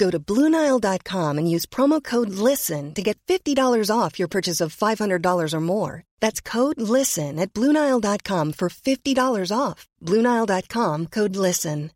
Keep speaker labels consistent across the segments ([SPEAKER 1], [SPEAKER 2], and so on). [SPEAKER 1] Go to BlueNile.com and use promo code LISTEN to get $50 off your purchase of $500 or more. That's code LISTEN at BlueNile.com for $50 off. BlueNile.com code LISTEN.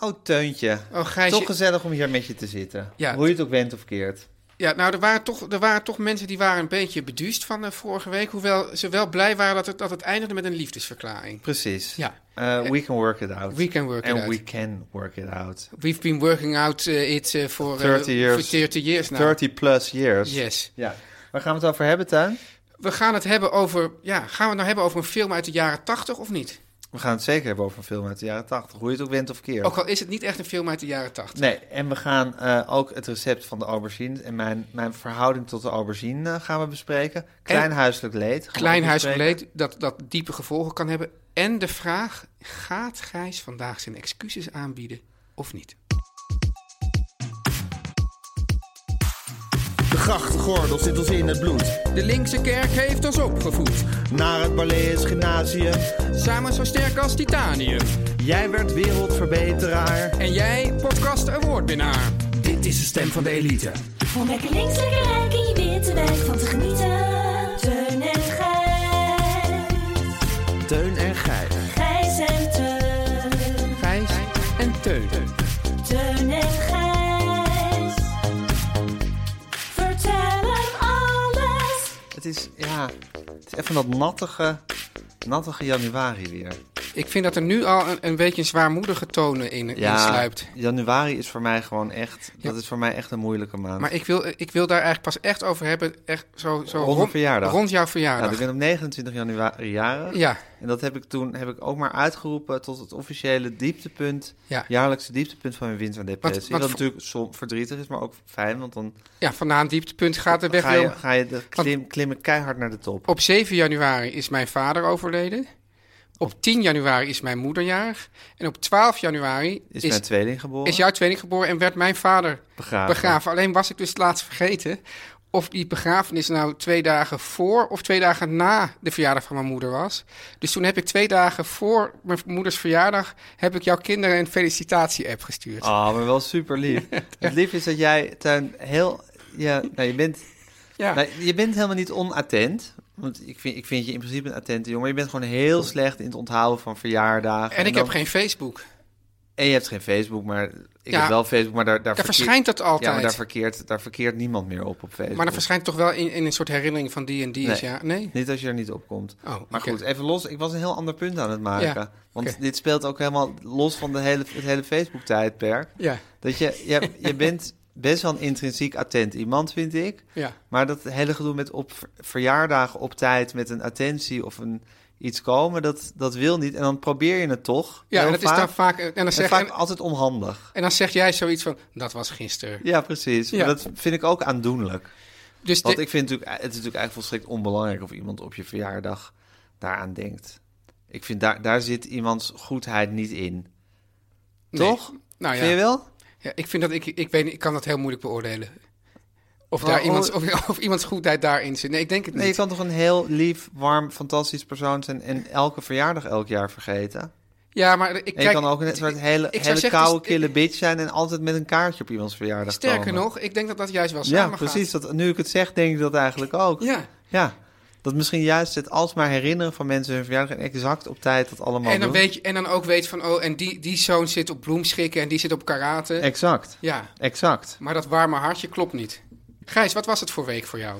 [SPEAKER 2] Oh, Teuntje.
[SPEAKER 3] Oh, Gijsje.
[SPEAKER 2] Toch gezellig om hier met je te zitten.
[SPEAKER 3] Ja.
[SPEAKER 2] Hoe je het ook bent of keert.
[SPEAKER 3] Ja, nou, er waren, toch, er waren toch mensen die waren een beetje beduust van eh, vorige week. Hoewel ze wel blij waren dat het, dat het eindigde met een liefdesverklaring.
[SPEAKER 2] Precies.
[SPEAKER 3] Ja.
[SPEAKER 2] Eh, we can work it out.
[SPEAKER 3] We can work it
[SPEAKER 2] And
[SPEAKER 3] out.
[SPEAKER 2] we can work it out.
[SPEAKER 3] We've been working out eh, it eh, for, eh,
[SPEAKER 2] 30 years.
[SPEAKER 3] for 30 years now.
[SPEAKER 2] 30 plus years.
[SPEAKER 3] Yes.
[SPEAKER 2] Ja. Waar gaan we het over hebben, Tuin?
[SPEAKER 3] We gaan het hebben over, ja, gaan we het nou hebben over een film uit de jaren 80 of niet?
[SPEAKER 2] We gaan het zeker hebben over een film uit de jaren 80. Hoe je het ook bent of keert.
[SPEAKER 3] Ook al is het niet echt een film uit de jaren 80.
[SPEAKER 2] Nee, en we gaan eh, ook het recept van de aubergine en mijn, mijn verhouding tot de aubergine eh, gaan we bespreken. Klein
[SPEAKER 3] En-
[SPEAKER 2] huiselijk leed. gaan we
[SPEAKER 3] Klein
[SPEAKER 2] ook
[SPEAKER 3] huiselijk
[SPEAKER 2] bespreken.
[SPEAKER 3] leed dat, dat diepe gevolgen kan hebben. En de vraag, gaat Gijs vandaag zijn excuses aanbieden of niet?
[SPEAKER 4] De grachtgordel zit ons in het bloed.
[SPEAKER 5] De linkse kerk heeft ons opgevoed,
[SPEAKER 4] Naar het Balees Gymnasium.
[SPEAKER 5] samen zo sterk als titanium.
[SPEAKER 4] Jij werd wereldverbeteraar.
[SPEAKER 5] En jij, podcast awardwinnaar. Dit is de stem van de elite.
[SPEAKER 6] Om lekker links, lekker rijk in je witte wijk van te genieten. Teun en Gijs.
[SPEAKER 4] Teun en Gijs.
[SPEAKER 6] Gijs en Teun.
[SPEAKER 5] Gijs en Teun.
[SPEAKER 6] Teun en Gijs. Vertel hem alles.
[SPEAKER 2] Het is, ja, het is even dat nattige, nattige januari weer.
[SPEAKER 3] Ik vind dat er nu al een, een beetje een zwaarmoedige toon in, in sluipt.
[SPEAKER 2] januari is voor mij gewoon echt, dat is voor mij echt een moeilijke maand.
[SPEAKER 3] Maar ik wil, ik wil daar eigenlijk pas echt over hebben, echt zo, zo
[SPEAKER 2] Rond mijn verjaardag.
[SPEAKER 3] rond jouw
[SPEAKER 2] ja,
[SPEAKER 3] verjaardag.
[SPEAKER 2] ik ben op 29 januari jarig.
[SPEAKER 3] Ja.
[SPEAKER 2] En dat heb ik toen heb ik ook maar uitgeroepen tot het officiële dieptepunt,
[SPEAKER 3] Ja.
[SPEAKER 2] jaarlijkse dieptepunt van mijn winterdepressie.
[SPEAKER 3] wat
[SPEAKER 2] dat
[SPEAKER 3] voor-
[SPEAKER 2] natuurlijk soms verdrietig is, maar ook fijn, want dan
[SPEAKER 3] Ja, van na een dieptepunt gaat de weg
[SPEAKER 2] ga je,
[SPEAKER 3] wel-
[SPEAKER 2] ga je de klim, klimmen keihard naar de top.
[SPEAKER 3] Op 7 januari is mijn vader overleden. Op 10 januari is mijn moeder jarig. En op 12 januari
[SPEAKER 2] Is,
[SPEAKER 3] is, is,
[SPEAKER 2] mijn tweeling geboren?
[SPEAKER 3] jouw tweeling geboren en werd mijn vader
[SPEAKER 2] Begraven.
[SPEAKER 3] begraven. Alleen was ik dus laatst vergeten of die begrafenis nou twee dagen voor of twee dagen na de verjaardag van mijn moeder was. Dus toen heb ik twee dagen voor mijn moeders verjaardag heb ik jouw kinderen een felicitatie-app gestuurd.
[SPEAKER 2] Oh, maar wel super lief. Het lief is dat jij, Tuin, heel... Ja, nou, je bent,
[SPEAKER 3] ja.
[SPEAKER 2] nou, je bent helemaal niet onattent. Want ik vind, ik vind je in principe een attente jongen. maar Je bent gewoon heel slecht in het onthouden van verjaardagen.
[SPEAKER 3] en ik
[SPEAKER 2] dan-
[SPEAKER 3] heb geen Facebook.
[SPEAKER 2] En je hebt geen Facebook, maar... Ik
[SPEAKER 3] Ja,
[SPEAKER 2] heb wel Facebook, maar daar... Daar,
[SPEAKER 3] Daar
[SPEAKER 2] verkeer-
[SPEAKER 3] verschijnt dat altijd.
[SPEAKER 2] Ja, maar daar verkeert, daar verkeert niemand meer op op Facebook.
[SPEAKER 3] maar dat verschijnt toch wel in, in een soort herinnering van die en die is,
[SPEAKER 2] Nee.
[SPEAKER 3] ja? Nee?
[SPEAKER 2] Niet als je er niet op komt.
[SPEAKER 3] Oh,
[SPEAKER 2] maar
[SPEAKER 3] oké.
[SPEAKER 2] goed, even los. Ik was een heel ander punt aan het maken.
[SPEAKER 3] Ja,
[SPEAKER 2] Want
[SPEAKER 3] oké.
[SPEAKER 2] dit speelt ook helemaal los van de hele, het hele Facebook-tijdperk.
[SPEAKER 3] Ja.
[SPEAKER 2] Dat je, je, je bent best wel een intrinsiek attent iemand, vind ik.
[SPEAKER 3] Ja.
[SPEAKER 2] Maar dat hele gedoe met op ver- verjaardagen op tijd met een attentie of een iets komen, dat, dat wil niet. En dan probeer je het toch.
[SPEAKER 3] Ja,
[SPEAKER 2] heel
[SPEAKER 3] en dat is dan vaak. En dan,
[SPEAKER 2] en
[SPEAKER 3] zeg,
[SPEAKER 2] vaak
[SPEAKER 3] en,
[SPEAKER 2] altijd onhandig.
[SPEAKER 3] en dan zeg jij zoiets van: dat was gisteren.
[SPEAKER 2] Ja, precies.
[SPEAKER 3] Ja.
[SPEAKER 2] Maar dat vind ik ook aandoenlijk.
[SPEAKER 3] Dus
[SPEAKER 2] Want
[SPEAKER 3] de-
[SPEAKER 2] ik vind natuurlijk, eh, het is natuurlijk eigenlijk volstrekt onbelangrijk of iemand op je verjaardag daaraan denkt. Ik vind daar, daar zit iemands goedheid niet in.
[SPEAKER 3] nee.
[SPEAKER 2] Toch?
[SPEAKER 3] Nou ja.
[SPEAKER 2] Vind je wel?
[SPEAKER 3] Ja, ik vind dat ik, ik weet, niet, ik kan dat heel moeilijk beoordelen. Of,
[SPEAKER 2] Maar
[SPEAKER 3] daar
[SPEAKER 2] oh-
[SPEAKER 3] iemands, of, of iemands goedheid daarin zit. Nee, ik denk het
[SPEAKER 2] Nee, je
[SPEAKER 3] niet.
[SPEAKER 2] kan toch een heel lief, warm, fantastisch persoon zijn en elke verjaardag elk jaar vergeten. En
[SPEAKER 3] Ja, maar ik
[SPEAKER 2] je
[SPEAKER 3] kijk,
[SPEAKER 2] kan ook een soort hele,
[SPEAKER 3] ik zou
[SPEAKER 2] hele
[SPEAKER 3] zeggen,
[SPEAKER 2] koude,
[SPEAKER 3] dus-
[SPEAKER 2] kille bitch zijn en altijd met een kaartje op iemands verjaardag
[SPEAKER 3] sterker
[SPEAKER 2] komen.
[SPEAKER 3] nog, ik denk dat dat juist wel
[SPEAKER 2] Ja,
[SPEAKER 3] samen
[SPEAKER 2] precies. Dat, nu ik het zeg, denk ik dat eigenlijk ook.
[SPEAKER 3] Ja.
[SPEAKER 2] Ja. Dat misschien juist het alsmaar herinneren van mensen hun verjaardag en exact op tijd dat allemaal
[SPEAKER 3] En dan,
[SPEAKER 2] doen.
[SPEAKER 3] weet je, en dan ook weet van, oh, en die, die zoon zit op bloemschikken en die zit op karate.
[SPEAKER 2] Exact,
[SPEAKER 3] ja,
[SPEAKER 2] exact.
[SPEAKER 3] maar dat warme hartje klopt niet. Gijs, wat was het voor week voor jou?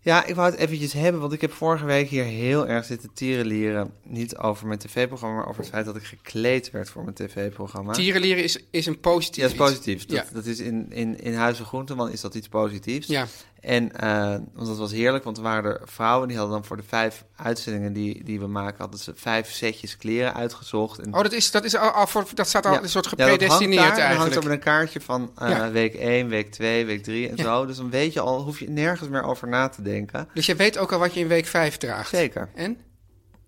[SPEAKER 2] Ja, ik wou het eventjes hebben, want ik heb vorige week hier heel erg zitten tierenlieren. Niet over mijn tv-programma, maar over het feit dat ik gekleed werd voor mijn tv-programma.
[SPEAKER 3] Tierenleren is, is een positief
[SPEAKER 2] Ja, dat is
[SPEAKER 3] iets.
[SPEAKER 2] positief. Dat,
[SPEAKER 3] Ja.
[SPEAKER 2] dat is in, in, in Huizen Groenteman is dat iets positiefs.
[SPEAKER 3] Ja.
[SPEAKER 2] En eh, want dat was heerlijk, want er waren er vrouwen die hadden dan voor de vijf uitzendingen die, die we maken, hadden ze vijf setjes kleren uitgezocht. En
[SPEAKER 3] Oh, dat, is, dat, is al, al voor, Oh, dat staat al
[SPEAKER 2] Ja.
[SPEAKER 3] een soort
[SPEAKER 2] Ja, dat hangt
[SPEAKER 3] gepredestineerd
[SPEAKER 2] daar, en dan hangt
[SPEAKER 3] eigenlijk.
[SPEAKER 2] er met een kaartje van eh,
[SPEAKER 3] Ja.
[SPEAKER 2] week 1, week 2, week 3 en
[SPEAKER 3] Ja.
[SPEAKER 2] zo. Dus dan weet je al, hoef je nergens meer over na te denken.
[SPEAKER 3] Dus je weet ook al wat je in week 5 draagt.
[SPEAKER 2] Zeker.
[SPEAKER 3] En?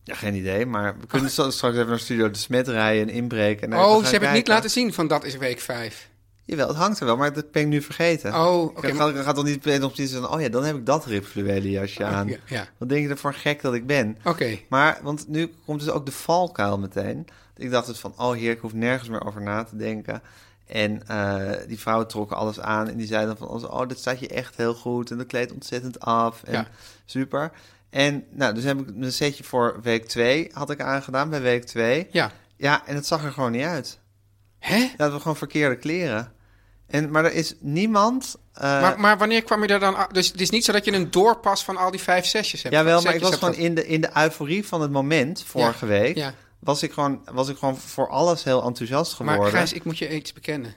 [SPEAKER 2] Ja, geen idee, maar we kunnen straks straks even naar Studio de Smet rijden en inbreken. En
[SPEAKER 3] oh, ze hebben het niet laten zien van dat is week 5.
[SPEAKER 2] Jawel, het hangt er wel, maar dat ben ik nu vergeten.
[SPEAKER 3] Oh,
[SPEAKER 2] Ik
[SPEAKER 3] oké,
[SPEAKER 2] ga-
[SPEAKER 3] maar- Oh,
[SPEAKER 2] ga, ga toch niet meteen op precies van, oh ja, dan heb ik dat ribfluwelen jasje aan.
[SPEAKER 3] ja, ja.
[SPEAKER 2] Wat denk je ervoor gek dat ik ben?
[SPEAKER 3] Oké.
[SPEAKER 2] Maar, want nu komt dus ook de valkuil meteen. Ik dacht dus van, oh heer, ik hoef nergens meer over na te denken. En eh, die vrouwen trokken alles aan en die zeiden dan van, oh, dit staat je echt heel goed en dat kleedt ontzettend af en
[SPEAKER 3] Ja.
[SPEAKER 2] super. En nou, dus heb ik een setje voor week 2 had ik aangedaan bij week 2.
[SPEAKER 3] Ja.
[SPEAKER 2] Ja, en het zag er gewoon niet uit.
[SPEAKER 3] Hè?
[SPEAKER 2] Ja, dat we gewoon verkeerde kleren. En, maar er is niemand... eh,
[SPEAKER 3] maar, maar wanneer kwam je daar dan... a- Dus het is niet zo dat je een doorpas van al die vijf zesjes hebt.
[SPEAKER 2] Jawel, maar
[SPEAKER 3] setjes
[SPEAKER 2] ik was
[SPEAKER 3] hebt
[SPEAKER 2] gewoon
[SPEAKER 3] gehad.
[SPEAKER 2] in de, in de euforie van het moment vorige
[SPEAKER 3] Ja,
[SPEAKER 2] week.
[SPEAKER 3] ja.
[SPEAKER 2] Was, ik gewoon, was ik gewoon voor alles heel enthousiast geworden.
[SPEAKER 3] Maar Gijs, ik moet je iets bekennen.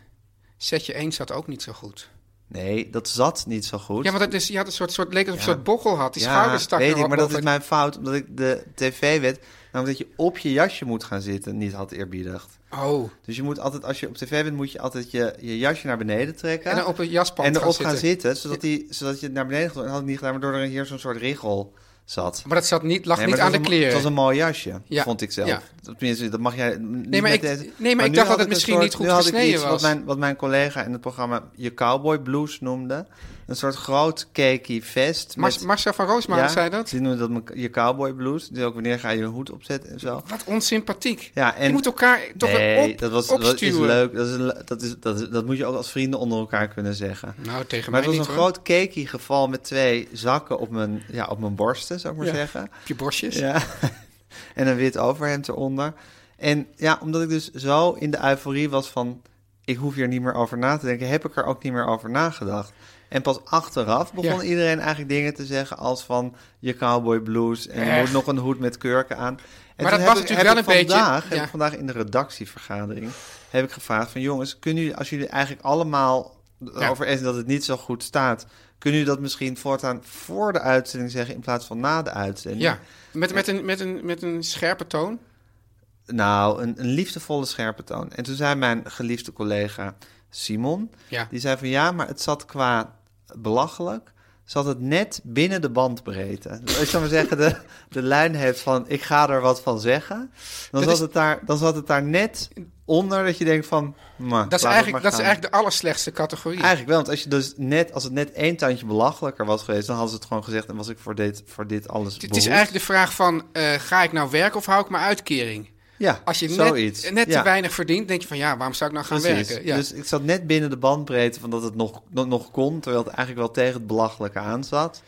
[SPEAKER 3] Setje 1 zat ook niet zo goed.
[SPEAKER 2] Nee, dat zat niet zo goed.
[SPEAKER 3] Ja, want dat is, je had een soort, soort leek alsof je een soort bochel had. Die schouders stak
[SPEAKER 2] weet
[SPEAKER 3] er
[SPEAKER 2] ik, maar dat
[SPEAKER 3] boven
[SPEAKER 2] is mijn fout. Omdat ik de tv-wet, namelijk dat je op je jasje moet gaan zitten, niet had eerbiedigd.
[SPEAKER 3] het- Oh,
[SPEAKER 2] Dus je moet altijd, als je op tv bent, moet je altijd je, je jasje naar beneden trekken.
[SPEAKER 3] En dan op een jaspand
[SPEAKER 2] En
[SPEAKER 3] gaan
[SPEAKER 2] erop gaan,
[SPEAKER 3] zitten.
[SPEAKER 2] zitten, zodat, die, zodat je het naar beneden gaat. En dat had ik niet gedaan, maar door er hier zo'n soort richel zat.
[SPEAKER 3] maar dat zat niet, lag
[SPEAKER 2] Nee,
[SPEAKER 3] niet
[SPEAKER 2] maar
[SPEAKER 3] aan
[SPEAKER 2] het
[SPEAKER 3] de
[SPEAKER 2] was een-
[SPEAKER 3] kleren.
[SPEAKER 2] Het was een mooi jasje,
[SPEAKER 3] Ja.
[SPEAKER 2] vond ik zelf.
[SPEAKER 3] Ja.
[SPEAKER 2] Tenminste, dat mag jij niet
[SPEAKER 3] maar
[SPEAKER 2] met
[SPEAKER 3] ik-
[SPEAKER 2] deze-
[SPEAKER 3] nee, maar ik
[SPEAKER 2] nu
[SPEAKER 3] dacht
[SPEAKER 2] had
[SPEAKER 3] dat het
[SPEAKER 2] ik
[SPEAKER 3] misschien
[SPEAKER 2] een soort,
[SPEAKER 3] niet goed
[SPEAKER 2] nu had ik
[SPEAKER 3] gesneden
[SPEAKER 2] iets Wat
[SPEAKER 3] was.
[SPEAKER 2] mijn, wat mijn collega in het programma je cowboy blues noemde. Een soort groot cakey vest.
[SPEAKER 3] Mar-
[SPEAKER 2] met-
[SPEAKER 3] Marcel van Roosmalen zei dat.
[SPEAKER 2] Die noemde dat je cowboy blues. Die ook wanneer ga je een hoed opzetten en zo.
[SPEAKER 3] Wat onsympathiek.
[SPEAKER 2] Ja, en-
[SPEAKER 3] Je moet elkaar toch
[SPEAKER 2] nee,
[SPEAKER 3] op,
[SPEAKER 2] dat was dat is
[SPEAKER 3] opstuwen.
[SPEAKER 2] leuk. Dat, is, een le- dat, is, dat, is- dat moet je ook als vrienden onder elkaar kunnen zeggen.
[SPEAKER 3] Nou,
[SPEAKER 2] Maar
[SPEAKER 3] tegen mij
[SPEAKER 2] het was
[SPEAKER 3] niet,
[SPEAKER 2] een
[SPEAKER 3] hoor.
[SPEAKER 2] groot cakey geval met twee zakken op mijn, ja, op mijn borsten, zou ik maar
[SPEAKER 3] Ja.
[SPEAKER 2] zeggen.
[SPEAKER 3] Op je borstjes.
[SPEAKER 2] Ja. en een wit overhemd eronder. En ja, omdat ik dus zo in de euforie was van... ik hoef hier niet meer over na te denken... heb ik er ook niet meer over nagedacht. En pas achteraf begon
[SPEAKER 3] Ja.
[SPEAKER 2] iedereen eigenlijk dingen te zeggen... als van je cowboy blues... en je
[SPEAKER 3] Echt?
[SPEAKER 2] moet nog een hoed met kurken aan. En
[SPEAKER 3] Maar
[SPEAKER 2] toen
[SPEAKER 3] dat
[SPEAKER 2] heb
[SPEAKER 3] was
[SPEAKER 2] ik-
[SPEAKER 3] natuurlijk
[SPEAKER 2] heb
[SPEAKER 3] wel
[SPEAKER 2] ik
[SPEAKER 3] een beetje-
[SPEAKER 2] vandaag, Heb
[SPEAKER 3] ja.
[SPEAKER 2] ik vandaag in de redactievergadering heb ik gevraagd van... jongens, kunnen jullie, als jullie eigenlijk allemaal
[SPEAKER 3] Ja.
[SPEAKER 2] over eens dat het niet zo goed staat... kunnen jullie dat misschien voortaan voor de uitzending zeggen... in plaats van na de uitzending?
[SPEAKER 3] Ja, met, met, een, met, een, met een scherpe toon.
[SPEAKER 2] Nou, een, een liefdevolle scherpe toon. En toen zei mijn geliefde collega Simon,
[SPEAKER 3] Ja.
[SPEAKER 2] die zei van ja, maar het zat qua belachelijk, zat het net binnen de bandbreedte. Dus ik zou maar zeggen, de, de lijn heeft van ik ga er wat van zeggen, dan,
[SPEAKER 3] Dat
[SPEAKER 2] zat,
[SPEAKER 3] is-
[SPEAKER 2] het daar, dan zat het daar net onder dat je denkt van, maar,
[SPEAKER 3] Dat is, eigenlijk, dat is eigenlijk de allerslechtste categorie.
[SPEAKER 2] Eigenlijk wel, want als, je dus net, als het net één tandje belachelijker was geweest, dan hadden ze het gewoon gezegd en was ik voor dit, voor dit alles
[SPEAKER 3] het is
[SPEAKER 2] behoed.
[SPEAKER 3] eigenlijk de vraag van, eh, ga ik nou werken of hou ik mijn uitkering?
[SPEAKER 2] ja,
[SPEAKER 3] Als je
[SPEAKER 2] zoiets.
[SPEAKER 3] net, net te
[SPEAKER 2] Ja.
[SPEAKER 3] weinig verdient, denk je van ja, waarom zou ik nou gaan
[SPEAKER 2] Precies.
[SPEAKER 3] werken? Ja.
[SPEAKER 2] Dus ik zat net binnen de bandbreedte van dat het nog, nog, nog kon, terwijl het eigenlijk wel tegen het belachelijke aan zat.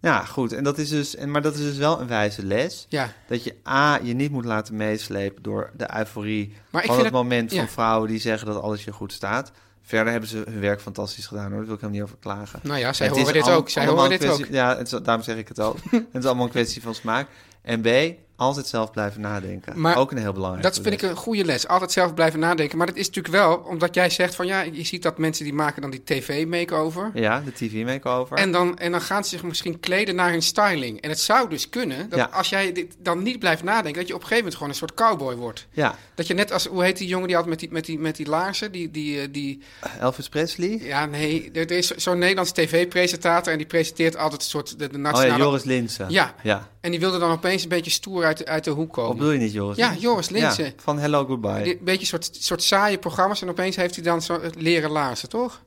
[SPEAKER 2] Ja, goed. En dat is dus, en, maar dat is dus wel een wijze les.
[SPEAKER 3] Ja.
[SPEAKER 2] Dat je A, je niet moet laten meeslepen door de euforie
[SPEAKER 3] Maar ik
[SPEAKER 2] van
[SPEAKER 3] vind
[SPEAKER 2] het,
[SPEAKER 3] het-
[SPEAKER 2] moment van
[SPEAKER 3] ja.
[SPEAKER 2] vrouwen die zeggen dat alles je goed staat. Verder hebben ze hun werk fantastisch gedaan hoor, daar wil ik hem niet over klagen.
[SPEAKER 3] Nou ja, zij
[SPEAKER 2] Het
[SPEAKER 3] horen
[SPEAKER 2] is
[SPEAKER 3] dit
[SPEAKER 2] al-
[SPEAKER 3] ook. Zij
[SPEAKER 2] allemaal
[SPEAKER 3] horen
[SPEAKER 2] een
[SPEAKER 3] dit
[SPEAKER 2] kwestie-
[SPEAKER 3] ook.
[SPEAKER 2] Ja, het is- daarom zeg ik het ook. het is allemaal een kwestie van smaak. En B, altijd zelf blijven nadenken.
[SPEAKER 3] Maar
[SPEAKER 2] ook een heel belangrijk
[SPEAKER 3] Dat vind ik een goede les. Altijd zelf blijven nadenken. Maar dat is natuurlijk wel, omdat jij zegt van ja, je ziet dat mensen die maken dan die tv-makeover.
[SPEAKER 2] Ja, de tv-makeover.
[SPEAKER 3] En dan, en dan gaan ze zich misschien kleden naar hun styling. En het zou dus kunnen dat
[SPEAKER 2] Ja.
[SPEAKER 3] als jij dit dan niet blijft nadenken, dat je op een gegeven moment gewoon een soort cowboy wordt.
[SPEAKER 2] Ja,
[SPEAKER 3] Dat je net als, hoe heet die jongen die had met die, met die, met die laarzen? Die, die, eh, die,
[SPEAKER 2] Elvis Presley.
[SPEAKER 3] ja, nee, er, er is zo- zo'n Nederlands tv-presentator en die presenteert altijd een soort de, de nationale...
[SPEAKER 2] Oh ja, Joris Linsen.
[SPEAKER 3] Ja.
[SPEAKER 2] ja.
[SPEAKER 3] En die wilde dan opeens een beetje stoer uit de, uit de hoek
[SPEAKER 2] Wat
[SPEAKER 3] komen.
[SPEAKER 2] bedoel je niet, Joris?
[SPEAKER 3] Ja, Joris Linssen.
[SPEAKER 2] Ja, van Hello Goodbye.
[SPEAKER 3] Een beetje soort, soort saaie programma's en opeens heeft hij dan zo het leren laarzen, toch?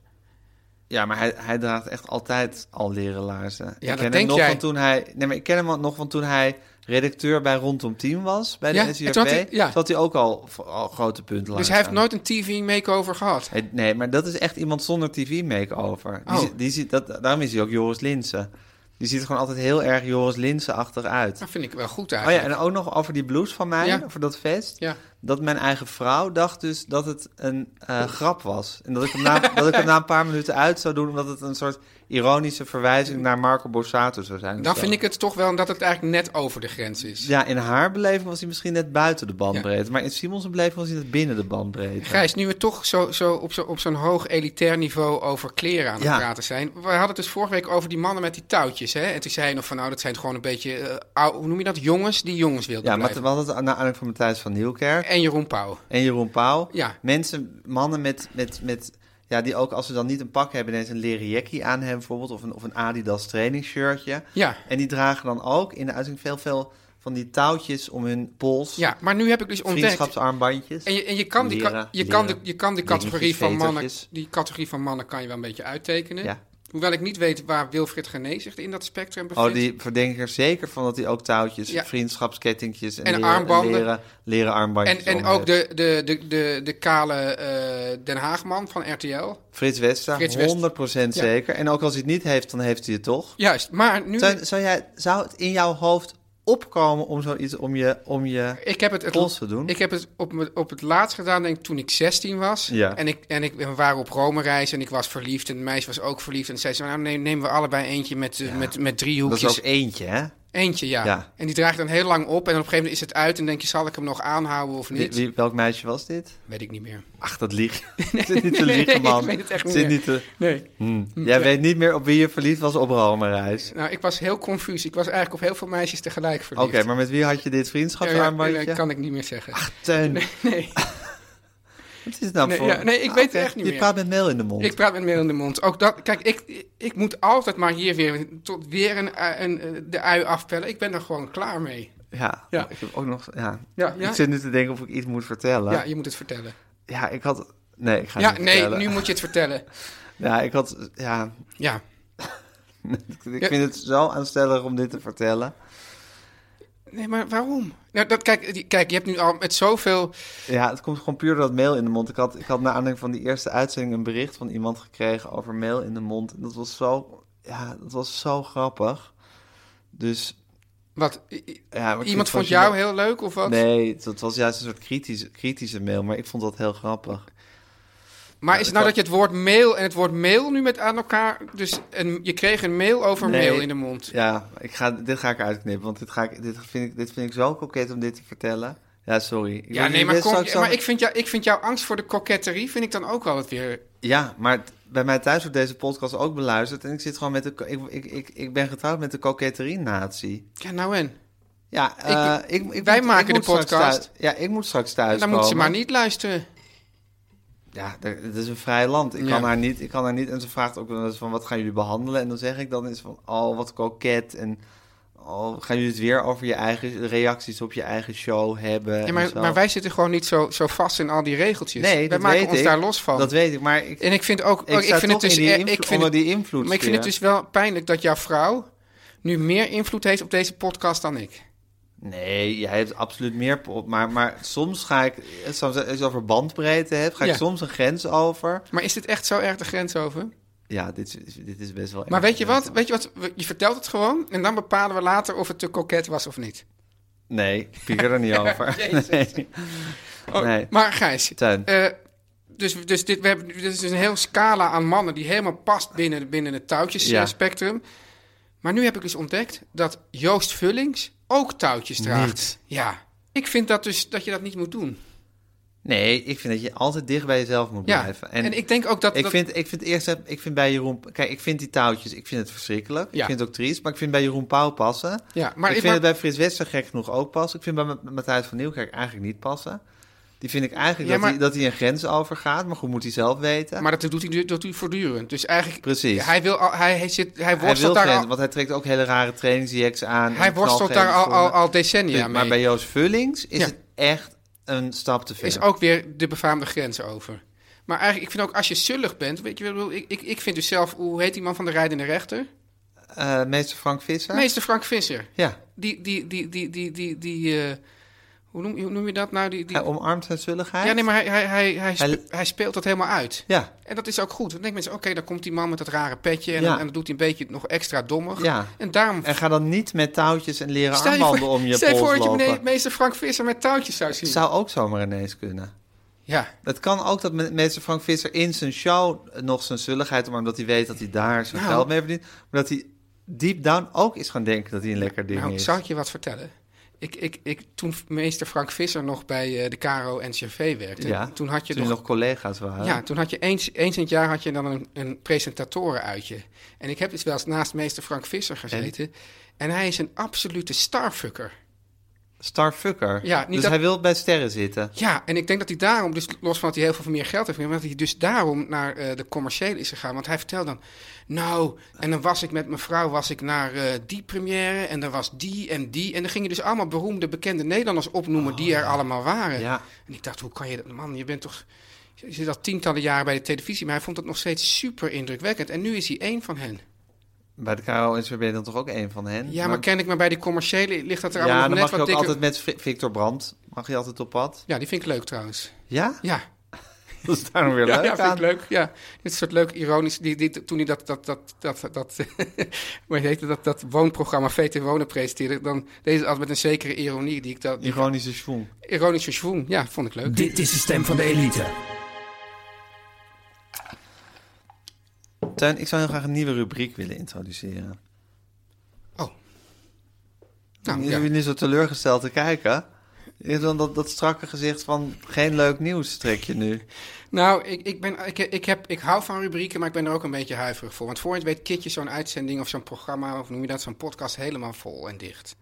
[SPEAKER 2] Ja, maar hij, hij draagt echt altijd al leren laarzen. ik ken
[SPEAKER 3] dat
[SPEAKER 2] hem
[SPEAKER 3] denk
[SPEAKER 2] nog
[SPEAKER 3] jij.
[SPEAKER 2] van toen hij. Nee, maar ik ken hem nog van toen hij redacteur bij Rondom Team was bij de
[SPEAKER 3] Ja,
[SPEAKER 2] ja,
[SPEAKER 3] en toen had hij- ja.
[SPEAKER 2] Zat hij ook al, al grote punten
[SPEAKER 3] Dus
[SPEAKER 2] laarzen
[SPEAKER 3] hij heeft
[SPEAKER 2] aan.
[SPEAKER 3] nooit een TV-makeover gehad.
[SPEAKER 2] Hij- Nee, maar dat is echt iemand zonder tv-makeover. Die,
[SPEAKER 3] Oh.
[SPEAKER 2] zi- die, zi- dat, daarom is hij ook Joris Linsen. Je ziet er gewoon altijd heel erg Joris Linsen-achtig uit.
[SPEAKER 3] Dat vind ik wel goed
[SPEAKER 2] Oh ja,
[SPEAKER 3] eigenlijk.
[SPEAKER 2] en ook nog over die blouse van mij,
[SPEAKER 3] Ja.
[SPEAKER 2] over dat vest.
[SPEAKER 3] Ja.
[SPEAKER 2] Dat mijn eigen vrouw dacht dus dat het een eh, grap was. En dat ik, hem na, dat ik hem na een paar minuten uit zou doen, omdat het een soort ironische verwijzing naar Marco Borsato zou zijn.
[SPEAKER 3] Dan vind ik het toch wel dat het eigenlijk net over de grens is.
[SPEAKER 2] Ja, in haar beleving was hij misschien net buiten de bandbreedte. Maar in Simons beleving was hij net binnen de bandbreedte.
[SPEAKER 3] Gijs, nu we toch zo, zo op zo'n op zo'n hoog elitair niveau over kleren aan het
[SPEAKER 2] Ja.
[SPEAKER 3] praten zijn. We hadden het dus vorige week over die mannen met die touwtjes. Hè? En toen zei je nog van, nou, dat zijn gewoon een beetje, eh, ou- hoe noem je dat, jongens die jongens wilden
[SPEAKER 2] Ja, maar
[SPEAKER 3] blijven.
[SPEAKER 2] we hadden het aan aanleiding van Matthijs van Nieuwkerk
[SPEAKER 3] En Jeroen Pauw.
[SPEAKER 2] en Jeroen Pauw.
[SPEAKER 3] Ja.
[SPEAKER 2] Mensen, mannen met, met, met... Ja, die ook als ze dan niet een pak hebben... ineens een leren jackie aan hebben bijvoorbeeld... of een, of een Adidas trainingsshirtje.
[SPEAKER 3] Ja.
[SPEAKER 2] En die dragen dan ook in de uitzending veel, veel van die touwtjes om hun pols.
[SPEAKER 3] Ja, maar nu heb ik dus ontdekt...
[SPEAKER 2] Vriendschapsarmbandjes.
[SPEAKER 3] En je, en je kan die,
[SPEAKER 2] Leren,
[SPEAKER 3] je kan de,
[SPEAKER 2] leren,
[SPEAKER 3] je kan die categorie
[SPEAKER 2] dingetjes,
[SPEAKER 3] van mannen,
[SPEAKER 2] vetertjes.
[SPEAKER 3] die categorie van mannen kan je wel een beetje uittekenen.
[SPEAKER 2] Ja.
[SPEAKER 3] Hoewel ik niet weet waar Wilfried Gené zich in dat spectrum bevindt.
[SPEAKER 2] Oh, die verdenk ik er zeker van dat hij ook touwtjes,
[SPEAKER 3] Ja.
[SPEAKER 2] vriendschapskettingjes en,
[SPEAKER 3] En
[SPEAKER 2] leren,
[SPEAKER 3] armbanden.
[SPEAKER 2] leren, leren armbandjes.
[SPEAKER 3] en en
[SPEAKER 2] om
[SPEAKER 3] ook
[SPEAKER 2] heeft.
[SPEAKER 3] de, de, de, de, de kale eh, Den Haagman van RTL.
[SPEAKER 2] Frits Wester,
[SPEAKER 3] Frits Wester.
[SPEAKER 2] 100% zeker. En ook als hij het niet heeft, dan heeft hij het toch.
[SPEAKER 3] Juist, maar nu...
[SPEAKER 2] Zou, zou, jij, zou het in jouw hoofd opkomen om zoiets om je, om je
[SPEAKER 3] Ik heb het, het,
[SPEAKER 2] pols te doen?
[SPEAKER 3] Ik heb het op, me- op het laatst gedaan, denk ik, toen ik 16 was.
[SPEAKER 2] Ja.
[SPEAKER 3] En, ik, en ik, we waren op Rome reis en ik was verliefd en de meisje was ook verliefd. En zei ze, nou neem, nemen we allebei eentje met, eh, met, met drie
[SPEAKER 2] dat is
[SPEAKER 3] hoekjes.
[SPEAKER 2] ook eentje, hè?
[SPEAKER 3] Eentje, ja.
[SPEAKER 2] Ja.
[SPEAKER 3] En die draag je dan heel lang op en op een gegeven moment is het uit. En denk je, zal ik hem nog aanhouden of
[SPEAKER 2] Wie,
[SPEAKER 3] niet?
[SPEAKER 2] wie- welk meisje was dit?
[SPEAKER 3] Weet ik niet meer.
[SPEAKER 2] Ach, dat lieg. je. Zit niet te liegen, man.
[SPEAKER 3] ik weet het echt niet
[SPEAKER 2] Zit
[SPEAKER 3] meer. Hmm.
[SPEAKER 2] niet te...
[SPEAKER 3] Nee.
[SPEAKER 2] Hm. Jij weet niet meer op wie je verliefd was op Rome reis.
[SPEAKER 3] Nou, ik was heel confus. Ik was eigenlijk op heel veel meisjes tegelijk
[SPEAKER 2] Oké,
[SPEAKER 3] verliefd.
[SPEAKER 2] maar met wie had je dit vriendschapsarmbandje?
[SPEAKER 3] dat kan ik niet meer zeggen.
[SPEAKER 2] Teun,
[SPEAKER 3] Nee,
[SPEAKER 2] wat is het nou
[SPEAKER 3] Nee,
[SPEAKER 2] voor...
[SPEAKER 3] ja, nee, ik weet het
[SPEAKER 2] oké.
[SPEAKER 3] echt niet
[SPEAKER 2] je
[SPEAKER 3] meer.
[SPEAKER 2] praat met meel in de mond.
[SPEAKER 3] ik praat met meel in de mond. Ook dat, kijk, ik, ik moet altijd maar hier weer, tot weer een, eh, een, eh, de ui afpellen. Ik ben er gewoon klaar mee.
[SPEAKER 2] Ja,
[SPEAKER 3] Ja.
[SPEAKER 2] ik heb ook nog... Ja.
[SPEAKER 3] Ja, ja.
[SPEAKER 2] Ik zit nu te denken of ik iets moet vertellen.
[SPEAKER 3] Ja, je moet het vertellen.
[SPEAKER 2] Ja, ik had... Nee, ik ga
[SPEAKER 3] Ja,
[SPEAKER 2] niet
[SPEAKER 3] nee,
[SPEAKER 2] vertellen.
[SPEAKER 3] nu moet je het vertellen.
[SPEAKER 2] Ja, ik had... Ja,
[SPEAKER 3] Ja.
[SPEAKER 2] ik vind het zo aanstellig om dit te vertellen.
[SPEAKER 3] Nee, maar waarom? Nou, dat, kijk, die- kijk, je hebt nu al met zoveel...
[SPEAKER 2] Ja, het komt gewoon puur door dat mail in de mond. Ik had, ik had na aanleiding van die eerste uitzending een bericht van iemand gekregen over mail in de mond. En dat was zo... Ja, dat was zo grappig. Dus...
[SPEAKER 3] Wat, i- i-
[SPEAKER 2] Ja, maar ik vind
[SPEAKER 3] iemand
[SPEAKER 2] het
[SPEAKER 3] vond
[SPEAKER 2] fascinerend.
[SPEAKER 3] jou heel leuk of wat?
[SPEAKER 2] Nee, dat was juist een soort kritische, kritische mail, maar ik vond dat heel grappig.
[SPEAKER 3] Maar is het nou
[SPEAKER 2] ik
[SPEAKER 3] dat je het woord mail en het woord mail nu met aan elkaar... Dus een, je kreeg een mail over
[SPEAKER 2] Nee.
[SPEAKER 3] mail in de mond.
[SPEAKER 2] Ja, ik ga, dit ga ik uitknippen, want dit, ga ik, dit, vind ik, dit vind ik zo koket om dit te vertellen. Ja, sorry. Ik
[SPEAKER 3] Ja,
[SPEAKER 2] weet
[SPEAKER 3] nee,
[SPEAKER 2] niet,
[SPEAKER 3] maar,
[SPEAKER 2] dit
[SPEAKER 3] kom,
[SPEAKER 2] zou
[SPEAKER 3] ja,
[SPEAKER 2] zo-
[SPEAKER 3] maar ik, vind jou, ik vind jouw angst voor de koketterie vind ik dan ook wel het weer...
[SPEAKER 2] Ja, maar t- bij mij thuis wordt deze podcast ook beluisterd en ik zit gewoon met de... ko- Ik, ik, ik, ik ben getrouwd met de koketterie-natie.
[SPEAKER 3] Ja, nou en?
[SPEAKER 2] Ja, eh, ik, ik,
[SPEAKER 3] wij
[SPEAKER 2] moet-
[SPEAKER 3] maken
[SPEAKER 2] ik
[SPEAKER 3] de
[SPEAKER 2] moet straks
[SPEAKER 3] podcast.
[SPEAKER 2] thuis- ja, ik moet straks thuis
[SPEAKER 3] Dan moet ze
[SPEAKER 2] komen.
[SPEAKER 3] maar niet luisteren.
[SPEAKER 2] Ja, d- het is een vrij land. Ik,
[SPEAKER 3] Ja.
[SPEAKER 2] kan haar niet, ik kan haar niet. En ze vraagt ook wel eens van wat gaan jullie behandelen? En dan zeg ik dan eens van oh, wat koket. En oh, gaan jullie het weer over je eigen reacties op je eigen show hebben?
[SPEAKER 3] Ja,
[SPEAKER 2] en
[SPEAKER 3] maar,
[SPEAKER 2] zo.
[SPEAKER 3] maar wij zitten gewoon niet zo, zo vast in al die regeltjes.
[SPEAKER 2] nee,
[SPEAKER 3] wij
[SPEAKER 2] dat
[SPEAKER 3] maken
[SPEAKER 2] weet
[SPEAKER 3] ons
[SPEAKER 2] ik.
[SPEAKER 3] daar los van.
[SPEAKER 2] Dat weet ik, maar ik,
[SPEAKER 3] En ik vind ook,
[SPEAKER 2] ik,
[SPEAKER 3] ik,
[SPEAKER 2] sta
[SPEAKER 3] vind het
[SPEAKER 2] toch
[SPEAKER 3] dus,
[SPEAKER 2] in die
[SPEAKER 3] eh,
[SPEAKER 2] invloed-
[SPEAKER 3] ik vind
[SPEAKER 2] onder
[SPEAKER 3] het,
[SPEAKER 2] die invloed.
[SPEAKER 3] maar ik vind het dus wel pijnlijk dat jouw vrouw nu meer invloed heeft op deze podcast dan ik.
[SPEAKER 2] Nee, jij hebt absoluut meer pop. Maar, maar soms ga ik, soms als je over bandbreedte hebt, ga
[SPEAKER 3] Ja.
[SPEAKER 2] ik soms een grens over.
[SPEAKER 3] Maar is dit echt zo erg de grens over?
[SPEAKER 2] Ja, dit is, dit is best wel.
[SPEAKER 3] Maar
[SPEAKER 2] erg.
[SPEAKER 3] weet je wat? Weet je wat? We- Je vertelt het gewoon en dan bepalen we later of het te koket was of niet.
[SPEAKER 2] Nee, ik piek er niet over. Nee.
[SPEAKER 3] Oh,
[SPEAKER 2] Nee.
[SPEAKER 3] Maar Gijs,
[SPEAKER 2] Teun.
[SPEAKER 3] eh, dus, dus dit, we hebben, dit is een heel scala aan mannen die helemaal past binnen, binnen het
[SPEAKER 2] Ja.
[SPEAKER 3] touwtjesspectrum. Maar nu heb ik dus ontdekt dat Joost Vullings ook touwtjes draagt. Ja, ik vind dat dus dat je dat niet moet doen.
[SPEAKER 2] Nee, ik vind dat je altijd dicht bij jezelf moet
[SPEAKER 3] Ja,
[SPEAKER 2] blijven.
[SPEAKER 3] en ik denk ook dat-
[SPEAKER 2] Ik
[SPEAKER 3] dat-
[SPEAKER 2] vind, ik vind eerst, heb- ik vind bij Jeroen. Kijk, ik vind die touwtjes, ik vind het verschrikkelijk.
[SPEAKER 3] Ja.
[SPEAKER 2] Ik vind het ook triest, maar ik vind bij Jeroen Pauw passen.
[SPEAKER 3] Ja,
[SPEAKER 2] Maar
[SPEAKER 3] maar
[SPEAKER 2] ik
[SPEAKER 3] ik-
[SPEAKER 2] vind
[SPEAKER 3] maar-
[SPEAKER 2] het bij Frits Wester gek genoeg ook passen. Ik vind bij Ma- Matthijs van Nieuwkerk eigenlijk niet passen. Die vind ik eigenlijk
[SPEAKER 3] Ja,
[SPEAKER 2] dat, hij,
[SPEAKER 3] maar-
[SPEAKER 2] dat hij een grens overgaat, maar goed, moet hij zelf weten.
[SPEAKER 3] Maar dat doet hij, nu- dat doet hij voortdurend. Dus eigenlijk,
[SPEAKER 2] Precies.
[SPEAKER 3] hij, wil al, hij, hij, zit, hij
[SPEAKER 2] hij wil
[SPEAKER 3] worstelt daar,
[SPEAKER 2] grenzen,
[SPEAKER 3] al,
[SPEAKER 2] want hij trekt ook hele rare trainingsjacks aan.
[SPEAKER 3] hij
[SPEAKER 2] en
[SPEAKER 3] worstelt daar al,
[SPEAKER 2] knalgele
[SPEAKER 3] al,
[SPEAKER 2] schoenen.
[SPEAKER 3] al decennia
[SPEAKER 2] Maar
[SPEAKER 3] mee.
[SPEAKER 2] bij Joost Vullings is
[SPEAKER 3] Ja.
[SPEAKER 2] het echt een stap te ver.
[SPEAKER 3] is ook weer de befaamde grens over. Maar eigenlijk, ik vind ook als je zullig bent, weet je, wel, ik, ik, ik vind dus zelf, hoe heet die man van de rijdende rechter?
[SPEAKER 2] Eh, meester Frank Visser?
[SPEAKER 3] Meester Frank Visser.
[SPEAKER 2] Ja.
[SPEAKER 3] Die, die, die, die, die, die, die eh, Hoe noem, hoe noem je dat nou? Die, die...
[SPEAKER 2] Hij omarmt zijn zwilligheid.
[SPEAKER 3] Ja, nee, maar hij, hij, hij, hij, spe-
[SPEAKER 2] Hij-
[SPEAKER 3] hij speelt dat helemaal uit.
[SPEAKER 2] Ja,
[SPEAKER 3] En dat is ook goed. Dan denken mensen, oké, dan komt die man met dat rare petje... en,
[SPEAKER 2] Ja.
[SPEAKER 3] dan, en dan doet hij een beetje nog extra dommig.
[SPEAKER 2] Ja.
[SPEAKER 3] En daarom...
[SPEAKER 2] en ga dan niet met touwtjes en leren
[SPEAKER 3] stel je
[SPEAKER 2] armbanden
[SPEAKER 3] voor,
[SPEAKER 2] om je
[SPEAKER 3] stel je
[SPEAKER 2] pols
[SPEAKER 3] voor dat je
[SPEAKER 2] lopen.
[SPEAKER 3] meneer- meester Frank Visser met touwtjes zou zien.
[SPEAKER 2] Zou ook zomaar ineens kunnen.
[SPEAKER 3] Ja,
[SPEAKER 2] Het kan ook dat me- meester Frank Visser in zijn show nog zijn zulligheid, maar omdat hij weet dat hij daar zijn
[SPEAKER 3] Nou.
[SPEAKER 2] geld mee verdient, maar dat hij deep down ook is gaan denken dat hij een lekker ding
[SPEAKER 3] nou,
[SPEAKER 2] is.
[SPEAKER 3] zou ik je wat vertellen? Ik, ik, ik, toen meester Frank Visser nog bij eh, de KRO-NCRV werkte...
[SPEAKER 2] ja,
[SPEAKER 3] toen had je
[SPEAKER 2] toen
[SPEAKER 3] nog
[SPEAKER 2] nog collega's waren.
[SPEAKER 3] Ja, toen had je eens, eens in het jaar had je dan een, een presentatorenuitje. En ik heb dus wel eens naast meester Frank Visser gezeten. En hij is een absolute starfucker.
[SPEAKER 2] Starfucker.
[SPEAKER 3] Ja, niet
[SPEAKER 2] dus
[SPEAKER 3] dat-
[SPEAKER 2] hij wil bij sterren zitten.
[SPEAKER 3] Ja, en ik denk dat hij daarom, dus los van dat hij heel veel meer geld heeft gegeven, dat hij dus daarom naar eh, de commerciële is gegaan. Want hij vertelde dan, nou, en dan was ik met mijn vrouw was ik naar eh, die première en dan was die en die. En dan ging je dus allemaal beroemde, bekende Nederlanders opnoemen die er allemaal waren.
[SPEAKER 2] Oh, Ja.
[SPEAKER 3] En ik dacht, hoe kan je dat, man, je bent toch, je zit al tientallen jaren bij de televisie, maar hij vond dat nog steeds super indrukwekkend. En nu is hij één van hen.
[SPEAKER 2] Bij de KRO en ben je dan toch ook een van hen?
[SPEAKER 3] Ja, maar ken ik maar bij die commerciële ligt dat er allemaal
[SPEAKER 2] ja,
[SPEAKER 3] nog
[SPEAKER 2] dan mag je
[SPEAKER 3] net wat
[SPEAKER 2] ook
[SPEAKER 3] dikker.
[SPEAKER 2] altijd met Fri- Victor Brandt. Mag je altijd op pad?
[SPEAKER 3] Ja, die vind ik leuk trouwens.
[SPEAKER 2] Ja?
[SPEAKER 3] Ja.
[SPEAKER 2] Dat is daarom weer
[SPEAKER 3] Ja,
[SPEAKER 2] leuk
[SPEAKER 3] ja, vind
[SPEAKER 2] aan.
[SPEAKER 3] ik leuk. Ja, dit soort leuk ironisch. Die, die, toen hij dat, dat, dat, dat, dat, hoe heet het, dat, dat woonprogramma VT Wonen presenteerde, dan deed hij altijd met een zekere ironie. Die ik dat, die
[SPEAKER 2] Ironische schwung.
[SPEAKER 3] ironische schwoen, ja, vond ik leuk.
[SPEAKER 5] Dit is de stem van de elite.
[SPEAKER 2] Tuin, ik zou heel graag een nieuwe rubriek willen introduceren.
[SPEAKER 3] Oh.
[SPEAKER 2] Nou,
[SPEAKER 3] Nou,
[SPEAKER 2] jullie
[SPEAKER 3] ja.
[SPEAKER 2] zijn nu zo teleurgesteld te kijken. Je hebt dan dat, dat strakke gezicht van geen leuk nieuws trek je nu.
[SPEAKER 3] nou ik, ik, ben, ik, ik, heb, ik hou van rubrieken, maar ik ben er ook een beetje huiverig voor. Want voor je het weet kit je zo'n uitzending of zo'n programma, of noem je dat, zo'n podcast helemaal vol en dicht.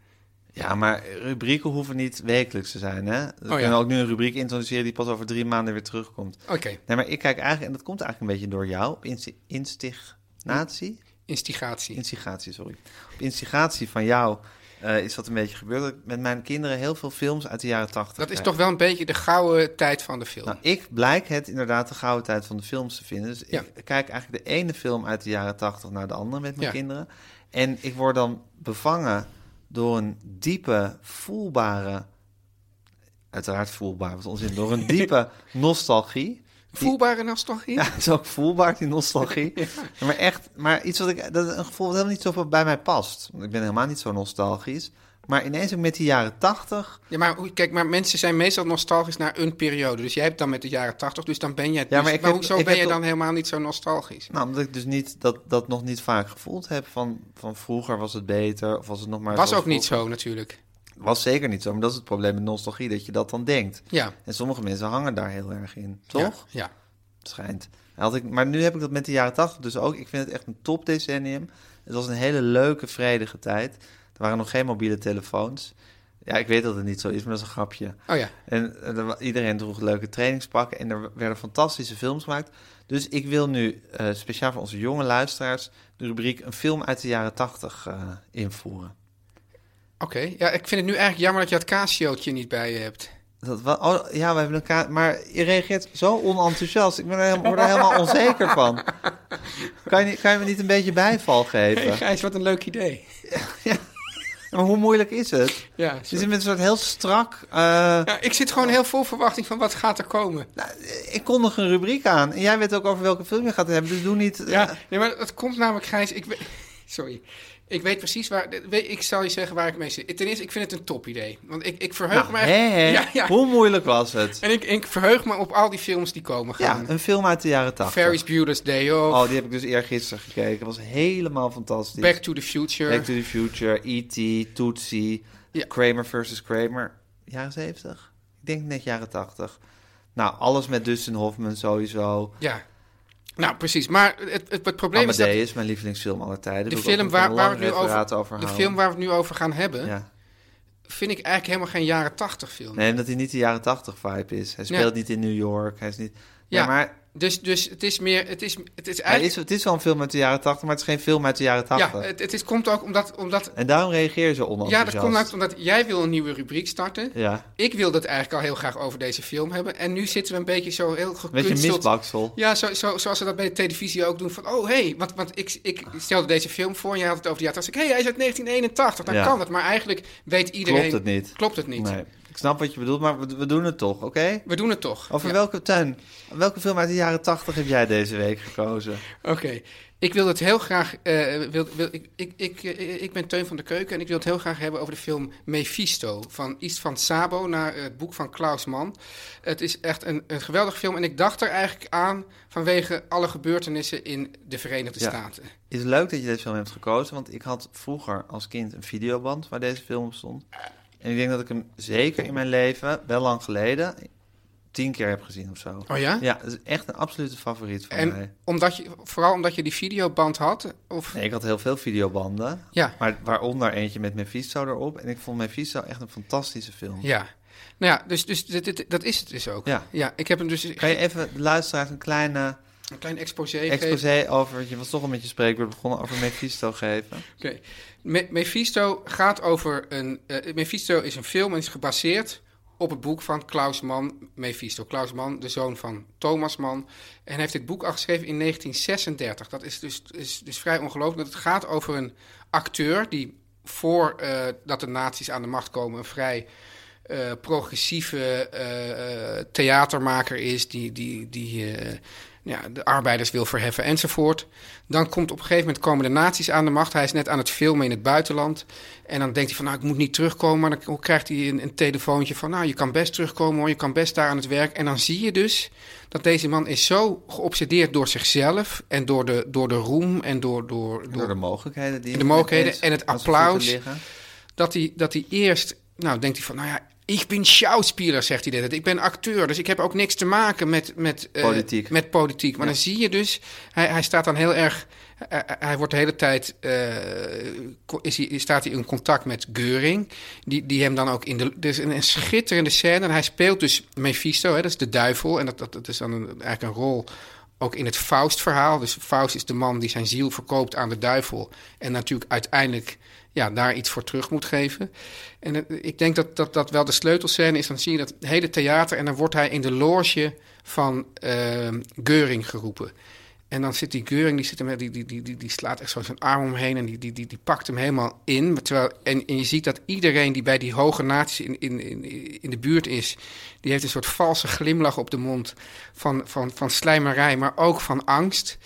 [SPEAKER 2] Ja, maar rubrieken hoeven niet wekelijks te zijn, hè? We
[SPEAKER 3] Oh, ja. Oh.
[SPEAKER 2] kunnen ook nu een rubriek introduceren die pas over drie maanden weer terugkomt.
[SPEAKER 3] Oké,
[SPEAKER 2] Nee, maar ik kijk eigenlijk, en dat komt eigenlijk een beetje door jou, op insti- instignatie?
[SPEAKER 3] instigatie.
[SPEAKER 2] Instigatie, sorry. Op instigatie van jou eh, is dat een beetje gebeurd. Dat ik met mijn kinderen heel veel films uit de jaren tachtig
[SPEAKER 3] dat is
[SPEAKER 2] kijk.
[SPEAKER 3] toch wel een beetje de gouden tijd van de film.
[SPEAKER 2] Nou, ik blijk het inderdaad de gouden tijd van de films te vinden. Dus
[SPEAKER 3] Ja.
[SPEAKER 2] ik kijk eigenlijk de ene film uit de jaren tachtig naar de andere met mijn
[SPEAKER 3] Ja.
[SPEAKER 2] kinderen. En ik word dan bevangen door een diepe, voelbare... Uiteraard voelbaar, was onzin. Door een diepe nostalgie.
[SPEAKER 3] Voelbare nostalgie?
[SPEAKER 2] Ja, is ook voelbaar, die nostalgie. Ja, Maar echt, maar iets wat ik, dat is een gevoel wat helemaal niet zo bij mij past. Want ik ben helemaal niet zo nostalgisch. Maar ineens ook met die jaren tachtig.
[SPEAKER 3] Ja, maar hoe- kijk, maar mensen zijn meestal nostalgisch naar een periode. Dus jij hebt dan met de jaren 80, dus dan ben jij.
[SPEAKER 2] Ja,
[SPEAKER 3] dus-
[SPEAKER 2] maar
[SPEAKER 3] maar,
[SPEAKER 2] ik heb-
[SPEAKER 3] hoezo
[SPEAKER 2] ik
[SPEAKER 3] ben
[SPEAKER 2] heb
[SPEAKER 3] je dan
[SPEAKER 2] toch-
[SPEAKER 3] helemaal niet zo nostalgisch?
[SPEAKER 2] Nou, omdat ik dus niet, dat, dat nog niet vaak gevoeld heb. Van, van vroeger was het beter. Of was het nog maar.
[SPEAKER 3] Was
[SPEAKER 2] zoals
[SPEAKER 3] ook niet
[SPEAKER 2] vroeger.
[SPEAKER 3] zo natuurlijk.
[SPEAKER 2] Was zeker niet zo. Maar dat is het probleem met nostalgie, dat je dat dan denkt.
[SPEAKER 3] Ja.
[SPEAKER 2] En sommige mensen hangen daar heel erg in. Toch?
[SPEAKER 3] Ja. ja.
[SPEAKER 2] schijnt. Had ik, maar nu heb ik dat met de jaren 80 dus ook. Ik vind het echt een topdecennium. Het was een hele leuke, vredige tijd. Er waren nog geen mobiele telefoons. Ja, ik weet dat het niet zo is, maar dat is een grapje.
[SPEAKER 3] Oh ja.
[SPEAKER 2] En eh, er wa- iedereen droeg leuke trainingspakken en er werden fantastische films gemaakt. Dus ik wil nu eh, speciaal voor onze jonge luisteraars de rubriek een film uit de jaren 80 eh, invoeren.
[SPEAKER 3] Oké. Ja, ik vind het nu eigenlijk jammer dat je dat casiootje niet bij je hebt.
[SPEAKER 2] Dat wa- oh, ja, we hebben elkaar. Maar je reageert zo onenthousiast. Ik ben er helemaal, word er helemaal onzeker van. Kan je, niet- kan je me niet een beetje bijval geven?
[SPEAKER 3] Gijs, wat een leuk idee.
[SPEAKER 2] Maar hoe moeilijk is het?
[SPEAKER 3] Ja,
[SPEAKER 2] Je zit met een soort heel strak. eh,
[SPEAKER 3] ja, ik zit gewoon heel vol verwachting van wat gaat er komen.
[SPEAKER 2] ik kondig een rubriek aan. En jij weet ook over welke film je gaat hebben. Dus doe niet.
[SPEAKER 3] Ja, nee, maar dat komt namelijk, Gijs. Ik weet, sorry. Ik weet precies waar. Weet, ik zal je zeggen waar ik mee zit. Ten eerste, ik vind het een top idee. Want ik, ik verheug
[SPEAKER 2] Nou,
[SPEAKER 3] me.
[SPEAKER 2] hè,
[SPEAKER 3] echt-
[SPEAKER 2] hè.
[SPEAKER 3] Ja, ja.
[SPEAKER 2] Hoe moeilijk was het?
[SPEAKER 3] En ik, ik verheug me op al die films die komen gaan.
[SPEAKER 2] Ja, een film uit de jaren 80.
[SPEAKER 3] Ferris Bueller's Day Off,
[SPEAKER 2] Oh, die heb ik dus eergisteren gekeken. Was helemaal fantastisch.
[SPEAKER 3] Back to the Future.
[SPEAKER 2] Back to the Future, E.T., Tootsie,
[SPEAKER 3] Ja.
[SPEAKER 2] Kramer versus Kramer. Jaren 70? Ik denk net jaren 80. Nou, alles met Dustin Hoffman sowieso.
[SPEAKER 3] Ja. Nou, precies. Maar het, het, het probleem is dat
[SPEAKER 2] Amadeus, mijn lievelingsfilm aller tijden.
[SPEAKER 3] de
[SPEAKER 2] Wil ik ook nog
[SPEAKER 3] film
[SPEAKER 2] een
[SPEAKER 3] waar, waar we
[SPEAKER 2] lang
[SPEAKER 3] het nu over,
[SPEAKER 2] referaat over
[SPEAKER 3] de
[SPEAKER 2] houden.
[SPEAKER 3] film waar we het nu over gaan hebben,
[SPEAKER 2] Ja.
[SPEAKER 3] vind ik eigenlijk helemaal geen jaren tachtig film.
[SPEAKER 2] Nee, omdat hij niet de jaren 80 vibe is. Hij
[SPEAKER 3] Ja.
[SPEAKER 2] speelt niet in New York. Hij is niet...
[SPEAKER 3] Ja.
[SPEAKER 2] Ja, maar
[SPEAKER 3] Dus, dus het is meer, het is, het is
[SPEAKER 2] hij is,
[SPEAKER 3] eigenlijk,
[SPEAKER 2] het is wel een film uit de jaren 80, maar het is geen film uit de jaren 80.
[SPEAKER 3] ja, het, het is, komt ook omdat, omdat
[SPEAKER 2] En daarom reageer je zo
[SPEAKER 3] ja,
[SPEAKER 2] onenthousiast.
[SPEAKER 3] dat komt ook omdat jij wil een nieuwe rubriek starten.
[SPEAKER 2] Ja,
[SPEAKER 3] Ik wil dat eigenlijk al heel graag over deze film hebben. En nu zitten we een beetje zo heel
[SPEAKER 2] met je
[SPEAKER 3] gekunsteld.
[SPEAKER 2] misbaksel.
[SPEAKER 3] Ja, zo, zo, zoals ze dat bij de televisie ook doen. Van, oh, hé, hey, want, want ik, ik stelde deze film voor en je had het over die jaren. tachtig. Ik, hé, hey, hij is uit 1981, dan
[SPEAKER 2] Ja.
[SPEAKER 3] kan het. Maar eigenlijk weet iedereen...
[SPEAKER 2] Klopt het niet.
[SPEAKER 3] Klopt het niet.
[SPEAKER 2] Nee. Ik snap wat je bedoelt, maar we, we doen het toch, oké?
[SPEAKER 3] We doen het toch.
[SPEAKER 2] Over
[SPEAKER 3] Ja.
[SPEAKER 2] welke tuin, welke film uit de jaren tachtig heb jij deze week gekozen?
[SPEAKER 3] Oké, ik wil het heel graag. eh, wil, wil, ik, ik, ik, eh, ik ben Teun van de Keuken en ik wil het heel graag hebben over de film Mephisto van Istvan Sabo naar het boek van Klaus Mann. Het is echt een, een geweldige film en ik dacht er eigenlijk aan vanwege alle gebeurtenissen in de Verenigde
[SPEAKER 2] Ja.
[SPEAKER 3] Staten.
[SPEAKER 2] Het is leuk dat je deze film hebt gekozen, want ik had vroeger als kind een videoband waar deze film op stond. En ik denk dat ik hem zeker in mijn leven, wel lang geleden, tien keer heb gezien of zo.
[SPEAKER 3] Oh ja?
[SPEAKER 2] Ja, het is echt een absolute favoriet van mij.
[SPEAKER 3] En omdat je, vooral omdat je die videoband had? Of,
[SPEAKER 2] Nee, ik had heel veel videobanden,
[SPEAKER 3] Ja.
[SPEAKER 2] maar waaronder eentje met Mephisto erop. En ik vond Mephisto echt een fantastische film.
[SPEAKER 3] Ja. Nou ja, dus, dus dit, dit- dat is het dus ook.
[SPEAKER 2] Ja.
[SPEAKER 3] ik heb hem dus
[SPEAKER 2] Kan je even de luisteraars een kleine
[SPEAKER 3] een klein exposé gegeven.
[SPEAKER 2] exposé over... Je was toch al met je spreekwoord begonnen over Mephisto geven.
[SPEAKER 3] Oké. Me- Mephisto gaat over een. eh, Mephisto is een film en is gebaseerd op het boek van Klaus Mann, Mephisto. Klaus Mann, de zoon van Thomas Mann. En hij heeft dit boek al geschreven in 1936. Dat is dus, is dus vrij ongelooflijk. Het gaat over een acteur die voordat dat de nazi's aan de macht komen... een vrij eh, progressieve eh, eh, theatermaker is... die, die, die eh, ja, de arbeiders wil verheffen enzovoort. Dan komt op een gegeven moment komen de nazi's aan de macht. Hij is net aan het filmen in het buitenland. En dan denkt hij van, nou, ik moet niet terugkomen. Maar dan krijgt hij een, een telefoontje van, nou, je kan best terugkomen hoor. Je kan best daar aan het werk. En dan zie je dus dat deze man is zo geobsedeerd door zichzelf... en door de, door de roem en door, door,
[SPEAKER 2] Door de mogelijkheden die...
[SPEAKER 3] De mogelijkheden
[SPEAKER 2] ineens
[SPEAKER 3] en het
[SPEAKER 2] aan zijn voeten
[SPEAKER 3] applaus.
[SPEAKER 2] liggen.
[SPEAKER 3] dat hij, dat hij eerst, nou denkt hij van, nou ja, ik ben schauspieler, zegt hij dit. Ik ben acteur, dus ik heb ook niks te maken met, met, eh,
[SPEAKER 2] Politiek.
[SPEAKER 3] met politiek. Maar dan zie je dus, hij, hij staat dan heel erg, hij, hij- hij wordt de hele tijd, eh, co- is hij, staat hij in contact met Geuring, die, die hem dan ook in de, er is een, een schitterende scène. En hij speelt dus Mephisto, hè, dat is de duivel, en dat, dat, dat is dan een- eigenlijk een rol ook in het Faust-verhaal. Dus Faust is de man die zijn ziel verkoopt aan de duivel. En natuurlijk uiteindelijk ja, daar iets voor terug moet geven. En eh, ik denk dat dat, dat wel de sleutelscène is. Dan zie je dat hele theater en dan wordt hij in de loge van ehm Geuring geroepen. En dan zit die Geuring, die, zit hem, die, die, die, die, die slaat echt zo zijn arm omheen en die, die, die, die pakt hem helemaal in. Maar Terwijl, en, en je ziet dat iedereen die bij die hoge naties in, in, in, in de buurt is, die heeft een soort valse glimlach op de mond van, van, van slijmerij, maar ook van angst.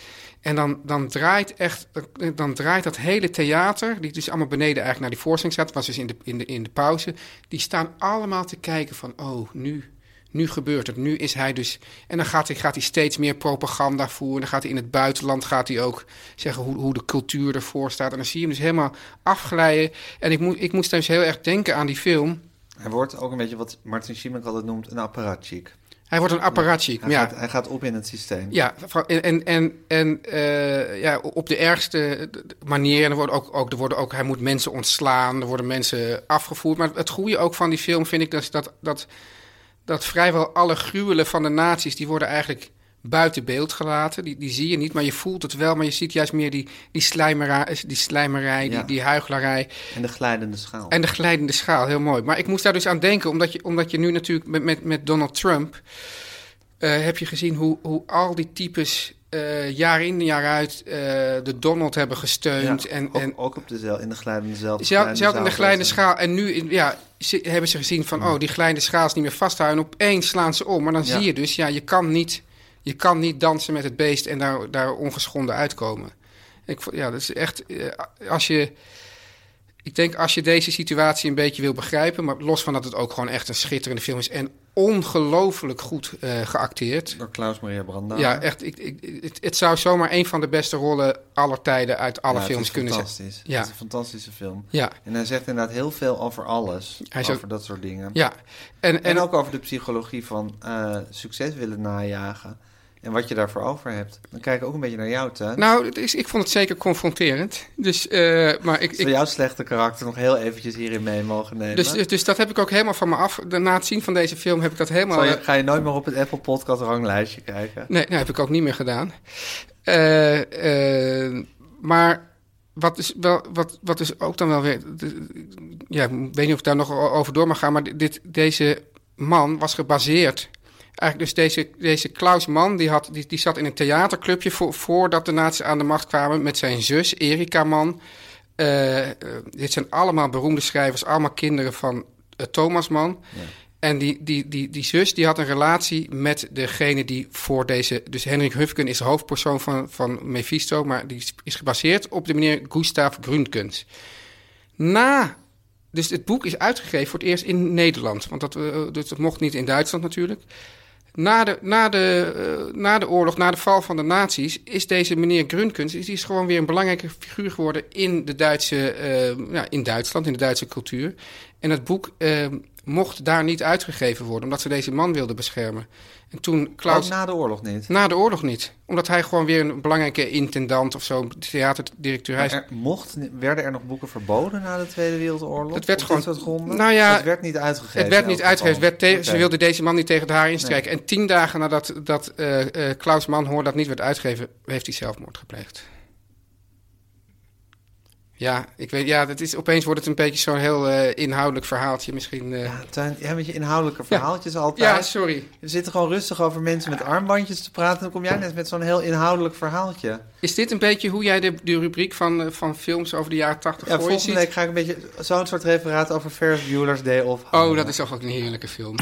[SPEAKER 3] En dan, dan draait echt, dan draait dat hele theater, die dus allemaal beneden eigenlijk naar die voorstelling staat, was dus in de, in de, in de pauze, die staan allemaal te kijken van, oh, nu, nu gebeurt het. Nu is hij dus. En dan gaat hij, gaat hij steeds meer propaganda voeren. Dan gaat hij in het buitenland gaat hij ook zeggen hoe, hoe de cultuur ervoor staat. En dan zie je hem dus helemaal afglijden. En ik, moet ik moest dus heel erg denken aan die film.
[SPEAKER 2] Hij wordt ook een beetje wat Martin Schimek altijd noemt een apparatchik.
[SPEAKER 3] Hij wordt een apparatchik.
[SPEAKER 2] Hij,
[SPEAKER 3] ja.
[SPEAKER 2] gaat, hij gaat op in het systeem.
[SPEAKER 3] Ja, van- en, en, en, en eh, ja, op de ergste manier. En er worden ook, ook, er worden ook, hij moet mensen ontslaan, er worden mensen afgevoerd. Maar het goede ook van die film vind ik dat, dat, dat, dat vrijwel alle gruwelen van de nazi's... die worden eigenlijk buiten beeld gelaten. Die, die zie je niet, maar je voelt het wel. Maar je ziet juist meer die, die, slijmerij, die
[SPEAKER 2] Ja.
[SPEAKER 3] slijmerij, die, die huichelarij.
[SPEAKER 2] En de glijdende schaal.
[SPEAKER 3] En de glijdende schaal, heel mooi. Maar ik moest daar dus aan denken, omdat je, omdat je nu natuurlijk met, met, met Donald Trump. eh, heb je gezien hoe, hoe al die types eh, jaar in jaar uit eh, de Donald hebben gesteund.
[SPEAKER 2] Ja,
[SPEAKER 3] en,
[SPEAKER 2] ook,
[SPEAKER 3] en
[SPEAKER 2] ook op de zeil, in de glijdende zelf.
[SPEAKER 3] zelf, zelf in de glijdende schaal. En nu in- ja, ze- hebben ze gezien van, oh, die glijdende schaal is niet meer vasthouden. En opeens slaan ze om. Maar dan
[SPEAKER 2] Ja.
[SPEAKER 3] zie je dus, ja, je kan niet, je kan niet dansen met het beest en daar, daar ongeschonden uitkomen. Ik, vo- ja, dat is echt, eh, als je, ik denk als je deze situatie een beetje wil begrijpen, maar los van dat het ook gewoon echt een schitterende film is en ongelooflijk goed eh, geacteerd.
[SPEAKER 2] Door Klaus Maria Brandauer.
[SPEAKER 3] Ja, echt. Ik, ik, het, het zou zomaar een van de beste rollen aller tijden uit alle
[SPEAKER 2] Ja, het
[SPEAKER 3] films
[SPEAKER 2] is
[SPEAKER 3] kunnen zijn.
[SPEAKER 2] fantastisch.
[SPEAKER 3] Ja.
[SPEAKER 2] Het is een fantastische film.
[SPEAKER 3] Ja,
[SPEAKER 2] En hij zegt inderdaad heel veel over alles.
[SPEAKER 3] Hij is
[SPEAKER 2] over
[SPEAKER 3] ook-
[SPEAKER 2] dat soort dingen.
[SPEAKER 3] ja. En, en,
[SPEAKER 2] En ook over de psychologie van eh, succes willen najagen. En wat je daarvoor over hebt. Dan kijk ik ook een beetje naar jou, Tuin.
[SPEAKER 3] Nou, het is, ik vond het zeker confronterend. Dus, eh, maar ik,
[SPEAKER 2] Zou
[SPEAKER 3] ik,
[SPEAKER 2] jouw slechte karakter nog heel eventjes hierin mee mogen nemen?
[SPEAKER 3] dus, dus, dus dat heb ik ook helemaal van me af. Na het zien van deze film heb ik dat helemaal.
[SPEAKER 2] Zal je-
[SPEAKER 3] eh,
[SPEAKER 2] ga je nooit meer op het Apple Podcast ranglijstje kijken?
[SPEAKER 3] Nee, nee, heb ik ook niet meer gedaan. Eh, eh, maar wat is, wel, wat, wat is ook dan wel weer. Ja, ik weet niet of ik daar nog o- over door mag gaan. Maar dit, deze man was gebaseerd. Eigenlijk dus deze, deze Klaus Mann, die, had, die, die zat in een theaterclubje voor, voordat de nazi's aan de macht kwamen met zijn zus Erika Mann. Eh, eh, dit zijn allemaal beroemde schrijvers, allemaal kinderen van eh, Thomasman. En die, die, die, die zus die had een relatie met degene die voor deze... Dus Henrik Hufken is de hoofdpersoon van, van Mephisto... maar die is- is gebaseerd op de meneer Gustav Grundgens. Na... Dus het boek is uitgegeven voor het eerst in Nederland. Want dat, eh, dus dat mocht niet in Duitsland natuurlijk. Na de, na, de, eh, na de oorlog, na de val van de nazi's, is deze meneer Grundgens is, is gewoon weer een belangrijke figuur geworden in, de Duitse, eh, ja, in Duitsland, in de Duitse cultuur. En het boek eh, mocht daar niet uitgegeven worden, omdat ze deze man wilden beschermen. En toen Klaus. Nou,
[SPEAKER 2] Ook na de oorlog niet.
[SPEAKER 3] Na de oorlog niet. Omdat hij gewoon weer een belangrijke intendant of zo, theaterdirecteur. Hij
[SPEAKER 2] Maar
[SPEAKER 3] is-
[SPEAKER 2] Er mochten, werden er nog boeken verboden na de Tweede Wereldoorlog?
[SPEAKER 3] Het werd
[SPEAKER 2] Op
[SPEAKER 3] gewoon-
[SPEAKER 2] dit soort gronden?
[SPEAKER 3] Nou ja,
[SPEAKER 2] het werd niet uitgegeven.
[SPEAKER 3] Het werd
[SPEAKER 2] in
[SPEAKER 3] niet
[SPEAKER 2] elk geval.
[SPEAKER 3] uitgegeven. Het werd tegen- Ze
[SPEAKER 2] Oké.
[SPEAKER 3] wilden deze man niet tegen de haar instrijken. En tien dagen nadat dat, eh, eh, Klaus Manhoor dat niet werd uitgegeven, heeft hij zelfmoord gepleegd. Ja, ik weet, ja dat is, opeens wordt het een beetje zo'n heel eh, inhoudelijk verhaaltje misschien. eh. ja.
[SPEAKER 2] Ja, Tuin, ja, met je inhoudelijke verhaaltjes altijd.
[SPEAKER 3] sorry.
[SPEAKER 2] We zitten gewoon rustig over mensen met armbandjes te praten. Dan kom jij net met zo'n heel inhoudelijk verhaaltje.
[SPEAKER 3] Is dit een beetje hoe jij de, de rubriek van, eh, van films over de jaren tachtig
[SPEAKER 2] Ja,
[SPEAKER 3] voor je
[SPEAKER 2] volgende
[SPEAKER 3] ziet?
[SPEAKER 2] week ga ik een beetje zo'n soort referaat over Ferris Bueller's Day Off
[SPEAKER 3] Oh,
[SPEAKER 2] houden.
[SPEAKER 3] dat is toch ook een heerlijke film.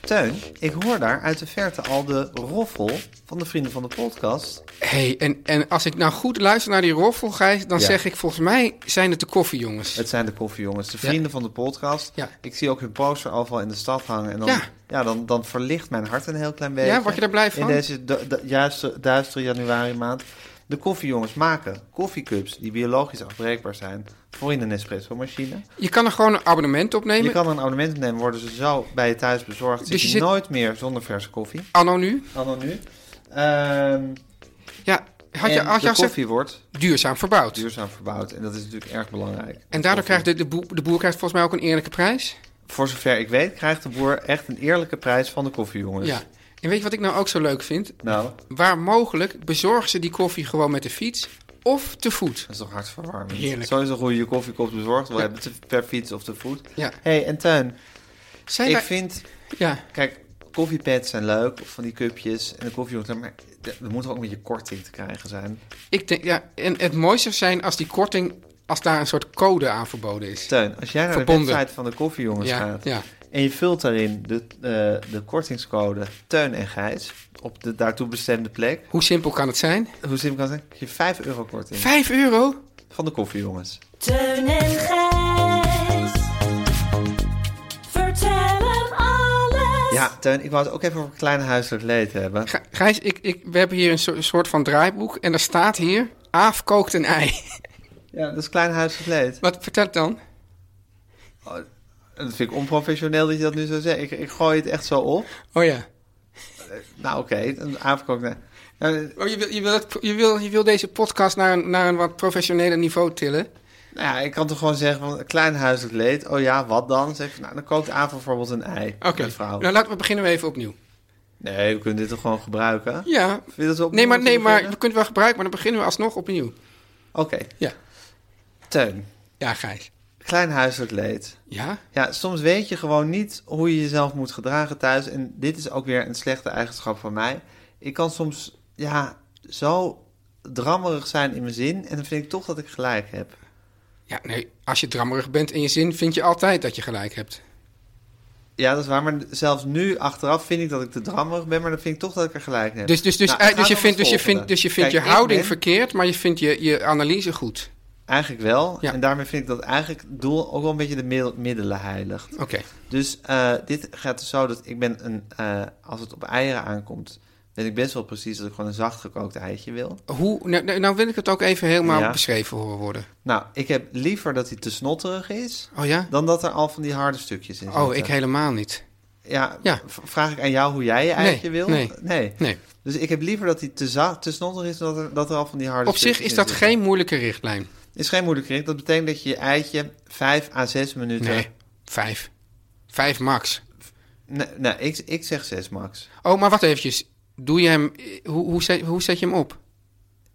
[SPEAKER 2] Teun, ik hoor daar uit de verte al de roffel van de vrienden van de podcast.
[SPEAKER 3] hey, en, en als ik nou goed luister naar die roffel, Gijs, dan
[SPEAKER 2] Ja.
[SPEAKER 3] zeg ik volgens mij zijn het de koffiejongens.
[SPEAKER 2] Het zijn de koffiejongens, de vrienden van de podcast.
[SPEAKER 3] Ja.
[SPEAKER 2] Ik zie ook hun poster overal in de stad hangen. En dan,
[SPEAKER 3] Ja.
[SPEAKER 2] ja. dan, dan verlicht mijn hart een heel klein beetje.
[SPEAKER 3] Ja, word je daar blij van?
[SPEAKER 2] In deze du- du- juiste, duistere januari maand. De koffiejongens maken koffiecups die biologisch afbreekbaar zijn voor in een espresso-machine.
[SPEAKER 3] Je kan er gewoon een abonnement opnemen.
[SPEAKER 2] Je kan een abonnement nemen, worden ze zo bij je thuis bezorgd. Dus
[SPEAKER 3] Dus
[SPEAKER 2] je
[SPEAKER 3] je zit-
[SPEAKER 2] nooit meer zonder verse koffie.
[SPEAKER 3] Anno nu.
[SPEAKER 2] Anno nu. Ehm,
[SPEAKER 3] Ja, had je,
[SPEAKER 2] en
[SPEAKER 3] had
[SPEAKER 2] de
[SPEAKER 3] je al gezegd,
[SPEAKER 2] koffie wordt
[SPEAKER 3] duurzaam verbouwd.
[SPEAKER 2] duurzaam verbouwd. En dat is natuurlijk erg belangrijk.
[SPEAKER 3] En daardoor krijgt de, de, boer, de boer krijgt volgens mij ook een eerlijke prijs.
[SPEAKER 2] Voor zover ik weet, krijgt de boer echt een eerlijke prijs van de koffiejongens.
[SPEAKER 3] Ja. En weet je wat ik nou ook zo leuk vind?
[SPEAKER 2] Nou, dat
[SPEAKER 3] Waar mogelijk bezorgen ze die koffie gewoon met de fiets of te voet.
[SPEAKER 2] is toch hartverwarmend.
[SPEAKER 3] Heerlijk.
[SPEAKER 2] Sowieso hoe je je koffie koopt bezorgd wil hebben, te- per fiets of te voet.
[SPEAKER 3] Ja.
[SPEAKER 2] hey, en Tuin,
[SPEAKER 3] Zijn
[SPEAKER 2] ik
[SPEAKER 3] wij-
[SPEAKER 2] vind...
[SPEAKER 3] Ja.
[SPEAKER 2] Kijk, koffiepads zijn leuk, of van die cupjes en de koffiejongens. Maar er moet ook een beetje korting te krijgen zijn.
[SPEAKER 3] Ik denk, ja, en het mooiste zou zijn als die korting, als daar een soort code aan verboden is.
[SPEAKER 2] Teun, als jij naar
[SPEAKER 3] Verbonden.
[SPEAKER 2] de website van de koffiejongens
[SPEAKER 3] Ja,
[SPEAKER 2] gaat...
[SPEAKER 3] ja.
[SPEAKER 2] en je vult daarin de, eh, de kortingscode Teun en Gijs... op de daartoe bestemde plek...
[SPEAKER 3] Hoe simpel kan het zijn?
[SPEAKER 2] hoe simpel kan het zijn? krijg je 5 euro korting
[SPEAKER 3] Vijf euro?
[SPEAKER 2] van de koffiejongens.
[SPEAKER 6] Teun en Gijs. Vertel hem alles.
[SPEAKER 2] Ja, Teun, ik wou het ook even over klein huiselijk leed hebben.
[SPEAKER 3] Gij- Gijs, ik, ik, we hebben hier een so- soort van draaiboek en daar staat hier... Aaf kookt een ei.
[SPEAKER 2] Ja, dat is klein huiselijk leed.
[SPEAKER 3] Wat vertel het dan?
[SPEAKER 2] En Dat vind ik onprofessioneel dat je dat nu zo zegt. Ik, ik gooi het echt zo op.
[SPEAKER 3] Oh ja.
[SPEAKER 2] Nou, oké, een avondkook. nee. Nou,
[SPEAKER 3] Oh, je, wil, je, wil het- je, wil, je wil deze podcast naar een, naar een wat professioneler niveau tillen.
[SPEAKER 2] Nou ja, ik kan toch gewoon zeggen van klein huiselijk leed. Oh ja, wat dan? Zeg, ik, nou, dan kookt Aaf bijvoorbeeld een ei.
[SPEAKER 3] Oké,
[SPEAKER 2] Een vrouw.
[SPEAKER 3] nou laten we beginnen even opnieuw.
[SPEAKER 2] Nee, we kunnen dit toch gewoon gebruiken?
[SPEAKER 3] Ja,
[SPEAKER 2] Vind je dat we opnieuw
[SPEAKER 3] nee, maar, nee
[SPEAKER 2] moeten
[SPEAKER 3] maar we
[SPEAKER 2] beginnen?
[SPEAKER 3] kunnen het wel gebruiken, maar dan beginnen we alsnog opnieuw.
[SPEAKER 2] Oké,
[SPEAKER 3] Ja,
[SPEAKER 2] Teun.
[SPEAKER 3] ja Gijs.
[SPEAKER 2] Klein huiselijk leed.
[SPEAKER 3] Ja?
[SPEAKER 2] Ja, soms weet je gewoon niet hoe je jezelf moet gedragen thuis. En dit is ook weer een slechte eigenschap van mij. Ik kan soms, ja, zo drammerig zijn in mijn zin. En dan vind ik toch dat ik gelijk heb.
[SPEAKER 3] Ja, nee, als je drammerig bent in je zin, vind je altijd dat je gelijk hebt.
[SPEAKER 2] Ja, dat is waar. Maar zelfs nu, achteraf, vind ik dat ik te drammerig ben. Maar dan vind ik toch dat ik er gelijk heb.
[SPEAKER 3] Dus, dus, dus,
[SPEAKER 2] Nou,
[SPEAKER 3] eh,
[SPEAKER 2] het
[SPEAKER 3] dus,
[SPEAKER 2] gaat
[SPEAKER 3] je
[SPEAKER 2] om
[SPEAKER 3] vindt,
[SPEAKER 2] het
[SPEAKER 3] dus je
[SPEAKER 2] volgende.
[SPEAKER 3] vindt, dus je, vindt
[SPEAKER 2] Kijk,
[SPEAKER 3] je
[SPEAKER 2] ik
[SPEAKER 3] houding
[SPEAKER 2] ben-
[SPEAKER 3] verkeerd, maar je vindt je, je analyse goed.
[SPEAKER 2] Eigenlijk wel.
[SPEAKER 3] Ja.
[SPEAKER 2] En daarmee vind ik dat eigenlijk het doel ook wel een beetje de middel- middelen heiligt.
[SPEAKER 3] Oké.
[SPEAKER 2] Dus eh, dit gaat dus zo dat ik ben een... eh, als het op eieren aankomt, weet ik best wel precies dat ik gewoon een zacht gekookt eitje wil.
[SPEAKER 3] Hoe? Nou, nou- nou wil ik het ook even helemaal
[SPEAKER 2] Ja.
[SPEAKER 3] beschreven horen worden.
[SPEAKER 2] Nou, ik heb liever dat hij te snotterig is...
[SPEAKER 3] Oh ja?
[SPEAKER 2] dan dat er al van die harde stukjes in zitten.
[SPEAKER 3] Oh, ik helemaal niet.
[SPEAKER 2] Ja,
[SPEAKER 3] Ja.
[SPEAKER 2] v- vraag ik aan jou hoe jij je eitje wil?
[SPEAKER 3] nee,
[SPEAKER 2] nee.
[SPEAKER 3] nee.
[SPEAKER 2] Dus ik heb liever dat hij te, za- te snotterig is... dan dat er, dat er al van die harde
[SPEAKER 3] Op
[SPEAKER 2] stukjes
[SPEAKER 3] zich is
[SPEAKER 2] in
[SPEAKER 3] dat
[SPEAKER 2] zitten.
[SPEAKER 3] geen moeilijke richtlijn.
[SPEAKER 2] is geen moeilijk ring. Dat betekent dat je je eitje 5 à 6 minuten.
[SPEAKER 3] Nee, vijf. Vijf max.
[SPEAKER 2] Nee, nee, ik, ik zeg 6 max.
[SPEAKER 3] Oh, eh, maar wacht eventjes. Doe je hem... Hoe, hoe, zet, hoe zet je hem op?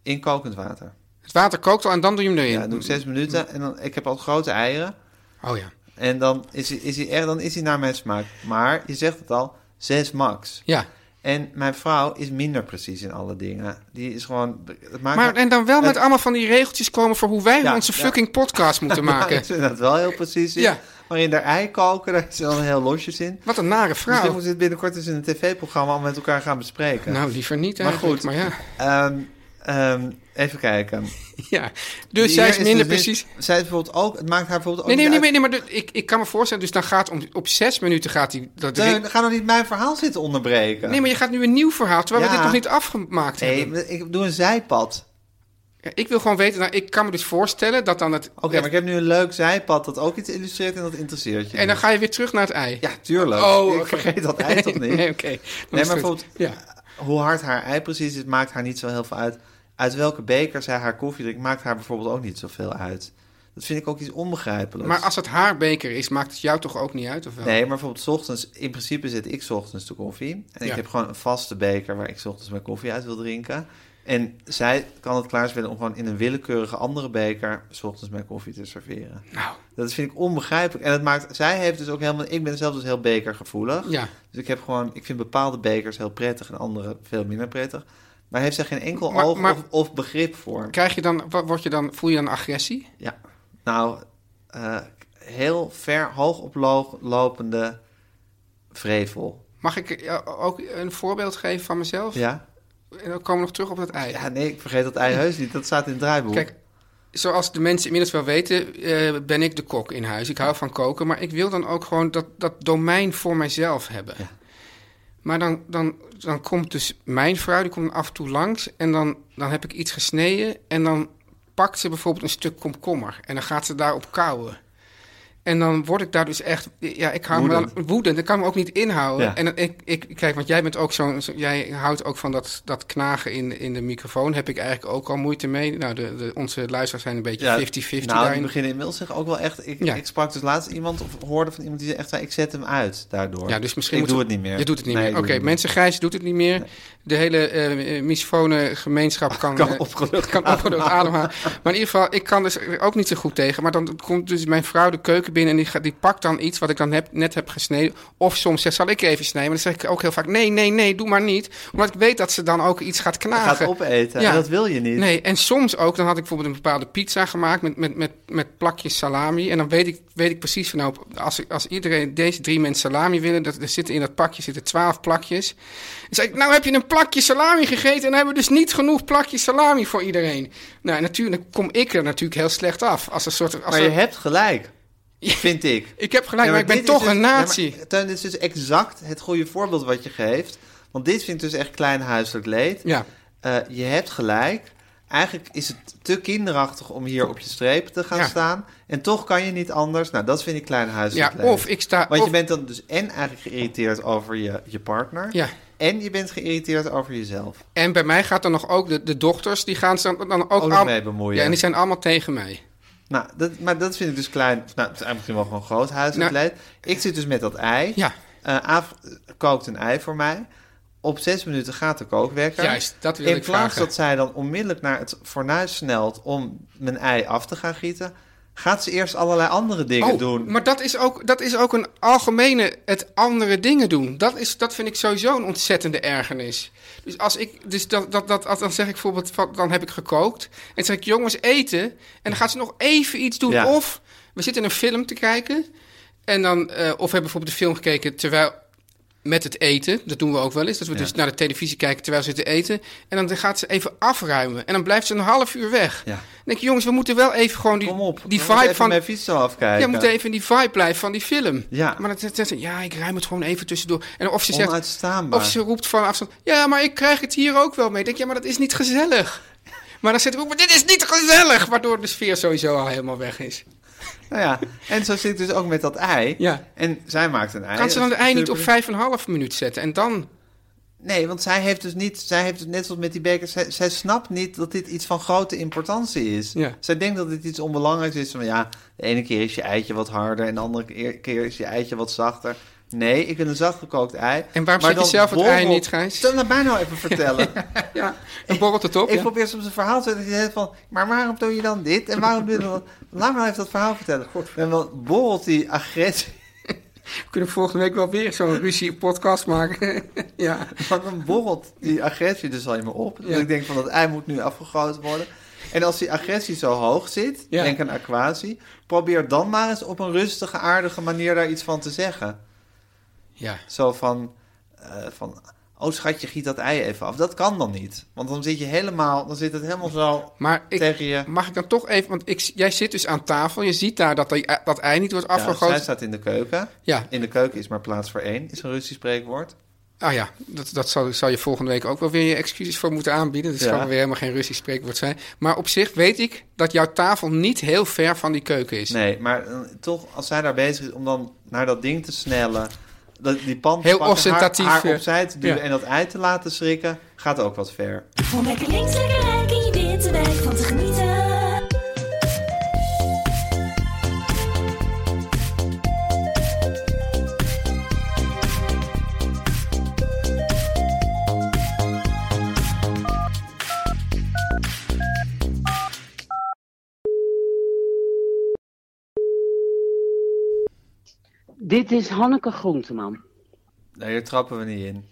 [SPEAKER 2] In kokend water.
[SPEAKER 3] Het water kookt al en dan doe je hem erin.
[SPEAKER 2] Ja, dan doe ik zes minuten en dan, ik heb al grote eieren.
[SPEAKER 3] Oh ja.
[SPEAKER 2] En dan is, hij- is hij echt, dan is hij naar mijn smaak. Maar je zegt het al, zes max.
[SPEAKER 3] Ja.
[SPEAKER 2] En mijn vrouw is minder precies in alle dingen. Die is gewoon. Het maakt
[SPEAKER 3] Maar en dan wel met allemaal van die regeltjes komen voor hoe wij
[SPEAKER 2] Ja,
[SPEAKER 3] onze
[SPEAKER 2] ja.
[SPEAKER 3] fucking podcast moeten maken.
[SPEAKER 2] Ik vind dat wel heel precies. In.
[SPEAKER 3] Ja.
[SPEAKER 2] Maar in haar ei koken, daar is dan heel losjes in.
[SPEAKER 3] Wat een nare
[SPEAKER 2] Dus
[SPEAKER 3] vrouw.
[SPEAKER 2] we moeten dit binnenkort eens in een tv-programma al met elkaar gaan bespreken.
[SPEAKER 3] Nou, liever niet
[SPEAKER 2] Maar
[SPEAKER 3] eigenlijk.
[SPEAKER 2] goed.
[SPEAKER 3] Maar ja.
[SPEAKER 2] Ehm, ehm, even kijken.
[SPEAKER 3] ja. Dus
[SPEAKER 2] Die
[SPEAKER 3] jij
[SPEAKER 2] hier
[SPEAKER 3] is minder
[SPEAKER 2] dus niet-
[SPEAKER 3] precies.
[SPEAKER 2] Zij is bijvoorbeeld ook. Het maakt haar bijvoorbeeld ook.
[SPEAKER 3] Nee, nee,
[SPEAKER 2] niet
[SPEAKER 3] nee, nee,
[SPEAKER 2] uit-
[SPEAKER 3] nee, maar de- ik, ik kan me voorstellen, dus dan gaat om, op zes minuten gaat hij dat erin.
[SPEAKER 2] Teun, ga nou niet mijn verhaal zitten onderbreken.
[SPEAKER 3] Dus Nee, maar je gaat nu een nieuw verhaal, terwijl we
[SPEAKER 2] Ja.
[SPEAKER 3] dit nog niet afgemaakt
[SPEAKER 2] Nee,
[SPEAKER 3] hebben.
[SPEAKER 2] maar ik doe een zijpad.
[SPEAKER 3] Ja, Ik wil gewoon weten, nou, ik kan me dus voorstellen dat dan het...
[SPEAKER 2] Oké, maar ik heb nu een leuk zijpad dat ook iets illustreert en dat interesseert je.
[SPEAKER 3] En dan
[SPEAKER 2] nu.
[SPEAKER 3] ga je weer terug naar het ei.
[SPEAKER 2] Ja, tuurlijk.
[SPEAKER 3] Oh,
[SPEAKER 2] ik
[SPEAKER 3] oké.
[SPEAKER 2] vergeet dat ei toch niet.
[SPEAKER 3] Nee, oké. Dan is het
[SPEAKER 2] maar
[SPEAKER 3] goed.
[SPEAKER 2] bijvoorbeeld-
[SPEAKER 3] Ja.
[SPEAKER 2] Hoe hard haar ei precies is, maakt haar niet zo heel veel uit. Uit welke beker zij haar koffie drinkt, maakt haar bijvoorbeeld ook niet zoveel uit. Dat vind ik ook iets onbegrijpelijks.
[SPEAKER 3] Maar als het haar beker is, maakt het jou toch ook niet uit, of wel?
[SPEAKER 2] Nee, maar bijvoorbeeld 's ochtends, in principe zet ik 's ochtends de koffie. En
[SPEAKER 3] Ja.
[SPEAKER 2] ik heb gewoon een vaste beker waar ik 's ochtends mijn koffie uit wil drinken. En zij kan het klaarspelen om gewoon in een willekeurige andere beker 's ochtends mijn koffie te serveren.
[SPEAKER 3] Nou,
[SPEAKER 2] Dat vind ik onbegrijpelijk. En het maakt, zij heeft dus ook helemaal, ik ben zelf dus heel bekergevoelig.
[SPEAKER 3] ja.
[SPEAKER 2] Dus ik heb gewoon, ik vind bepaalde bekers heel prettig en andere veel minder prettig. Maar heeft zij geen enkel
[SPEAKER 3] Maar-
[SPEAKER 2] oog
[SPEAKER 3] maar-
[SPEAKER 2] of, of begrip voor?
[SPEAKER 3] Krijg je dan, wa- word je dan, voel je dan agressie?
[SPEAKER 2] Ja, nou, eh, heel ver, hoog oplopende vrevel.
[SPEAKER 3] Mag ik eh, ook een voorbeeld geven van mezelf?
[SPEAKER 2] Ja?
[SPEAKER 3] En dan komen we nog terug op dat ei.
[SPEAKER 2] Ja, nee, ik vergeet dat ei heus niet. Dat staat in het draaiboek.
[SPEAKER 3] Kijk, zoals de mensen inmiddels wel weten, eh, ben ik de kok in huis. Ik hou van koken, maar ik wil dan ook gewoon dat, dat domein voor mijzelf hebben. Maar dan, dan, dan komt dus mijn vrouw, die komt af en toe langs en dan, dan heb ik iets gesneden en dan pakt ze bijvoorbeeld een stuk komkommer en dan gaat ze daarop kauwen. En dan word ik daar dus echt, ja, ik hou me
[SPEAKER 2] Woedend.
[SPEAKER 3] dan woedend. Dat kan me ook niet inhouden.
[SPEAKER 2] Ja.
[SPEAKER 3] En dan- ik, ik, kijk, want jij bent ook zo'n, zo- jij houdt ook van dat, dat knagen in, in de microfoon. Heb ik eigenlijk ook al moeite mee. Nou, de, de, onze luisteraars zijn een beetje 50-50
[SPEAKER 2] nou, die
[SPEAKER 3] daarin.
[SPEAKER 2] beginnen inmiddels zich ook wel echt... Ik,
[SPEAKER 3] Ja.
[SPEAKER 2] ik sprak dus laatst iemand of hoorde van iemand die zei echt zei... ik zet hem uit daardoor.
[SPEAKER 3] Ja, dus misschien
[SPEAKER 2] ik doe
[SPEAKER 3] moeten we-
[SPEAKER 2] het niet meer.
[SPEAKER 3] Je doet het niet
[SPEAKER 2] Nee, ik
[SPEAKER 3] meer.
[SPEAKER 2] doe
[SPEAKER 3] Oké,
[SPEAKER 2] het niet
[SPEAKER 3] mensen grijs doet het niet meer. De hele eh misfone gemeenschap kan,
[SPEAKER 2] Kan
[SPEAKER 3] eh,
[SPEAKER 2] opgelucht
[SPEAKER 3] kan opgelucht ademhalen. Maar in ieder geval, ik kan dus er ook niet zo goed tegen. Maar dan komt dus mijn vrouw de keuken binnen en die, gaat, die pakt dan iets wat ik dan heb, net heb gesneden. Of soms zegt, zal ik even snijden? Maar dan zeg ik ook heel vaak, nee, nee, nee, doe maar niet. Omdat ik weet dat ze dan ook iets gaat knagen.
[SPEAKER 2] Gaat opeten. En dat wil je niet.
[SPEAKER 3] Nee, en soms ook, dan had ik bijvoorbeeld een bepaalde pizza gemaakt met, met, met, met plakjes salami. En dan weet ik, weet ik precies van nou, als, ik- als iedereen deze drie mensen salami willen, dat, er zitten in dat pakje zitten twaalf plakjes. Dan zei ik, nou heb je een plakje salami gegeten en dan hebben we dus niet genoeg plakjes salami voor iedereen. Nou, natuurlijk kom ik er natuurlijk heel slecht af. Als een soort, als
[SPEAKER 2] Maar je
[SPEAKER 3] een-
[SPEAKER 2] hebt gelijk, vind ik.
[SPEAKER 3] ik heb gelijk, maar, ik ben
[SPEAKER 2] dit is
[SPEAKER 3] toch
[SPEAKER 2] dus-
[SPEAKER 3] een nazi.
[SPEAKER 2] Ja, maar, Teun, dit is dus exact het goede voorbeeld wat je geeft. Want dit vind ik dus echt klein huiselijk leed.
[SPEAKER 3] Ja.
[SPEAKER 2] Eh, je hebt gelijk. Eigenlijk is het te kinderachtig om hier op je streep te gaan
[SPEAKER 3] Ja.
[SPEAKER 2] staan. En toch kan je niet anders. Nou, dat vind ik klein huiselijk
[SPEAKER 3] Ja,
[SPEAKER 2] leed.
[SPEAKER 3] of ik sta-
[SPEAKER 2] Want
[SPEAKER 3] of-
[SPEAKER 2] je bent dan dus en eigenlijk geïrriteerd over je, je partner.
[SPEAKER 3] Ja.
[SPEAKER 2] En je bent geïrriteerd over jezelf.
[SPEAKER 3] En bij mij gaat dan nog ook de, de dochters, die gaan ze dan, dan ook...
[SPEAKER 2] Ook nog
[SPEAKER 3] al-
[SPEAKER 2] mee bemoeien.
[SPEAKER 3] Ja, en die zijn allemaal tegen mij.
[SPEAKER 2] Nou, dat, maar dat vind ik dus klein. of Nou, het is eigenlijk misschien wel gewoon groot huiselijk
[SPEAKER 3] Nou-
[SPEAKER 2] leed. Ik zit dus met dat ei.
[SPEAKER 3] Ja.
[SPEAKER 2] Eh, Aaf eh, kookt een ei voor mij. Op zes minuten gaat de kookwekker.
[SPEAKER 3] Juist, dat wil
[SPEAKER 2] In
[SPEAKER 3] ik
[SPEAKER 2] plaats
[SPEAKER 3] vragen.
[SPEAKER 2] dat zij dan onmiddellijk naar het fornuis snelt om mijn ei af te gaan gieten, gaat ze eerst allerlei andere dingen
[SPEAKER 3] Oh,
[SPEAKER 2] doen.
[SPEAKER 3] Maar dat is, ook, dat is ook een algemene, het andere dingen doen. Dat, is, dat vind ik sowieso een ontzettende ergernis. Dus als ik, dus dat, dat, dat, als- dan zeg ik bijvoorbeeld, van, dan heb ik gekookt. En dan zeg ik, jongens, eten. En dan gaat ze nog even iets doen.
[SPEAKER 2] Ja.
[SPEAKER 3] Of we zitten een film te kijken. En dan, eh, of hebben bijvoorbeeld een film gekeken terwijl met het eten. Dat doen we ook wel eens. Dat we dus naar de televisie kijken terwijl ze zitten eten. En dan gaat ze even afruimen. En dan blijft ze een half uur weg.
[SPEAKER 2] Ja.
[SPEAKER 3] Dan denk ik, jongens, we moeten wel even gewoon die,
[SPEAKER 2] Kom op,
[SPEAKER 3] die
[SPEAKER 2] we moeten
[SPEAKER 3] vibe
[SPEAKER 2] even
[SPEAKER 3] van...
[SPEAKER 2] mijn fiets zo afkijken.
[SPEAKER 3] Ja, moet even in die vibe blijven van die film.
[SPEAKER 2] Ja.
[SPEAKER 3] Maar dat zegt ze, ja, ik ruim het gewoon even tussendoor. En of ze zegt,
[SPEAKER 2] Onuitstaanbaar.
[SPEAKER 3] of ze roept van afstand, ja, maar ik krijg het hier ook wel mee. Ik denk, ja, maar dat is niet gezellig. Maar dan zit ik ook, maar dit is niet gezellig. Waardoor de sfeer sowieso al helemaal weg is.
[SPEAKER 2] Nou ja, en zo zit ik dus ook met dat ei.
[SPEAKER 3] Ja.
[SPEAKER 2] En zij maakt een ei.
[SPEAKER 3] Kan ze dan de ei niet op
[SPEAKER 2] Super-
[SPEAKER 3] 5,5 minuut zetten? En dan,
[SPEAKER 2] Nee, want zij heeft dus niet, zij heeft dus net zoals met die bekers, zij, zij snapt niet dat dit iets van grote importantie is.
[SPEAKER 3] Ja.
[SPEAKER 2] Zij denkt dat dit iets onbelangrijks is van ja, de ene keer is je eitje wat harder en de andere keer, keer is je eitje wat zachter. Nee, ik wil een zachtgekookt ei.
[SPEAKER 3] En waarom zet je
[SPEAKER 2] dan
[SPEAKER 3] zelf het ei
[SPEAKER 2] borrelt-
[SPEAKER 3] niet, Gijs?
[SPEAKER 2] Stel dat mij nou even vertellen.
[SPEAKER 3] Ja, dan borrelt het op.
[SPEAKER 2] Ik
[SPEAKER 3] ja.
[SPEAKER 2] probeer soms een verhaal te zetten van... maar waarom doe je dan dit en waarom doe je dan dat? Laat me nou even dat verhaal vertellen. En dan borrelt die agressie...
[SPEAKER 3] We kunnen volgende week wel weer zo'n ruzie podcast maken. ja.
[SPEAKER 2] Maar dan borrelt die agressie dus al in me op. Dus
[SPEAKER 3] Ja.
[SPEAKER 2] ik denk van dat ei moet nu afgegoten worden. En als die agressie zo hoog zit,
[SPEAKER 3] Ja.
[SPEAKER 2] denk aan aquatie... probeer dan maar eens op een rustige, aardige manier daar iets van te zeggen.
[SPEAKER 3] ja.
[SPEAKER 2] Zo van, eh, van... Oh schatje, giet dat ei even af. Dat kan dan niet. Want dan zit je helemaal... Dan zit het helemaal zo
[SPEAKER 3] Maar ik,
[SPEAKER 2] tegen je...
[SPEAKER 3] mag ik dan toch even, want ik, jij zit dus aan tafel, je ziet daar dat die- dat ei niet wordt
[SPEAKER 2] Ja, zij
[SPEAKER 3] afgegoten.
[SPEAKER 2] staat in de keuken.
[SPEAKER 3] Ja.
[SPEAKER 2] In de keuken is maar plaats voor één, is een Russisch spreekwoord.
[SPEAKER 3] Ah ja, dat, dat zal, zal je volgende week ook wel weer je excuses voor moeten aanbieden. Dat
[SPEAKER 2] Ja.
[SPEAKER 3] kan weer helemaal geen Russisch spreekwoord zijn. Maar op zich weet ik dat jouw tafel niet heel ver van die keuken is.
[SPEAKER 2] Nee, maar eh, toch, als zij daar bezig is om dan naar dat ding te snellen, dat, die pan te
[SPEAKER 3] Heel
[SPEAKER 2] pakken,
[SPEAKER 3] ostentatief,
[SPEAKER 2] haar, haar
[SPEAKER 3] eh,
[SPEAKER 2] opzij te duwen
[SPEAKER 3] ja.
[SPEAKER 2] en dat ei te laten schrikken, gaat ook wat ver.
[SPEAKER 6] Om lekker links, lekker rijk in je witte wijk van te genieten.
[SPEAKER 7] Dit is Hanneke Groenteman.
[SPEAKER 2] Nee, daar trappen we niet in.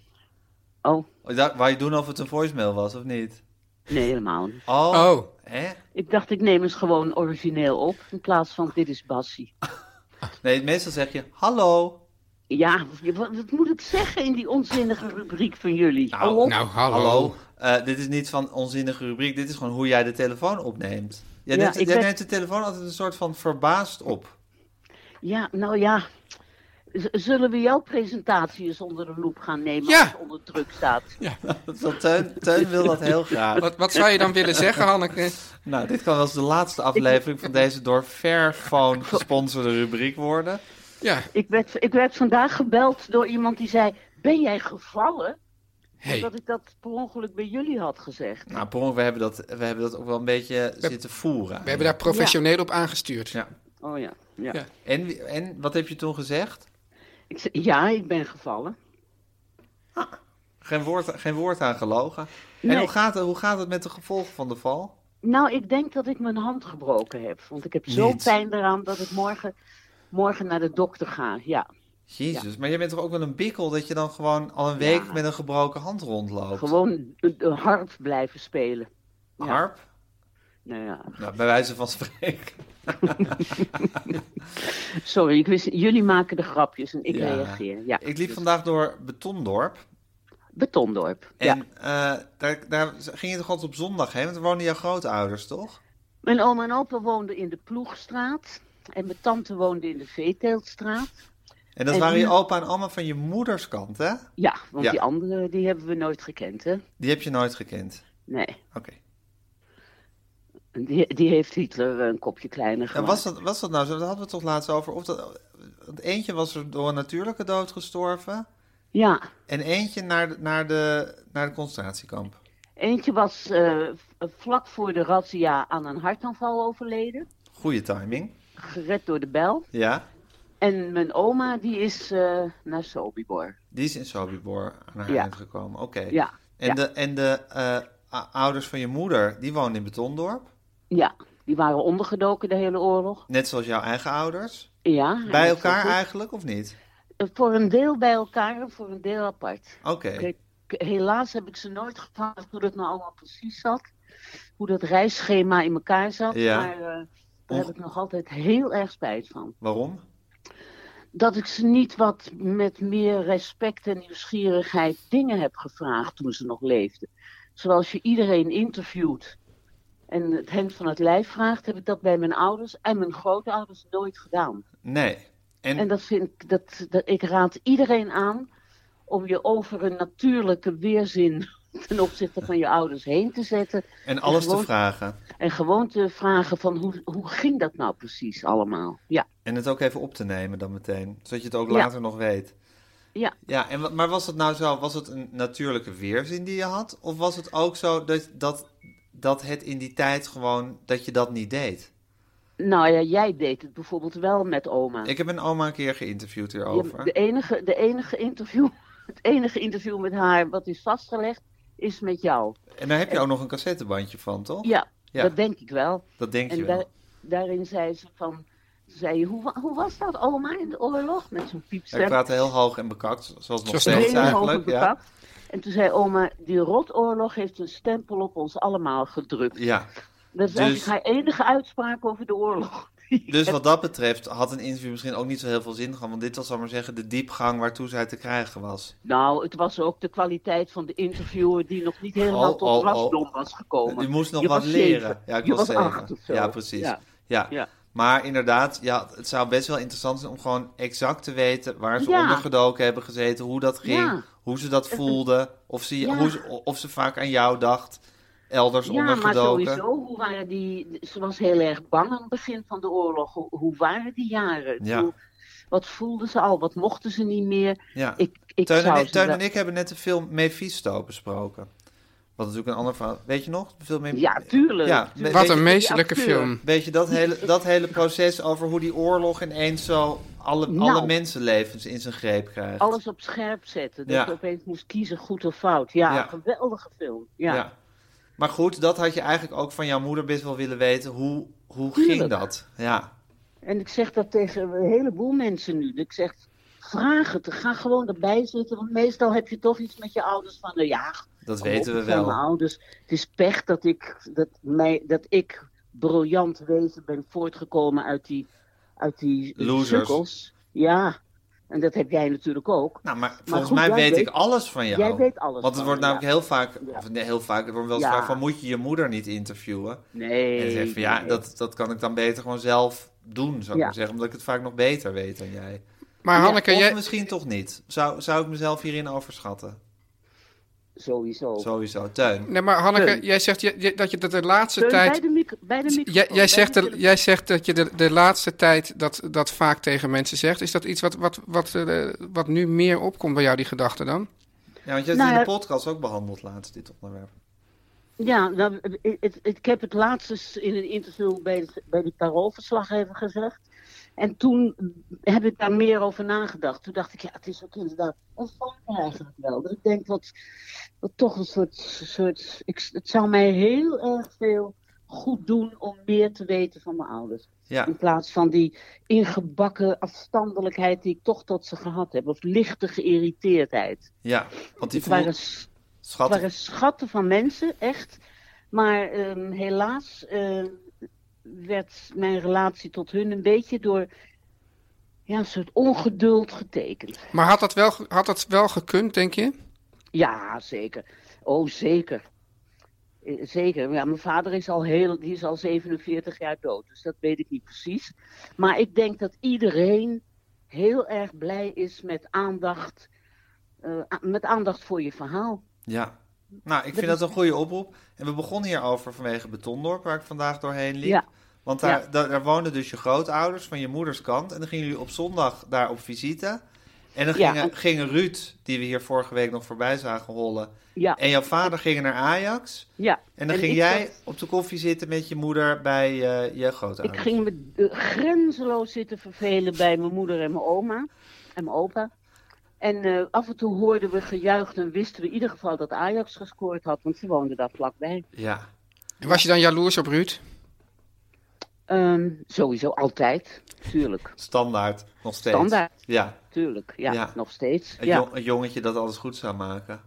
[SPEAKER 7] Oh,
[SPEAKER 2] Oh, Dat, wou je doen of het een voicemail was of niet?
[SPEAKER 7] nee, helemaal niet.
[SPEAKER 2] Oh,
[SPEAKER 3] Oh,
[SPEAKER 2] hè?
[SPEAKER 7] Ik dacht, ik neem eens gewoon origineel op in plaats van dit is Bassie.
[SPEAKER 2] Nee, meestal zeg je hallo.
[SPEAKER 7] Ja, je- wat, wat moet ik zeggen in die onzinnige rubriek van jullie? Hou op.
[SPEAKER 3] nou hallo.
[SPEAKER 2] Hallo. Eh, dit is niet van onzinnige rubriek, dit is gewoon hoe jij de telefoon opneemt. Jij,
[SPEAKER 7] Ja,
[SPEAKER 2] neemt,
[SPEAKER 7] ik
[SPEAKER 2] jij
[SPEAKER 7] ben-
[SPEAKER 2] neemt de telefoon altijd een soort van verbaasd op.
[SPEAKER 7] Ja, nou ja. Z- zullen we jouw presentatie eens onder de loep gaan nemen
[SPEAKER 3] Ja.
[SPEAKER 7] als het onder druk staat?
[SPEAKER 2] Dat, dat, Teun, Teun wil dat heel graag.
[SPEAKER 3] Wat, wat zou je dan willen zeggen, Hanneke?
[SPEAKER 2] Nou, dit kan wel eens de laatste aflevering van deze door Fairphone gesponsorde rubriek worden.
[SPEAKER 3] Ja,
[SPEAKER 7] Ik werd, ik werd vandaag gebeld door iemand die zei, ben jij gevallen?
[SPEAKER 3] hey.
[SPEAKER 7] Dat ik dat per ongeluk bij jullie had gezegd.
[SPEAKER 2] Nou, Prong, we hebben dat, we hebben dat ook wel een beetje zitten voeren.
[SPEAKER 3] We hebben daar professioneel op aangestuurd.
[SPEAKER 2] Ja.
[SPEAKER 7] Oh ja, ja.
[SPEAKER 3] Ja.
[SPEAKER 7] Ja,
[SPEAKER 2] en, wie- en wat heb je toen gezegd?
[SPEAKER 7] ik, zei, ja ik ben gevallen.
[SPEAKER 2] Geen woord, geen woord aan gelogen.
[SPEAKER 7] Nee.
[SPEAKER 2] En hoe gaat, het, hoe gaat het met de gevolgen van de val?
[SPEAKER 7] Nou, ik denk dat ik mijn hand gebroken heb. Want ik heb zo
[SPEAKER 2] Niet.
[SPEAKER 7] pijn eraan dat ik morgen, morgen naar de dokter ga. Ja,
[SPEAKER 2] Jezus, maar jij bent toch ook wel een bikkel dat je dan gewoon al een week
[SPEAKER 7] Ja.
[SPEAKER 2] met een gebroken hand rondloopt?
[SPEAKER 7] gewoon een, een harp blijven spelen. Ja.
[SPEAKER 2] Harp?
[SPEAKER 7] Nou ja,
[SPEAKER 2] Nou, bij wijze van spreken.
[SPEAKER 7] sorry, ik wist, jullie maken de grapjes en ik
[SPEAKER 2] Ja.
[SPEAKER 7] reageer. Ja,
[SPEAKER 2] Ik liep vandaag door Betondorp.
[SPEAKER 7] Betondorp.
[SPEAKER 2] En
[SPEAKER 7] Ja.
[SPEAKER 2] eh, daar, daar ging je toch altijd op zondag heen? Want er woonden jouw grootouders, toch?
[SPEAKER 7] Mijn oom en opa woonden in de Ploegstraat. En mijn tante woonde in de Veeteeltstraat.
[SPEAKER 2] En dat
[SPEAKER 7] En
[SPEAKER 2] waren je
[SPEAKER 7] die-
[SPEAKER 2] opa en oma van je moeders kant, hè?
[SPEAKER 7] Ja, want
[SPEAKER 2] Ja.
[SPEAKER 7] die andere die hebben we nooit gekend, hè?
[SPEAKER 2] Die heb je nooit gekend.
[SPEAKER 7] Nee,
[SPEAKER 2] Oké.
[SPEAKER 7] die, die heeft Hitler een kopje kleiner
[SPEAKER 2] En
[SPEAKER 7] gemaakt.
[SPEAKER 2] was dat, was dat nou zo? Daar hadden we het toch laatst over. Of dat, want eentje was er door een natuurlijke dood gestorven.
[SPEAKER 7] Ja,
[SPEAKER 2] En eentje naar, de- naar, de, naar de concentratiekamp.
[SPEAKER 7] Eentje was eh, v- vlak voor de razzia aan een hartaanval overleden,
[SPEAKER 2] Goeie timing.
[SPEAKER 7] gered door de bel.
[SPEAKER 2] Ja.
[SPEAKER 7] En mijn oma die is eh, naar Sobibor.
[SPEAKER 2] Die is in Sobibor aan haar
[SPEAKER 7] Ja.
[SPEAKER 2] eind gekomen. Oké.
[SPEAKER 7] Ja,
[SPEAKER 2] En
[SPEAKER 7] ja.
[SPEAKER 2] de, en de eh, a- ouders van je moeder, die woonden in Betondorp.
[SPEAKER 7] Ja, die waren ondergedoken de hele oorlog.
[SPEAKER 2] Net zoals jouw eigen ouders.
[SPEAKER 7] Ja, en
[SPEAKER 2] Bij
[SPEAKER 7] dat is ook
[SPEAKER 2] elkaar
[SPEAKER 7] goed.
[SPEAKER 2] eigenlijk, of niet?
[SPEAKER 7] Eh, Voor een deel bij elkaar en voor een deel apart.
[SPEAKER 2] Oké.
[SPEAKER 7] Kijk, helaas heb ik ze nooit gevraagd hoe dat nou allemaal precies zat. Hoe dat reisschema in elkaar zat.
[SPEAKER 2] Ja.
[SPEAKER 7] Maar eh, daar
[SPEAKER 2] Onge-
[SPEAKER 7] heb ik nog altijd heel erg spijt van.
[SPEAKER 2] Waarom?
[SPEAKER 7] dat ik ze niet wat met meer respect en nieuwsgierigheid dingen heb gevraagd toen ze nog leefden. Zoals je iedereen interviewt en het hen van het lijf vraagt, heb ik dat bij mijn ouders en mijn grootouders nooit gedaan.
[SPEAKER 2] Nee. En,
[SPEAKER 7] En dat vind ik, dat, dat, ik raad iedereen aan om je over een natuurlijke weerzin ten opzichte van je ouders heen te zetten.
[SPEAKER 2] en alles te
[SPEAKER 7] gewoon-
[SPEAKER 2] vragen.
[SPEAKER 7] En gewoon te vragen van hoe, hoe ging dat nou precies allemaal? Ja,
[SPEAKER 2] En het ook even op te nemen dan meteen, zodat je het ook
[SPEAKER 7] Ja.
[SPEAKER 2] later nog weet.
[SPEAKER 7] ja.
[SPEAKER 2] Ja, en, wa- maar was het nou zo, was het een natuurlijke weerzin die je had? Of was het ook zo dat, dat, dat het in die tijd gewoon, dat je dat niet deed?
[SPEAKER 7] Nou ja, jij deed het bijvoorbeeld wel met oma.
[SPEAKER 2] Ik heb mijn oma een keer geïnterviewd hierover.
[SPEAKER 7] De enige, de enige interview, het enige interview met haar wat is vastgelegd, is met jou.
[SPEAKER 2] En daar heb je ook nog een cassettebandje van, toch?
[SPEAKER 7] Ja,
[SPEAKER 2] Ja.
[SPEAKER 7] dat denk ik wel.
[SPEAKER 2] Dat denk je
[SPEAKER 7] En
[SPEAKER 2] wel.
[SPEAKER 7] daar- daarin zei ze van, ze zei, hoe, wa- hoe was dat oma in de oorlog met zo'n piepstem?
[SPEAKER 2] Hij praatte heel hoog en bekakt, zoals nog
[SPEAKER 3] Zoals
[SPEAKER 2] steeds
[SPEAKER 7] Heel hoog
[SPEAKER 2] eigenlijk. Ja.
[SPEAKER 7] bepakt. En toen zei oma, die rotoorlog heeft een stempel op ons allemaal gedrukt.
[SPEAKER 2] ja.
[SPEAKER 7] Dat is
[SPEAKER 2] Dus-
[SPEAKER 7] eigenlijk haar enige uitspraak over de oorlog. die ik
[SPEAKER 2] Dus
[SPEAKER 7] heb.
[SPEAKER 2] wat dat betreft had een interview misschien ook niet zo heel veel zin gehad. Want dit was, zal ik maar zeggen, de diepgang waartoe zij te krijgen was.
[SPEAKER 7] Nou, het was ook de kwaliteit van de interviewer die nog niet helemaal
[SPEAKER 2] Oh,
[SPEAKER 7] tot
[SPEAKER 2] oh, oh.
[SPEAKER 7] rasdom was gekomen.
[SPEAKER 2] Je moest nog
[SPEAKER 7] Je
[SPEAKER 2] wat
[SPEAKER 7] was
[SPEAKER 2] leren.
[SPEAKER 7] zeven.
[SPEAKER 2] Ja, ik
[SPEAKER 7] Je
[SPEAKER 2] was,
[SPEAKER 7] was
[SPEAKER 2] zeven.
[SPEAKER 7] acht of zo.
[SPEAKER 2] Ja, precies. Ja.
[SPEAKER 7] Ja. Ja.
[SPEAKER 2] Maar inderdaad, ja, het zou best wel interessant zijn om gewoon exact te weten waar ze
[SPEAKER 7] Ja.
[SPEAKER 2] ondergedoken hebben gezeten, hoe dat ging,
[SPEAKER 7] Ja.
[SPEAKER 2] hoe ze dat voelden, of ze,
[SPEAKER 7] Ja.
[SPEAKER 2] hoe ze- of ze vaak aan jou dacht, elders
[SPEAKER 7] Ja, maar
[SPEAKER 2] ondergedoken.
[SPEAKER 7] sowieso, hoe waren die, ze was heel erg bang aan het begin van de oorlog. Hoe, hoe waren die jaren? Ik
[SPEAKER 2] Ja.
[SPEAKER 7] bedoel, wat voelden ze al? Wat mochten ze niet meer?
[SPEAKER 2] Ja.
[SPEAKER 7] Ik, ik
[SPEAKER 2] Teun,
[SPEAKER 7] zou
[SPEAKER 2] en, ik,
[SPEAKER 7] ze
[SPEAKER 2] Teun
[SPEAKER 7] wel-
[SPEAKER 2] en ik hebben net de film Mephisto besproken. Wat natuurlijk een ander verhaal. Weet je nog? De film Mep-
[SPEAKER 7] Ja, tuurlijk.
[SPEAKER 2] E- Ja,
[SPEAKER 7] tuurlijk.
[SPEAKER 2] Weet
[SPEAKER 3] Wat
[SPEAKER 2] je-
[SPEAKER 3] een meesterlijke
[SPEAKER 7] die
[SPEAKER 3] film.
[SPEAKER 2] Weet je, dat hele, dat hele proces over hoe die oorlog ineens zo alle,
[SPEAKER 7] Nou.
[SPEAKER 2] alle mensenlevens in zijn greep krijgt.
[SPEAKER 7] Alles op scherp zetten. Dat
[SPEAKER 2] Ja.
[SPEAKER 7] je opeens moest kiezen goed of fout. Ja,
[SPEAKER 2] Ja.
[SPEAKER 7] geweldige film. Ja.
[SPEAKER 2] Maar goed, dat had je eigenlijk ook van jouw moeder best wel willen weten. Hoe, hoe
[SPEAKER 7] Tuurlijk.
[SPEAKER 2] ging dat? Ja.
[SPEAKER 7] En ik zeg dat tegen een heleboel mensen nu. Ik zeg, vraag het. Ga gewoon erbij zitten. Want meestal heb je toch iets met je ouders van, nou ja,
[SPEAKER 2] Dat
[SPEAKER 7] Kom
[SPEAKER 2] weten
[SPEAKER 7] op,
[SPEAKER 2] we
[SPEAKER 7] het zijn Mijn
[SPEAKER 2] wel.
[SPEAKER 7] ouders. Het is pech dat ik, dat, mij, dat ik briljant wezen ben voortgekomen uit die, uit die
[SPEAKER 2] Losers.
[SPEAKER 7] sukkels. Ja, en dat heb jij natuurlijk ook.
[SPEAKER 2] Nou, maar volgens
[SPEAKER 7] goed,
[SPEAKER 2] mij
[SPEAKER 7] jij
[SPEAKER 2] weet, ik
[SPEAKER 7] weet-
[SPEAKER 2] alles van jou.
[SPEAKER 7] jij weet alles
[SPEAKER 2] Want het
[SPEAKER 7] van
[SPEAKER 2] wordt
[SPEAKER 7] me,
[SPEAKER 2] namelijk heel vaak,
[SPEAKER 7] Ja.
[SPEAKER 2] of nee, heel vaak, er wordt wel eens
[SPEAKER 7] Ja.
[SPEAKER 2] gevraagd van, moet je je moeder niet interviewen?
[SPEAKER 7] Nee.
[SPEAKER 2] En dan zeg je van, ja,
[SPEAKER 7] nee.
[SPEAKER 2] dat, dat kan ik dan beter gewoon zelf doen, zou ik
[SPEAKER 7] Ja.
[SPEAKER 2] maar zeggen. Omdat ik het vaak nog beter weet dan jij.
[SPEAKER 3] Maar Hanneke,
[SPEAKER 2] Of
[SPEAKER 3] jij,
[SPEAKER 2] misschien toch niet. Zou, zou ik mezelf hierin overschatten?
[SPEAKER 7] Sowieso.
[SPEAKER 2] Sowieso. Teun.
[SPEAKER 3] nee, maar Hanneke,
[SPEAKER 7] Teun.
[SPEAKER 3] jij zegt je- je- dat je dat de laatste
[SPEAKER 7] Teun,
[SPEAKER 3] tijd...
[SPEAKER 7] bij de, mic- bij de microfoon.
[SPEAKER 3] Jij, jij,
[SPEAKER 7] bij
[SPEAKER 3] zegt
[SPEAKER 7] de
[SPEAKER 3] de-
[SPEAKER 7] tele-
[SPEAKER 3] jij zegt dat je de, de laatste tijd dat, dat vaak tegen mensen zegt. Is dat iets wat, wat, wat, eh, wat nu meer opkomt bij jou, die gedachte dan?
[SPEAKER 2] Ja, want je hebt
[SPEAKER 7] Nou,
[SPEAKER 2] in de
[SPEAKER 7] ja.
[SPEAKER 2] podcast ook behandeld laatst, dit onderwerp.
[SPEAKER 7] Ja, nou, het- het- ik heb het laatst eens in een interview bij, de- bij die paroolverslaggever gezegd. En toen heb ik daar meer over nagedacht. Toen dacht ik, ja, het is ook inderdaad een vaak eigenlijk wel. Dat ik denk, wat, wat toch een soort... soort ik, het zou mij heel erg veel goed doen om meer te weten van mijn ouders.
[SPEAKER 2] Ja.
[SPEAKER 7] In plaats van die ingebakken afstandelijkheid die ik toch tot ze gehad heb. Of lichte geïrriteerdheid.
[SPEAKER 2] Ja, want die
[SPEAKER 7] Het
[SPEAKER 2] voel...
[SPEAKER 7] waren s- het
[SPEAKER 2] schat.
[SPEAKER 7] waren schatten van mensen, echt. Maar ehm, helaas eh, werd mijn relatie tot hun een beetje door ja, een soort ongeduld getekend.
[SPEAKER 3] Maar had dat wel, ge- had dat wel gekund, denk je?
[SPEAKER 7] Ja, zeker. Oh, zeker. Eh, Zeker. Ja, mijn vader is al, heel, die is al 47 jaar dood, dus dat weet ik niet precies. Maar ik denk dat iedereen heel erg blij is met aandacht, eh, a- met aandacht voor je verhaal.
[SPEAKER 2] Ja. Nou, ik vind dat een goede oproep. En we begonnen hierover vanwege Betondorp, waar ik vandaag doorheen liep.
[SPEAKER 7] Ja.
[SPEAKER 2] Want daar,
[SPEAKER 7] Ja.
[SPEAKER 2] daar, daar woonden dus je grootouders van je moeders kant. En dan gingen jullie op zondag daar op visite. En dan
[SPEAKER 7] Ja,
[SPEAKER 2] gingen,
[SPEAKER 7] en-
[SPEAKER 2] gingen Ruud, die we hier vorige week nog voorbij zagen hollen,
[SPEAKER 7] Ja,
[SPEAKER 2] en jouw vader gingen naar Ajax.
[SPEAKER 7] ja.
[SPEAKER 2] En dan
[SPEAKER 7] En
[SPEAKER 2] ging
[SPEAKER 7] ik
[SPEAKER 2] jij
[SPEAKER 7] dacht-
[SPEAKER 2] op de koffie zitten met je moeder bij eh, je grootouders.
[SPEAKER 7] Ik ging me eh, grenzeloos zitten vervelen bij mijn moeder en mijn oma en mijn opa. En eh, af en toe hoorden we gejuich en wisten we in ieder geval dat Ajax gescoord had, want ze woonden daar vlakbij.
[SPEAKER 2] Ja.
[SPEAKER 3] En Was je dan jaloers op Ruud?
[SPEAKER 7] Ehm, sowieso altijd, tuurlijk.
[SPEAKER 2] Standaard, nog steeds.
[SPEAKER 7] Standaard.
[SPEAKER 2] Ja.
[SPEAKER 7] Tuurlijk, ja,
[SPEAKER 2] Ja.
[SPEAKER 7] nog steeds.
[SPEAKER 2] Een,
[SPEAKER 7] ja,
[SPEAKER 2] jong- een jongetje dat alles goed zou maken.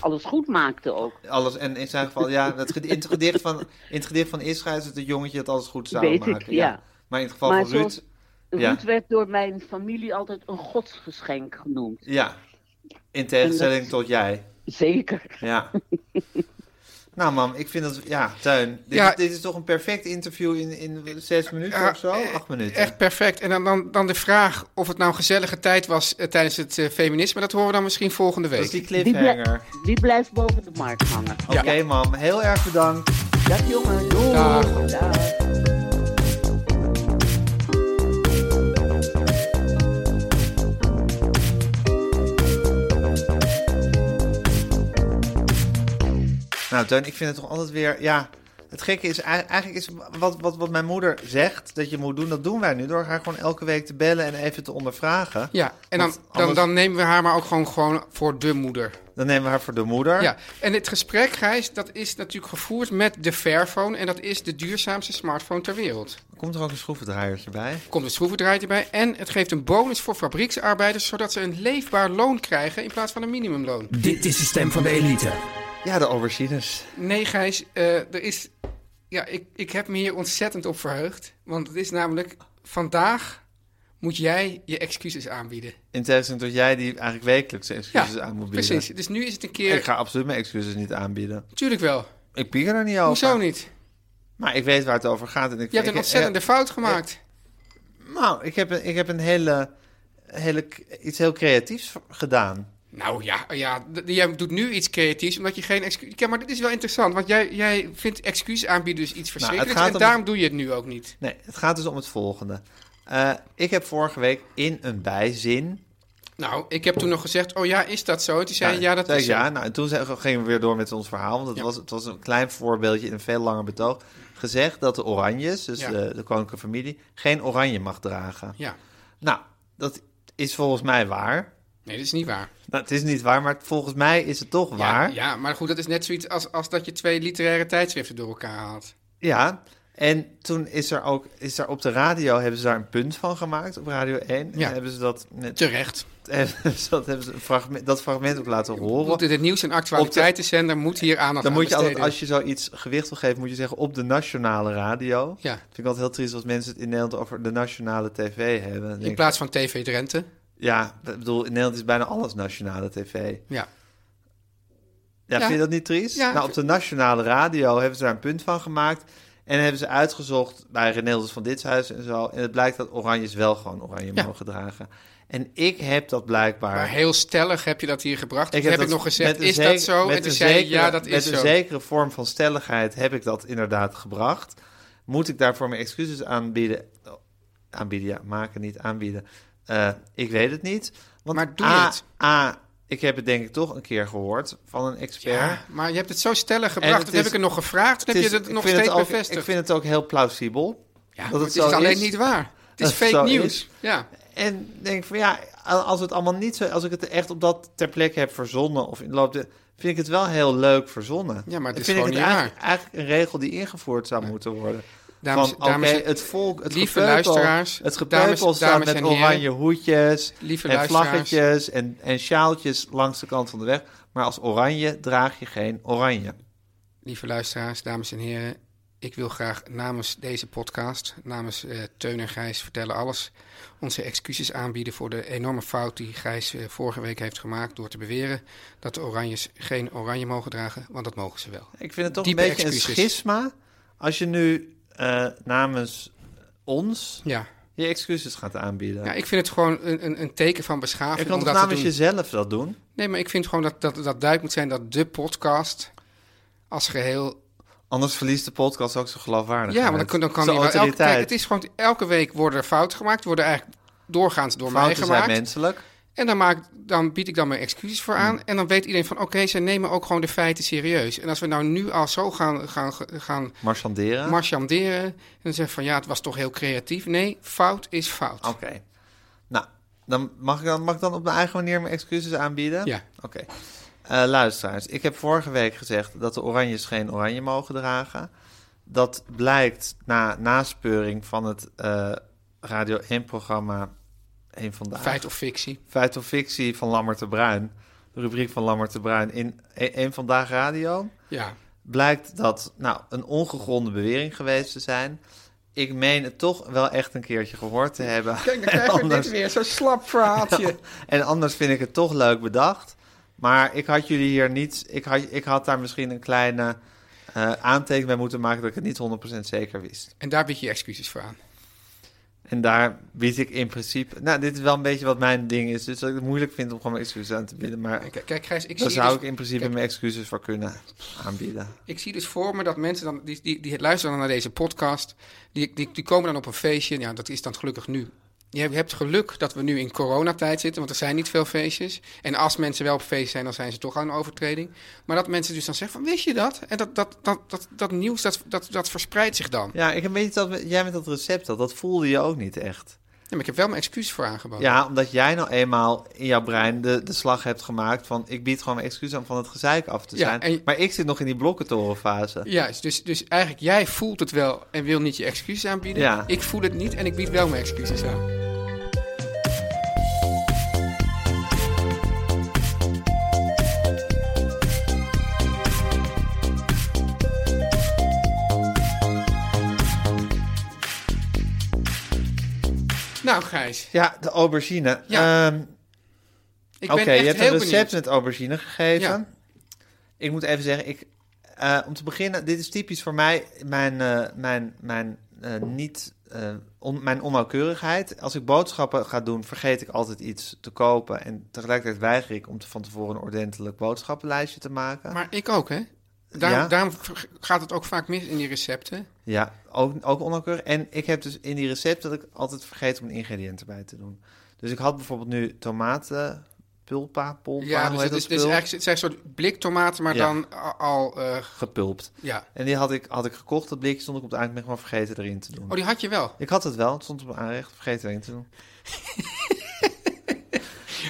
[SPEAKER 7] alles goed maakte ook.
[SPEAKER 2] Alles, en in zijn geval, ja, het, ged- in, het gedicht van, in het gedicht van Israël is het een jongetje dat alles goed zou
[SPEAKER 7] Weet ik,
[SPEAKER 2] maken.
[SPEAKER 7] ja.
[SPEAKER 2] Maar in het geval
[SPEAKER 7] Maar
[SPEAKER 2] van Ruud,
[SPEAKER 7] zoals-
[SPEAKER 2] Ja.
[SPEAKER 7] Ruud werd door mijn familie altijd een godsgeschenk genoemd.
[SPEAKER 2] ja, in tegenstelling
[SPEAKER 7] En
[SPEAKER 2] tot jij.
[SPEAKER 7] Zeker.
[SPEAKER 2] Ja. nou mam, ik vind dat, ja, Tuin, dit,
[SPEAKER 3] Ja.
[SPEAKER 2] dit is toch een perfect interview in, in zes minuten
[SPEAKER 3] Ja,
[SPEAKER 2] of zo? Acht minuten.
[SPEAKER 3] Echt perfect. En dan, dan, dan de vraag of het nou een gezellige tijd was eh, tijdens het eh, feminisme. Dat horen we dan misschien volgende
[SPEAKER 2] dat is
[SPEAKER 3] week.
[SPEAKER 2] die
[SPEAKER 7] Die, blij-
[SPEAKER 2] cliffhanger.
[SPEAKER 7] die blijft boven de markt hangen.
[SPEAKER 2] Oké mam, heel erg bedankt.
[SPEAKER 7] Dag jongen, doei.
[SPEAKER 3] Dag.
[SPEAKER 7] Dag.
[SPEAKER 2] Nou Tuin, ik vind het toch altijd weer, ja, Het gekke is, ei- eigenlijk is wat, wat, wat mijn moeder zegt dat je moet doen, dat doen wij nu. Door haar gewoon elke week te bellen en even te ondervragen.
[SPEAKER 3] Ja, en dan,
[SPEAKER 2] Want
[SPEAKER 3] dan,
[SPEAKER 2] anders-
[SPEAKER 3] dan nemen we haar maar ook gewoon, gewoon voor de moeder.
[SPEAKER 2] Dan nemen we haar voor de moeder.
[SPEAKER 3] Ja, en het gesprek, Gijs, dat is natuurlijk gevoerd met de Fairphone. En dat is de duurzaamste smartphone ter wereld.
[SPEAKER 2] Komt er ook een schroevendraaiertje bij?
[SPEAKER 3] Er komt een schroevendraaier erbij en het geeft een bonus voor fabrieksarbeiders... zodat ze een leefbaar loon krijgen in plaats van een minimumloon.
[SPEAKER 5] Dit is de stem van de elite.
[SPEAKER 2] Ja, de aubergines.
[SPEAKER 3] Nee, Gijs, eh, er is... Ja, ik, ik heb me hier ontzettend op verheugd. Want het is namelijk, vandaag moet jij je excuses aanbieden.
[SPEAKER 2] In tegenstelling tot jij die eigenlijk wekelijks excuses
[SPEAKER 3] ja,
[SPEAKER 2] aan moet bieden.
[SPEAKER 3] precies. Dus nu is het een keer...
[SPEAKER 2] Ik ga Oh, absoluut mijn excuses niet aanbieden.
[SPEAKER 3] Tuurlijk wel.
[SPEAKER 2] Ik pieker er niet over.
[SPEAKER 3] Hoezo niet?
[SPEAKER 2] Maar ik weet waar het over gaat. En ik,
[SPEAKER 3] Je hebt een
[SPEAKER 2] ik-
[SPEAKER 3] ontzettende fout gemaakt.
[SPEAKER 2] eh, nou, ik heb, een- ik heb een hele, hele, iets heel creatiefs v- gedaan.
[SPEAKER 3] Nou ja, ja d- jij doet nu iets creatiefs, omdat je geen excuus... Ja, maar dit is wel interessant, want jij, jij vindt excuus aanbieden dus iets verschrikkelijks...
[SPEAKER 2] Nou, gaat
[SPEAKER 3] en
[SPEAKER 2] om-
[SPEAKER 3] daarom doe je het nu ook niet.
[SPEAKER 2] Nee, het gaat dus om het volgende. Eh, ik heb vorige week in een bijzin...
[SPEAKER 3] Nou, ik heb toen nog gezegd, oh ja, is dat zo? En toen zei je, ja, dat
[SPEAKER 2] zei
[SPEAKER 3] is
[SPEAKER 2] ik,
[SPEAKER 3] zo.
[SPEAKER 2] ja. Nou, en toen zei- gingen we weer door met ons verhaal. Want het,
[SPEAKER 3] Ja.
[SPEAKER 2] was, het was een klein voorbeeldje in een veel langer betoog. Gezegd dat de Oranjes, dus
[SPEAKER 3] Ja.
[SPEAKER 2] de, de koninklijke familie, geen oranje mag dragen.
[SPEAKER 3] Ja.
[SPEAKER 2] Nou, dat is volgens mij waar.
[SPEAKER 3] Nee, dat is niet waar.
[SPEAKER 2] Nou, het is niet waar, maar volgens mij is het toch waar.
[SPEAKER 3] Ja, ja, maar goed, dat is net zoiets als, als dat je twee literaire tijdschriften door elkaar haalt.
[SPEAKER 2] Ja, en toen is er ook is er op de radio hebben ze daar een punt van gemaakt op Radio 1.
[SPEAKER 3] Ja.
[SPEAKER 2] En hebben ze dat net,
[SPEAKER 3] Terecht.
[SPEAKER 2] hebben ze dat, hebben ze een fragment, dat fragment ook laten
[SPEAKER 3] Goed,
[SPEAKER 2] horen.
[SPEAKER 3] Het nieuws- en actualiteitenzender moet hier aandacht
[SPEAKER 2] Dan
[SPEAKER 3] aan
[SPEAKER 2] moet je altijd,
[SPEAKER 3] besteden.
[SPEAKER 2] als je zoiets gewicht wil geven, moet je zeggen op de nationale radio.
[SPEAKER 3] Ja.
[SPEAKER 2] Vind ik altijd heel triest als mensen het in Nederland over de nationale tv hebben. Dan denk
[SPEAKER 3] In
[SPEAKER 2] ik,
[SPEAKER 3] plaats van TV Drenthe.
[SPEAKER 2] Ja, ik bedoel, in Nederland is bijna alles nationale tv.
[SPEAKER 3] Ja.
[SPEAKER 2] Ja,
[SPEAKER 3] Ja.
[SPEAKER 2] vind je dat niet triest?
[SPEAKER 3] Ja.
[SPEAKER 2] Nou, op de nationale radio hebben ze daar een punt van gemaakt. En hebben ze uitgezocht bij René Elders van Ditshuis en zo. En het blijkt dat oranjes wel gewoon oranje
[SPEAKER 3] Ja.
[SPEAKER 2] mogen dragen. En ik heb dat blijkbaar...
[SPEAKER 3] Maar heel stellig heb je dat hier gebracht. Ik heb,
[SPEAKER 2] dat
[SPEAKER 3] ik nog gezegd,
[SPEAKER 2] met een
[SPEAKER 3] is
[SPEAKER 2] zeker-
[SPEAKER 3] dat zo?
[SPEAKER 2] met
[SPEAKER 3] En toen
[SPEAKER 2] een
[SPEAKER 3] zei je,
[SPEAKER 2] zekere-
[SPEAKER 3] ja, dat
[SPEAKER 2] Met
[SPEAKER 3] is
[SPEAKER 2] een
[SPEAKER 3] zo.
[SPEAKER 2] zekere vorm van stelligheid heb ik dat inderdaad gebracht. Moet ik daarvoor mijn excuses aanbieden? Oh, Aanbieden, ja, maken, niet aanbieden. Eh, ik weet het niet. Want
[SPEAKER 3] Maar doe
[SPEAKER 2] A,
[SPEAKER 3] het.
[SPEAKER 2] A, ik heb het denk ik toch een keer gehoord van een expert.
[SPEAKER 3] Ja, maar je hebt het zo stellig
[SPEAKER 2] En
[SPEAKER 3] gebracht.
[SPEAKER 2] het
[SPEAKER 3] Dat
[SPEAKER 2] is-
[SPEAKER 3] heb ik er nog gevraagd.
[SPEAKER 2] Het
[SPEAKER 3] Dan heb
[SPEAKER 2] is-
[SPEAKER 3] je het
[SPEAKER 2] ik
[SPEAKER 3] nog
[SPEAKER 2] vind het
[SPEAKER 3] steeds
[SPEAKER 2] ook-
[SPEAKER 3] bevestigd.
[SPEAKER 2] Ik vind het ook heel plausibel.
[SPEAKER 3] ja,
[SPEAKER 2] dat
[SPEAKER 3] maar
[SPEAKER 2] het
[SPEAKER 3] het,
[SPEAKER 2] zo
[SPEAKER 3] is alleen
[SPEAKER 2] is.
[SPEAKER 3] niet waar. Het
[SPEAKER 2] Dat
[SPEAKER 3] is
[SPEAKER 2] het
[SPEAKER 3] fake
[SPEAKER 2] zo
[SPEAKER 3] nieuws.
[SPEAKER 2] is.
[SPEAKER 3] Ja.
[SPEAKER 2] En denk van ja, als het allemaal niet zo... Als ik het echt op dat ter plekke heb verzonnen... of in de loop der- vind ik het wel heel leuk verzonnen.
[SPEAKER 3] Ja, maar het
[SPEAKER 2] En vind
[SPEAKER 3] is gewoon
[SPEAKER 2] ik het
[SPEAKER 3] niet
[SPEAKER 2] eigenlijk, eigenlijk een regel die ingevoerd zou moeten worden.
[SPEAKER 3] Dames-
[SPEAKER 2] van,
[SPEAKER 3] dames-
[SPEAKER 2] oké, het volk, het
[SPEAKER 3] lieve
[SPEAKER 2] gepeupel,
[SPEAKER 3] luisteraars,
[SPEAKER 2] het gepeupel
[SPEAKER 3] dames-
[SPEAKER 2] staat
[SPEAKER 3] dames
[SPEAKER 2] met
[SPEAKER 3] en heren,
[SPEAKER 2] oranje hoedjes
[SPEAKER 3] lieve
[SPEAKER 2] en
[SPEAKER 3] luisteraars.
[SPEAKER 2] vlaggetjes en, en sjaaltjes langs de kant van de weg. Maar als oranje draag je geen oranje.
[SPEAKER 3] Lieve luisteraars, dames en heren. Ik wil graag namens deze podcast, namens eh, Teun en Gijs, vertellen alles. Onze excuses aanbieden voor de enorme fout die Gijs eh, vorige week heeft gemaakt. door te beweren dat de Oranjes geen oranje mogen dragen, want dat mogen ze wel.
[SPEAKER 2] Ik vind het toch
[SPEAKER 3] Diepe
[SPEAKER 2] een beetje een
[SPEAKER 3] excuses.
[SPEAKER 2] schisma als je nu eh, namens ons
[SPEAKER 3] Ja,
[SPEAKER 2] je excuses gaat aanbieden.
[SPEAKER 3] ja ik vind het gewoon een, een, een teken van
[SPEAKER 2] je
[SPEAKER 3] beschaving.
[SPEAKER 2] kan toch
[SPEAKER 3] om dat te
[SPEAKER 2] namens
[SPEAKER 3] doen.
[SPEAKER 2] jezelf dat doen?
[SPEAKER 3] Nee, maar ik vind gewoon dat, dat, dat duidelijk moet zijn dat de podcast als geheel.
[SPEAKER 2] Anders verliest de podcast ook zijn geloofwaardigheid.
[SPEAKER 3] Ja, want dan, kun- dan kan
[SPEAKER 2] Zijn
[SPEAKER 3] die wel elke,
[SPEAKER 2] autoriteit.
[SPEAKER 3] kijk, het is gewoon elke week worden er fouten gemaakt, worden eigenlijk doorgaans door mij
[SPEAKER 2] Fouten zijn
[SPEAKER 3] gemaakt.
[SPEAKER 2] menselijk.
[SPEAKER 3] En dan, maak, dan bied ik dan mijn excuses voor
[SPEAKER 2] Mm.
[SPEAKER 3] aan. En dan weet iedereen van oké, zij nemen ook gewoon de feiten serieus. En als we nou nu al zo gaan, gaan, gaan
[SPEAKER 2] Marchanderen.
[SPEAKER 3] marchanderen en dan zeggen van ja, het was toch heel creatief. Nee, fout is fout.
[SPEAKER 2] Oké. Nou, dan mag, ik dan mag ik dan op mijn eigen manier mijn excuses aanbieden?
[SPEAKER 3] Ja.
[SPEAKER 2] Oké. Eh, luisteraars, ik heb vorige week gezegd dat de oranjes geen oranje mogen dragen. Dat blijkt na naspeuring van het eh, Radio 1-programma Heen Vandaag.
[SPEAKER 3] Feit of fictie.
[SPEAKER 2] Feit of fictie van Lammert de Bruin. De rubriek van Lammert de Bruin in 1 Vandaag Radio
[SPEAKER 3] Ja.
[SPEAKER 2] blijkt dat nou, een ongegronde bewering geweest te zijn. Ik meen het toch wel echt een keertje gehoord te hebben.
[SPEAKER 3] Kijk, dan
[SPEAKER 2] En
[SPEAKER 3] krijgen we
[SPEAKER 2] anders-
[SPEAKER 3] dit weer, zo'n slap verhaaltje.
[SPEAKER 2] en anders vind ik het toch leuk bedacht. Maar ik had jullie hier niet. Ik had, ik had daar misschien een kleine eh aantekening bij moeten maken dat ik het niet 100% zeker wist.
[SPEAKER 3] En daar bied je excuses voor aan.
[SPEAKER 2] En daar bied ik in principe. Nou, dit is wel een beetje wat mijn ding is. Dus dat ik het moeilijk vind om gewoon mijn excuses aan te bieden. Maar
[SPEAKER 3] Kijk, kijk Gijs, ik
[SPEAKER 2] daar
[SPEAKER 3] zie
[SPEAKER 2] zou
[SPEAKER 3] dus-
[SPEAKER 2] ik in principe
[SPEAKER 3] kijk.
[SPEAKER 2] mijn excuses voor kunnen aanbieden.
[SPEAKER 3] Ik zie dus voor me dat mensen dan, die, die, die luisteren dan naar deze podcast, die, die, die komen dan op een feestje. Ja, dat is dan gelukkig nu Je hebt geluk dat we nu in coronatijd zitten, want er zijn niet veel feestjes. En als mensen wel op feest zijn, dan zijn ze toch aan een overtreding. Maar dat mensen dus dan zeggen van, wist je dat? En dat, dat, dat, dat, dat nieuws, dat, dat, dat verspreidt zich dan. Ja,
[SPEAKER 2] Ja, ik heb- weet niet dat jij met dat recept had, dat voelde je ook niet echt.
[SPEAKER 3] maar ik heb wel mijn excuus voor aangeboden.
[SPEAKER 2] Ja, omdat jij nou eenmaal in jouw brein de, de slag hebt gemaakt van... ik bied gewoon mijn excuus aan van het gezeik af te
[SPEAKER 3] Ja,
[SPEAKER 2] zijn.
[SPEAKER 3] en-
[SPEAKER 2] Maar ik zit nog in die blokkentorenfase.
[SPEAKER 3] Juist, dus, dus eigenlijk jij voelt het wel en wil niet je excuses aanbieden.
[SPEAKER 2] Ja.
[SPEAKER 3] Ik voel het niet en ik bied wel mijn excuses aan. Nou Gijs,
[SPEAKER 2] Ja, de aubergine.
[SPEAKER 3] Ja.
[SPEAKER 2] Ehm,
[SPEAKER 3] ik ben
[SPEAKER 2] Oké,
[SPEAKER 3] echt
[SPEAKER 2] je hebt
[SPEAKER 3] heel
[SPEAKER 2] een recept
[SPEAKER 3] benieuwd.
[SPEAKER 2] met aubergine gegeven.
[SPEAKER 3] Ja.
[SPEAKER 2] Ik moet even zeggen, ik, eh, om te beginnen, dit is typisch voor mij mijn, eh, mijn, mijn, eh, niet, eh, on- mijn onnauwkeurigheid. Als ik boodschappen ga doen, vergeet ik altijd iets te kopen. En tegelijkertijd weiger ik om te- van tevoren een ordentelijk boodschappenlijstje te maken.
[SPEAKER 3] Maar ik ook hè. Daarom,
[SPEAKER 2] Ja.
[SPEAKER 3] daarom ver- gaat het ook vaak mis in die recepten.
[SPEAKER 2] Ja, ook, ook onnauwkeurig. En ik heb dus in die recept dat ik altijd vergeet om de ingrediënten bij te doen. Dus ik had bijvoorbeeld nu tomaten, pulpa, polpa,
[SPEAKER 3] Ja,
[SPEAKER 2] hoe heet
[SPEAKER 3] dus het
[SPEAKER 2] dat
[SPEAKER 3] is, het is
[SPEAKER 2] spul?
[SPEAKER 3] eigenlijk het zijn een soort bliktomaten, maar
[SPEAKER 2] Ja.
[SPEAKER 3] dan a- al... eh,
[SPEAKER 2] Gepulpt.
[SPEAKER 3] ja.
[SPEAKER 2] En die had ik, had ik gekocht, dat blikje stond ik op het eindmeg, maar vergeten erin te doen.
[SPEAKER 3] Oh, die had je wel.
[SPEAKER 2] Ik had het wel, het stond op mijn aanrecht, vergeten erin te doen.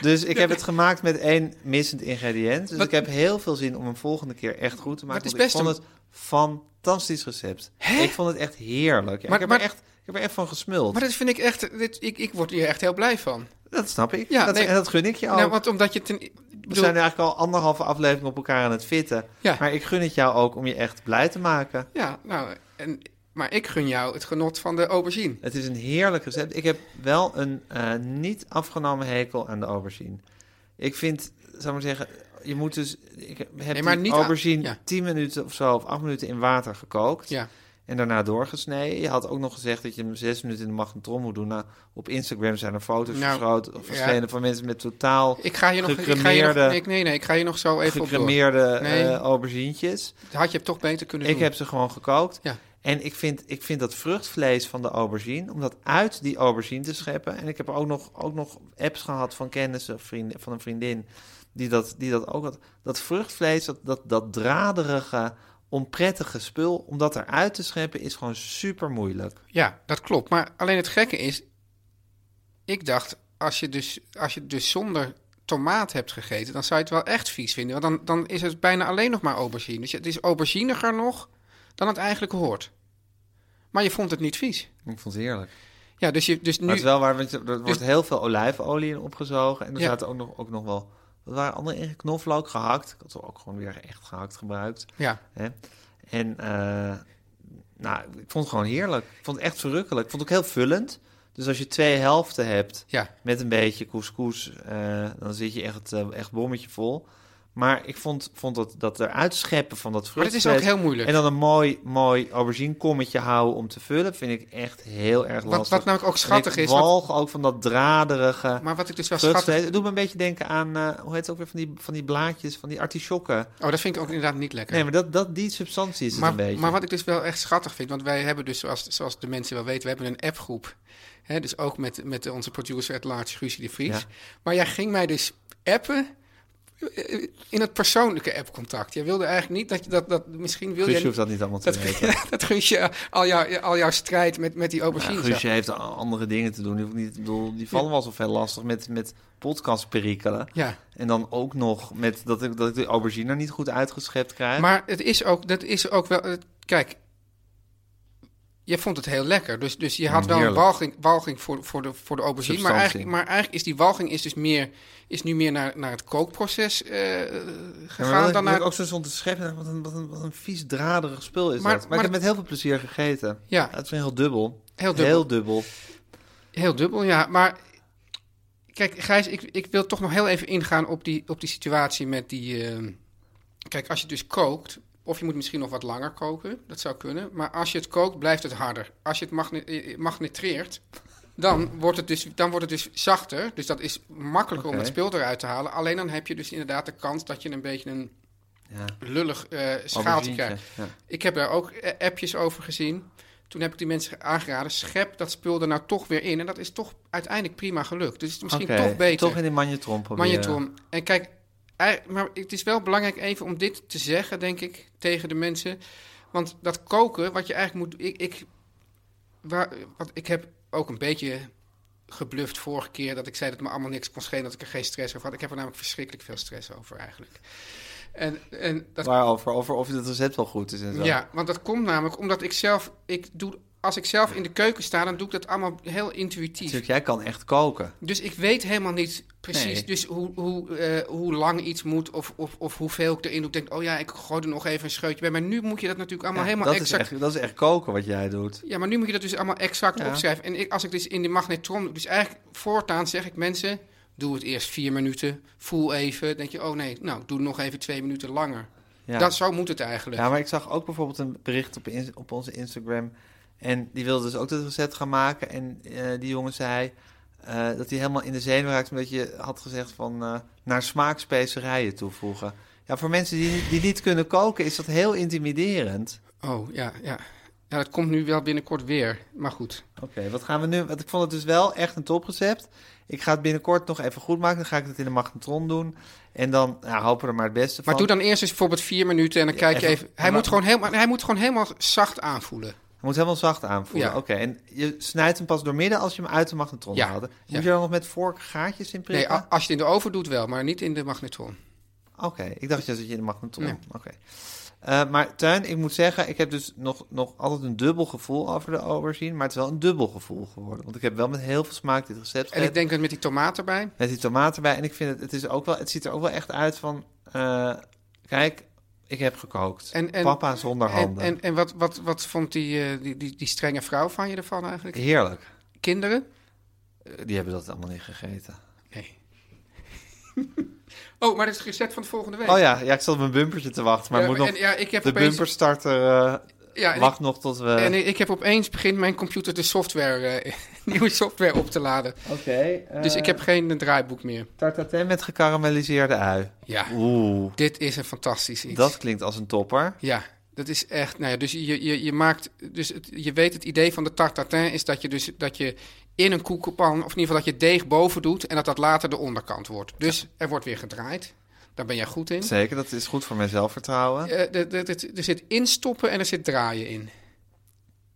[SPEAKER 2] dus ik heb het gemaakt met één missend ingrediënt. Dus
[SPEAKER 3] Wat-
[SPEAKER 2] ik heb heel veel zin om hem volgende keer echt goed te maken.
[SPEAKER 3] Wat is
[SPEAKER 2] want
[SPEAKER 3] best
[SPEAKER 2] ik vond het fantastisch recept. Ik vond het echt heerlijk. Ja,
[SPEAKER 3] Maar-
[SPEAKER 2] ik, heb
[SPEAKER 3] maar-
[SPEAKER 2] er echt, ik heb er echt van gesmuld.
[SPEAKER 3] Maar dat vind ik echt... Dit, ik, ik word hier echt heel blij van.
[SPEAKER 2] Dat snap ik.
[SPEAKER 3] Ja,
[SPEAKER 2] dat,
[SPEAKER 3] nee.
[SPEAKER 2] en dat gun ik je ook.
[SPEAKER 3] Nou, want omdat je... Ten, ik
[SPEAKER 2] Oh. We
[SPEAKER 3] bedoel,
[SPEAKER 2] zijn eigenlijk al anderhalve aflevering op elkaar aan het fitten.
[SPEAKER 3] Ja.
[SPEAKER 2] Maar ik gun het jou ook om je echt blij te maken.
[SPEAKER 3] Ja, nou... En, maar ik gun jou het genot van de aubergine.
[SPEAKER 2] Het is een heerlijk recept. Ik heb wel een eh, niet afgenomen hekel aan de aubergine. Ik vind, zou ik maar zeggen, je moet dus... Ik heb
[SPEAKER 3] maar
[SPEAKER 2] die
[SPEAKER 3] niet aan-
[SPEAKER 2] aubergine
[SPEAKER 3] ja.
[SPEAKER 2] 10 minuten of zo, of 8 minuten in water gekookt.
[SPEAKER 3] Ja.
[SPEAKER 2] En daarna doorgesneden. Je had ook nog gezegd dat je hem 6 minuten in de magnetron moet doen. Nou, op Instagram zijn er foto's
[SPEAKER 3] Nou,
[SPEAKER 2] verschoten-
[SPEAKER 3] ja.
[SPEAKER 2] verschenen van mensen met totaal
[SPEAKER 3] Ik ga je nog... Ik ga je nog
[SPEAKER 2] Gecremeerde-
[SPEAKER 3] nee, nee, nee, ik ga je nog zo even op door.
[SPEAKER 2] gecremeerde
[SPEAKER 3] Nee.
[SPEAKER 2] eh, auberginietjes.
[SPEAKER 3] Dat had je toch beter kunnen
[SPEAKER 2] Ik
[SPEAKER 3] doen.
[SPEAKER 2] heb ze gewoon gekookt.
[SPEAKER 3] Ja.
[SPEAKER 2] En ik vind, ik vind dat vruchtvlees van de aubergine, om dat uit die aubergine te scheppen. En ik heb ook nog, ook nog apps gehad van kennissen vrienden, van een vriendin die dat, die dat ook had. Dat vruchtvlees, dat, dat, dat draderige, onprettige spul, om dat eruit te scheppen, is gewoon super moeilijk.
[SPEAKER 3] Ja, dat klopt. Maar alleen het gekke is... Ik dacht, als je dus, als je dus zonder tomaat hebt gegeten... dan zou je het wel echt vies vinden. Want dan, dan is het bijna alleen nog maar aubergine. Dus het is auberginiger nog dan het eigenlijk hoort. Maar je vond het niet vies.
[SPEAKER 2] Ik vond het heerlijk.
[SPEAKER 3] Ja, dus, je, dus nu...
[SPEAKER 2] Maar het is wel waar, want er wordt
[SPEAKER 3] dus-
[SPEAKER 2] heel veel olijfolie in opgezogen. En er
[SPEAKER 3] Ja.
[SPEAKER 2] zaten ook nog, ook nog wel, wat waren andere in knoflook gehakt. Ik had ze ook gewoon weer echt gehakt gebruikt.
[SPEAKER 3] Ja,
[SPEAKER 2] Hè? En eh, nou, ik vond het gewoon heerlijk. Ik vond het echt verrukkelijk. Ik vond het ook heel vullend. Dus als je twee helften hebt
[SPEAKER 3] ja.
[SPEAKER 2] met een beetje couscous, eh, dan zit je echt, eh, echt bommetje vol. Maar ik vond, vond dat, dat eruit scheppen van dat
[SPEAKER 3] Maar het
[SPEAKER 2] vruchtvlees...
[SPEAKER 3] is ook heel moeilijk.
[SPEAKER 2] En dan een mooi, mooi auberginekommetje houden om te vullen... vind ik echt heel erg
[SPEAKER 3] Wat,
[SPEAKER 2] lastig.
[SPEAKER 3] wat namelijk ook schattig
[SPEAKER 2] En ik
[SPEAKER 3] is... wat-
[SPEAKER 2] walg ook van dat draderige
[SPEAKER 3] maar wat ik dus wel
[SPEAKER 2] vruchtvlees.
[SPEAKER 3] schattig...
[SPEAKER 2] Het doet me een beetje denken aan, eh, hoe heet het ook weer, van die, van die blaadjes, van die artisjokken.
[SPEAKER 3] Oh, dat vind ik ook inderdaad niet lekker.
[SPEAKER 2] Nee, maar dat, dat, die substantie is het
[SPEAKER 3] maar,
[SPEAKER 2] een beetje.
[SPEAKER 3] maar wat ik dus wel echt schattig vind, want wij hebben dus, zoals, zoals de mensen wel weten, we hebben een appgroep. Hè, dus ook met, met onze producer at large, Guusje de Vries.
[SPEAKER 2] Ja.
[SPEAKER 3] Maar jij ging mij dus appen eh, in het persoonlijke appcontact. Jij wilde eigenlijk niet dat je dat, dat misschien wil
[SPEAKER 2] Guusje
[SPEAKER 3] jij
[SPEAKER 2] hoeft dat niet allemaal te
[SPEAKER 3] dat,
[SPEAKER 2] weten.
[SPEAKER 3] dat Guusje al, jou, al jouw strijd met, met die
[SPEAKER 2] Ja,
[SPEAKER 3] aubergine.
[SPEAKER 2] Guusje heeft a- andere dingen te doen. Die, hoeft niet, ik bedoel, die vallen was wel zo veel lastig met, met podcastperikelen.
[SPEAKER 3] ja.
[SPEAKER 2] En dan ook nog met dat ik, dat ik de aubergine er niet goed uitgeschept krijg.
[SPEAKER 3] Maar het is ook, dat is ook wel. het- Kijk, je vond het heel lekker. Dus, dus je had wel een
[SPEAKER 2] Mm, heerlijk.
[SPEAKER 3] walging, walging voor, voor, de, voor de aubergine. Maar
[SPEAKER 2] Substantie.
[SPEAKER 3] eigenlijk, maar eigenlijk is die walging is dus meer, is nu meer naar, naar het kookproces eh,
[SPEAKER 2] Ja,
[SPEAKER 3] gegaan
[SPEAKER 2] maar dat-
[SPEAKER 3] dan
[SPEAKER 2] dat
[SPEAKER 3] naar.
[SPEAKER 2] ik ook zo stond te scheppen. Wat een, wat, een, wat een vies draderig spul is
[SPEAKER 3] Maar-
[SPEAKER 2] dat. Maar,
[SPEAKER 3] maar-
[SPEAKER 2] ik heb met heel veel plezier gegeten.
[SPEAKER 3] Ja,
[SPEAKER 2] Het is een heel dubbel.
[SPEAKER 3] Heel dubbel.
[SPEAKER 2] Heel dubbel.
[SPEAKER 3] heel dubbel, ja. Maar kijk, Gijs, ik, ik wil toch nog heel even ingaan op die, op die situatie met die. eh, kijk, als je dus kookt. Of je moet misschien nog wat langer koken, dat zou kunnen. Maar als je het kookt, blijft het harder. Als je het magne- eh, magnetreert, dan wordt, het dus, dan wordt het dus zachter. Dus dat is makkelijker om
[SPEAKER 2] Oké.
[SPEAKER 3] het speel eruit te halen. Alleen dan heb je dus inderdaad de kans dat je een beetje een
[SPEAKER 2] Ja.
[SPEAKER 3] lullig eh schaaltje
[SPEAKER 2] Aubergine,
[SPEAKER 3] krijgt.
[SPEAKER 2] ja.
[SPEAKER 3] Ik heb daar ook eh, appjes over gezien. Toen heb ik die mensen aangeraden, schep dat spul er nou toch weer in. En dat is toch uiteindelijk prima gelukt. Dus het is misschien
[SPEAKER 2] Oké,
[SPEAKER 3] toch beter.
[SPEAKER 2] Toch in die manjetron proberen.
[SPEAKER 3] Magnetron. En kijk, ei- maar het is wel belangrijk even om dit te zeggen, denk ik, tegen de mensen. Want dat koken, wat je eigenlijk moet... Ik, ik, waar, wat, ik heb ook een beetje gebluft vorige keer dat ik zei dat het me allemaal niks kon schelen... dat ik er geen stress over had. Ik heb er namelijk verschrikkelijk veel stress over eigenlijk. En, en dat
[SPEAKER 2] Waarover? Over of het recept wel goed is en zo.
[SPEAKER 3] ja, want dat komt namelijk omdat ik zelf... Ik doe, als ik zelf in de keuken sta, dan doe ik dat allemaal heel intuïtief.
[SPEAKER 2] Natuurlijk, jij kan echt koken.
[SPEAKER 3] Dus ik weet helemaal niet precies
[SPEAKER 2] Nee.
[SPEAKER 3] dus hoe, hoe, eh, hoe lang iets moet of, of, of hoeveel ik erin doe. Ik denk, oh ja, ik gooi er nog even een scheutje bij. Maar nu moet je dat natuurlijk allemaal
[SPEAKER 2] Ja,
[SPEAKER 3] helemaal
[SPEAKER 2] dat,
[SPEAKER 3] exact...
[SPEAKER 2] is echt, dat is echt koken wat jij doet.
[SPEAKER 3] Ja, maar nu moet je dat dus allemaal exact
[SPEAKER 2] Ja.
[SPEAKER 3] opschrijven. En ik, als ik dus in de magnetron... Dus eigenlijk voortaan zeg ik mensen, doe het eerst vier minuten. Voel even. Dan denk je, oh nee, nou, doe nog even twee minuten langer.
[SPEAKER 2] Ja.
[SPEAKER 3] Dat, zo moet het eigenlijk.
[SPEAKER 2] Ja, maar ik zag ook bijvoorbeeld een bericht op, in- op onze Instagram. En die wilde dus ook dat recept gaan maken. En eh, die jongen zei eh, dat hij helemaal in de zenuw raakte. Omdat je had gezegd van eh, naar smaakspecerijen toevoegen. Ja, voor mensen die, die niet kunnen koken is dat heel intimiderend.
[SPEAKER 3] Oh, ja, ja. Ja, dat komt nu wel binnenkort weer. Maar goed.
[SPEAKER 2] Oké, wat gaan we nu? Want ik vond het dus wel echt een toprecept. Ik ga het binnenkort nog even goed maken. Dan ga ik het in de magnetron doen. En dan ja, hopen we er maar het beste
[SPEAKER 3] Maar
[SPEAKER 2] van.
[SPEAKER 3] doe dan eerst eens bijvoorbeeld vier minuten en dan kijk je
[SPEAKER 2] even-
[SPEAKER 3] even... Hij,
[SPEAKER 2] maar-
[SPEAKER 3] moet gewoon helemaal, hij moet gewoon helemaal zacht aanvoelen.
[SPEAKER 2] Hij moet helemaal zacht aanvoelen.
[SPEAKER 3] Ja.
[SPEAKER 2] Oké, en je snijdt hem pas doormidden als je hem uit de magnetron
[SPEAKER 3] Ja,
[SPEAKER 2] haalde. Moet
[SPEAKER 3] ja.
[SPEAKER 2] je dan nog met vork gaatjes in
[SPEAKER 3] Nee,
[SPEAKER 2] prikken?
[SPEAKER 3] a- als je het in de oven doet wel, maar niet in de magnetron.
[SPEAKER 2] Oké, ik dacht juist dat je in de magnetron...
[SPEAKER 3] Nee.
[SPEAKER 2] Oké. Eh, maar Tuin, ik moet zeggen, ik heb dus nog, nog altijd een dubbel gevoel over de aubergine. Maar het is wel een dubbel gevoel geworden. Want ik heb wel met heel veel smaak dit recept
[SPEAKER 3] En
[SPEAKER 2] gered.
[SPEAKER 3] ik denk dat met die tomaat erbij.
[SPEAKER 2] Met die tomaten erbij. En ik vind het, het, is ook wel, het ziet er ook wel echt uit van... eh, kijk, ik heb gekookt.
[SPEAKER 3] En- en-
[SPEAKER 2] Papa zonder
[SPEAKER 3] En,
[SPEAKER 2] handen.
[SPEAKER 3] en, en wat, wat, wat vond die, eh, die, die, die strenge vrouw van je ervan eigenlijk?
[SPEAKER 2] Heerlijk.
[SPEAKER 3] Kinderen?
[SPEAKER 2] Eh, Die hebben dat allemaal niet gegeten.
[SPEAKER 3] Nee. oh, maar dat is het recept van de volgende week.
[SPEAKER 2] Oh ja, ja ik zat op mijn bumpertje te wachten. Maar
[SPEAKER 3] Ja,
[SPEAKER 2] moet
[SPEAKER 3] en
[SPEAKER 2] nog...
[SPEAKER 3] ja, ik heb
[SPEAKER 2] De
[SPEAKER 3] opeens-
[SPEAKER 2] bumperstarter eh,
[SPEAKER 3] Ja, en
[SPEAKER 2] wacht nog tot we...
[SPEAKER 3] ik, en ik heb opeens begint mijn computer de software, eh, nieuwe software op te laden.
[SPEAKER 2] Oké.
[SPEAKER 3] Dus ik heb geen eh, draaiboek meer.
[SPEAKER 2] Tartatin met gekarameliseerde ui.
[SPEAKER 3] Ja,
[SPEAKER 2] Oeh,
[SPEAKER 3] dit is een fantastisch iets.
[SPEAKER 2] dat klinkt als een topper.
[SPEAKER 3] Ja, dat is echt. Nou ja, dus je, je, je maakt. Dus het, je weet het idee van de tarte tatin is dat je dus dat je in een koekenpan, of in ieder geval dat je deeg boven doet en dat dat later de onderkant wordt. Dus er wordt weer gedraaid. Daar ben jij goed in.
[SPEAKER 2] Zeker, dat is goed voor mijn zelfvertrouwen.
[SPEAKER 3] Eh, de- de- de- er zit instoppen en er zit draaien in.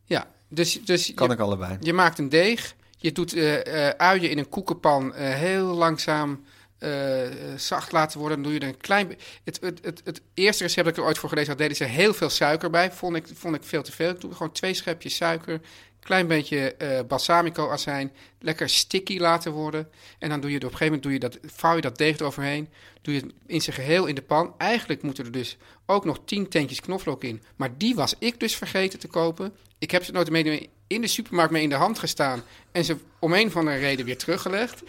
[SPEAKER 3] Ja, dus, dus
[SPEAKER 2] Kan
[SPEAKER 3] je,
[SPEAKER 2] ik allebei.
[SPEAKER 3] je maakt een deeg. Je doet eh, eh, uien in een koekenpan eh, heel langzaam eh, eh, zacht laten worden. Dan doe je er een klein... be- Het, het, het, het eerste recept dat ik er ooit voor gelezen had, deden ze heel veel suiker bij. Vond ik, vond ik veel te veel. Ik doe gewoon twee schepjes suiker, klein beetje eh, balsamico-azijn. Lekker sticky laten worden. En dan doe je er op een gegeven moment, doe je dat, vouw je dat deeg eroverheen. Doe je het in zijn geheel in de pan. Eigenlijk moeten er dus ook nog tien tentjes knoflook in. Maar die was ik dus vergeten te kopen. Ik heb ze nooit mee in de supermarkt mee in de hand gestaan. En ze om een van de reden weer teruggelegd.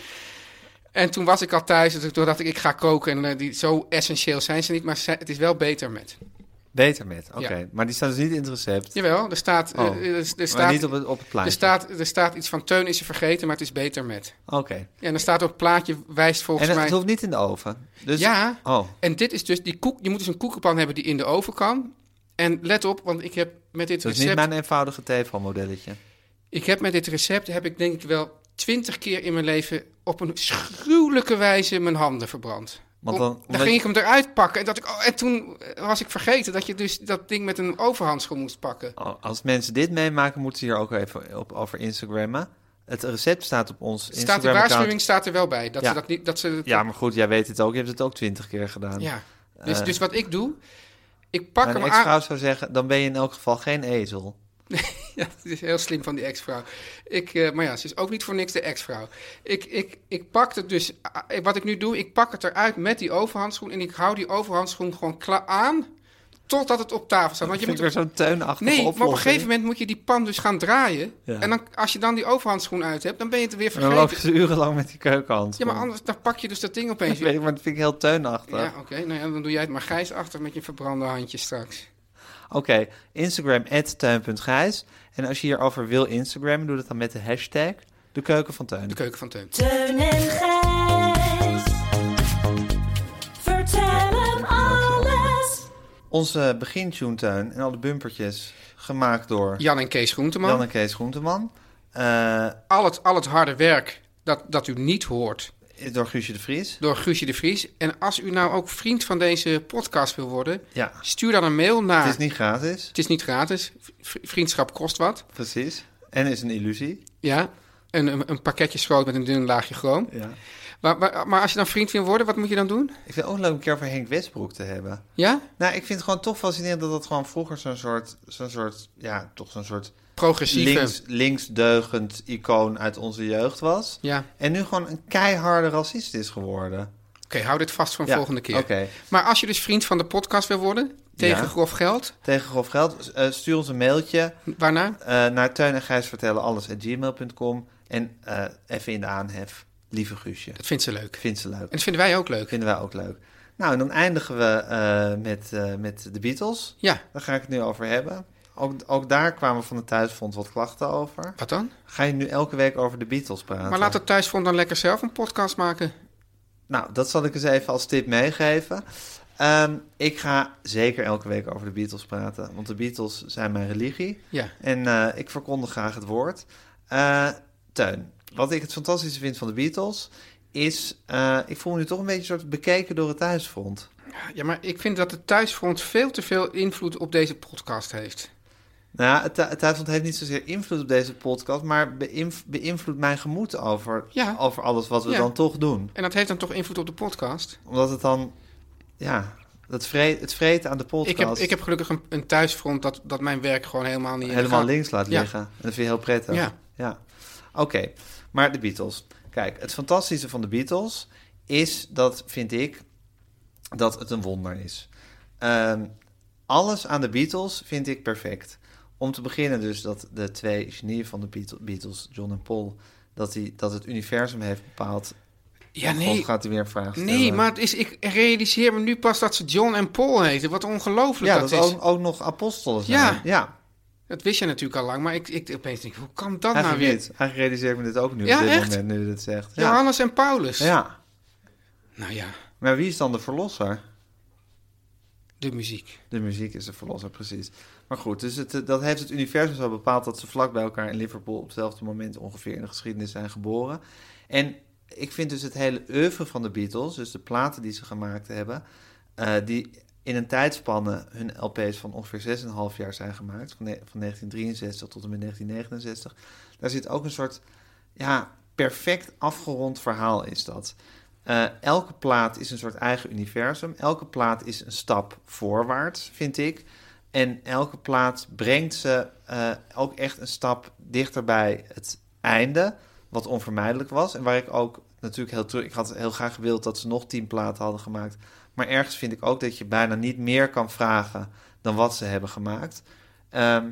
[SPEAKER 3] En toen was ik al thuis. En toen dacht ik, ik ga koken. En eh, die, zo essentieel zijn ze niet. Maar ze- het is wel beter met.
[SPEAKER 2] Beter met, oké.
[SPEAKER 3] Ja.
[SPEAKER 2] Maar die staan dus niet in het recept.
[SPEAKER 3] Jawel, er staat, eh,
[SPEAKER 2] Oh,
[SPEAKER 3] eh, er, er
[SPEAKER 2] maar
[SPEAKER 3] staat,
[SPEAKER 2] niet op het, op het
[SPEAKER 3] er,
[SPEAKER 2] plaatje.
[SPEAKER 3] staat, er staat iets van Teun is ze vergeten, maar het is beter met.
[SPEAKER 2] Oké.
[SPEAKER 3] Ja, en er staat op het plaatje, wijst
[SPEAKER 2] En
[SPEAKER 3] volgens
[SPEAKER 2] het,
[SPEAKER 3] mij...
[SPEAKER 2] hoeft niet in de oven. Dus,
[SPEAKER 3] Ja.
[SPEAKER 2] Oh,
[SPEAKER 3] En dit is dus die koek. Je moet dus een koekenpan hebben die in de oven kan. En let op, want ik heb met dit
[SPEAKER 2] dat is niet
[SPEAKER 3] recept.
[SPEAKER 2] mijn eenvoudige theevalmodelletje.
[SPEAKER 3] Ik heb met dit recept heb ik denk ik wel twintig keer in mijn leven op een gruwelijke wijze mijn handen verbrand.
[SPEAKER 2] Want
[SPEAKER 3] Om-
[SPEAKER 2] dan-
[SPEAKER 3] dan
[SPEAKER 2] omdat
[SPEAKER 3] ging
[SPEAKER 2] je-
[SPEAKER 3] ik hem eruit pakken. En, dat ik, oh, en toen eh, was ik vergeten dat je dus dat ding met een overhandschoen moest pakken.
[SPEAKER 2] Oh, als mensen dit meemaken, moeten ze hier ook even op, over Instagrammen. Het recept staat op ons
[SPEAKER 3] Staat de
[SPEAKER 2] Instagram-account.
[SPEAKER 3] waarschuwing staat er wel bij. Dat
[SPEAKER 2] Ja.
[SPEAKER 3] ze dat niet. Dat ze,
[SPEAKER 2] Ja, maar goed, jij weet het ook. Je hebt het ook twintig keer gedaan.
[SPEAKER 3] Ja. Dus, dus wat ik doe, ik pak hem
[SPEAKER 2] Mijn
[SPEAKER 3] aan.
[SPEAKER 2] ex-vrouw zou zeggen, dan ben je in elk geval geen ezel.
[SPEAKER 3] Ja, het is heel slim van die ex-vrouw. Ik, eh, maar ja, ze is ook niet voor niks de ex-vrouw. Ik, ik, ik pak het dus, ah, wat ik nu doe, ik pak het eruit met die overhandschoen... en ik hou die overhandschoen gewoon klaar aan totdat het op tafel staat. Want je
[SPEAKER 2] Vind
[SPEAKER 3] moet
[SPEAKER 2] ik weer zo'n teunachtige
[SPEAKER 3] Nee, maar op een
[SPEAKER 2] oplossing.
[SPEAKER 3] gegeven moment moet je die pan dus gaan draaien.
[SPEAKER 2] Ja.
[SPEAKER 3] En dan, als je dan die overhandschoen uit hebt, dan ben je het weer
[SPEAKER 2] En Dan loop je
[SPEAKER 3] vergeten.
[SPEAKER 2] ze dus urenlang met die keukenhand.
[SPEAKER 3] Ja, maar anders dan pak je dus dat ding
[SPEAKER 2] Ik
[SPEAKER 3] opeens
[SPEAKER 2] weet
[SPEAKER 3] weer.
[SPEAKER 2] het, maar dat vind ik heel teunachtig.
[SPEAKER 3] Ja, oké. Nou ja, dan doe jij het maar grijs achter met je verbrande handjes straks.
[SPEAKER 2] Oké, Instagram, tuin.gijs. En als je hierover wil Instagram, doe dat dan met de hashtag de keuken van tuin.
[SPEAKER 3] De keuken van Teun.
[SPEAKER 6] Teun en Gijs. Vertel hem alles.
[SPEAKER 2] Onze begintune Teun, en al de bumpertjes gemaakt door
[SPEAKER 3] Jan en Kees Groenteman.
[SPEAKER 2] Jan en Kees Groenteman. Eh,
[SPEAKER 3] Al, het, al het harde werk dat, dat u niet hoort
[SPEAKER 2] door Guusje de Vries.
[SPEAKER 3] door Guusje de Vries. En als u nou ook vriend van deze podcast wil worden,
[SPEAKER 2] Ja.
[SPEAKER 3] stuur dan een mail naar...
[SPEAKER 2] Het is niet gratis,
[SPEAKER 3] het is niet gratis. V- Vriendschap kost wat.
[SPEAKER 2] precies. En is een illusie.
[SPEAKER 3] Ja. Een, een, een pakketje schroot met een dun laagje chroom.
[SPEAKER 2] Ja.
[SPEAKER 3] Maar, maar, maar als je dan vriend wil worden, wat moet je dan doen?
[SPEAKER 2] Ik vind het ook leuk om een keer over Henk Westbroek te hebben.
[SPEAKER 3] Ja?
[SPEAKER 2] Nou, ik vind het gewoon toch fascinerend dat dat gewoon vroeger zo'n soort, zo'n soort, ja, toch zo'n soort
[SPEAKER 3] Progressieve.
[SPEAKER 2] links, linksdeugend icoon uit onze jeugd was.
[SPEAKER 3] Ja. Oké,
[SPEAKER 2] En nu gewoon een keiharde racist is geworden.
[SPEAKER 3] hou dit vast voor een
[SPEAKER 2] Ja,
[SPEAKER 3] volgende keer.
[SPEAKER 2] oké.
[SPEAKER 3] Maar als je dus vriend van de podcast wil worden, tegen
[SPEAKER 2] Ja.
[SPEAKER 3] grof geld,
[SPEAKER 2] Tegen grof geld, eh, stuur ons een mailtje
[SPEAKER 3] waarna?
[SPEAKER 2] eh, naar Teun en Gijs vertellen alles gmail.com. En eh, even in de aanhef, lieve Guusje.
[SPEAKER 3] Dat vindt ze leuk.
[SPEAKER 2] Vindt ze leuk.
[SPEAKER 3] En dat vinden wij ook leuk.
[SPEAKER 2] Vinden wij ook leuk. Nou, en dan eindigen we eh, met, eh, met de Beatles.
[SPEAKER 3] Ja,
[SPEAKER 2] Daar ga ik het nu over hebben. Ook, ook daar kwamen van de thuisfonds wat klachten over.
[SPEAKER 3] wat dan?
[SPEAKER 2] Ga je nu elke week over de Beatles praten?
[SPEAKER 3] Maar laat het thuisfront dan lekker zelf een podcast maken.
[SPEAKER 2] Nou, dat zal ik eens even als tip meegeven. Ehm, ik ga zeker elke week over de Beatles praten. Want de Beatles zijn mijn religie.
[SPEAKER 3] Ja.
[SPEAKER 2] En eh, ik verkondig graag het woord. Eh Teun, wat ik het fantastische vind van de Beatles... is, eh, ik voel me nu toch een beetje een soort bekeken door het thuisfront.
[SPEAKER 3] Ja, maar ik vind dat het thuisfront veel te veel invloed op deze podcast heeft.
[SPEAKER 2] Nou, ja, het, het thuisfront heeft niet zozeer invloed op deze podcast... maar beïnv- beïnvloedt mijn gemoed over,
[SPEAKER 3] Ja.
[SPEAKER 2] over alles wat we
[SPEAKER 3] Ja.
[SPEAKER 2] dan toch doen.
[SPEAKER 3] En dat heeft dan toch invloed op de podcast?
[SPEAKER 2] Omdat het dan, ja, het vreet, het vreet aan de podcast...
[SPEAKER 3] Ik heb, ik heb gelukkig een, een thuisfront dat, dat mijn werk gewoon helemaal niet in de
[SPEAKER 2] helemaal
[SPEAKER 3] gaten-
[SPEAKER 2] links laat
[SPEAKER 3] Ja.
[SPEAKER 2] liggen. En dat vind je heel prettig.
[SPEAKER 3] Ja.
[SPEAKER 2] Oké, maar de Beatles. Kijk, het fantastische van de Beatles is dat, vind ik, dat het een wonder is. Ehm, alles aan de Beatles vind ik perfect. Om te beginnen dus dat de twee genieën van de Beatle- Beatles, John en Paul, dat, die, dat het universum heeft bepaald.
[SPEAKER 3] Ja,
[SPEAKER 2] Of
[SPEAKER 3] nee.
[SPEAKER 2] gaat hij weer een vraag stellen?
[SPEAKER 3] Nee, maar het is, ik realiseer me nu pas dat ze John en Paul heten. Wat ongelooflijk
[SPEAKER 2] Ja,
[SPEAKER 3] dat,
[SPEAKER 2] dat,
[SPEAKER 3] is.
[SPEAKER 2] ook, ook nog apostelen zijn.
[SPEAKER 3] Ja.
[SPEAKER 2] ja
[SPEAKER 3] Dat wist je natuurlijk al lang, maar ik, ik opeens denk, hoe kan dat nou
[SPEAKER 2] eigenlijk,
[SPEAKER 3] weer?
[SPEAKER 2] niet. eigenlijk realiseer ik me dit ook nu
[SPEAKER 3] Ja,
[SPEAKER 2] op dit
[SPEAKER 3] echt?
[SPEAKER 2] moment, nu je dit zegt. Ja.
[SPEAKER 3] Johannes en Paulus.
[SPEAKER 2] ja.
[SPEAKER 3] Nou ja,
[SPEAKER 2] Maar wie is dan de verlosser?
[SPEAKER 3] de muziek.
[SPEAKER 2] De muziek is de verlosser, precies. Maar goed, dus het, eh, dat heeft het universum zo bepaald dat ze vlak bij elkaar in Liverpool op hetzelfde moment ongeveer in de geschiedenis zijn geboren. En ik vind dus het hele oeuvre van de Beatles, dus de platen die ze gemaakt hebben, eh, die in een tijdspanne hun LP's van ongeveer 6,5 jaar zijn gemaakt, van, ne- van 1963 tot en met 1969, daar zit ook een soort ja, perfect afgerond verhaal is dat. Eh, elke plaat is een soort eigen universum. Elke plaat is een stap voorwaarts, vind ik. En elke plaat brengt ze eh, ook echt een stap dichter bij het einde, wat onvermijdelijk was. En waar ik ook natuurlijk heel terug. Ik had heel graag gewild dat ze nog tien platen hadden gemaakt. Maar ergens vind ik ook dat je bijna niet meer kan vragen dan wat ze hebben gemaakt. Ehm,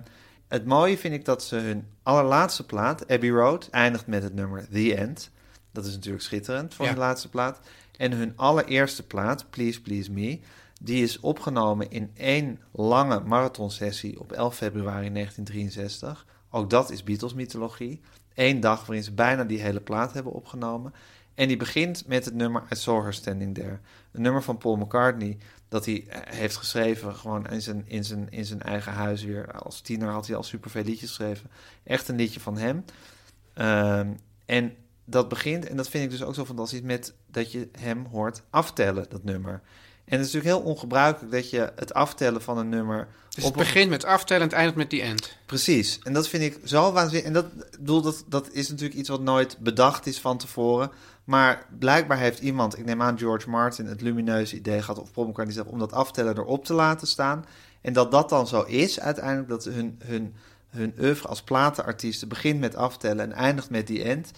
[SPEAKER 2] het mooie vind ik dat ze hun allerlaatste plaat, Abbey Road, eindigt met het nummer The End. Dat is natuurlijk schitterend voor
[SPEAKER 3] Ja.
[SPEAKER 2] hun laatste plaat. En hun allereerste plaat, Please Please Me, die is opgenomen in één lange marathonsessie op 11 februari 1963. Ook dat is Beatles-mythologie. Eén dag waarin ze bijna die hele plaat hebben opgenomen. En die begint met het nummer I Saw Her Standing There. Een nummer van Paul McCartney dat hij eh, heeft geschreven gewoon in zijn, in, zijn, in zijn eigen huis weer. Als tiener had hij al superveel liedjes geschreven. Echt een liedje van hem. Ehm, en dat begint, en dat vind ik dus ook zo fantastisch, met dat je hem hoort aftellen, dat nummer. En het is natuurlijk heel ongebruikelijk dat je het aftellen van een nummer...
[SPEAKER 3] Dus
[SPEAKER 2] op
[SPEAKER 3] het
[SPEAKER 2] een-
[SPEAKER 3] begint met aftellen en het eindigt met die end.
[SPEAKER 2] Precies. En dat vind ik zo waanzinnig. En dat, ik bedoel, dat, dat is natuurlijk iets wat nooit bedacht is van tevoren. Maar blijkbaar heeft iemand, ik neem aan George Martin, het lumineuze idee gehad... of Paul McCartney zelf, om dat aftellen erop te laten staan. En dat dat dan zo is uiteindelijk, dat hun, hun, hun oeuvre als platenartiesten... begint met aftellen en eindigt met die end.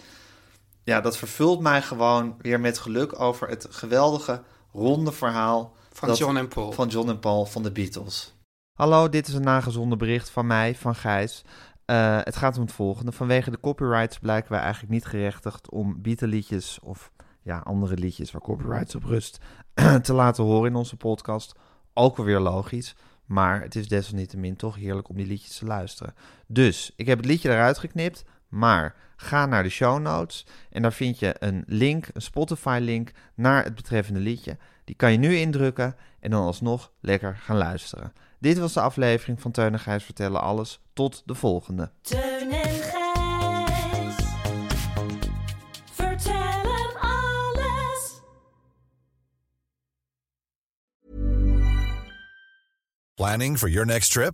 [SPEAKER 2] Ja, dat vervult mij gewoon weer met geluk over het geweldige, ronde verhaal...
[SPEAKER 3] Van
[SPEAKER 2] dat-
[SPEAKER 3] John en Paul.
[SPEAKER 2] van John en Paul van de Beatles. Hallo, dit is een nagezonden bericht van mij, van Gijs. Eh, het gaat om het volgende. Vanwege de copyrights blijken wij eigenlijk niet gerechtigd om Beatle-liedjes of ja, andere liedjes waar copyrights op rust te laten horen in onze podcast. Ook alweer logisch, maar het is desalniettemin toch heerlijk om die liedjes te luisteren. Dus, ik heb het liedje eruit geknipt, maar ga naar de show notes en daar vind je een link, een Spotify-link naar het betreffende liedje. Die kan je nu indrukken en dan alsnog lekker gaan luisteren. Dit was de aflevering van Teun en Gijs vertellen alles. Tot de volgende.
[SPEAKER 6] Teun en Gijs. Vertel hem alles.
[SPEAKER 8] Planning for your next trip?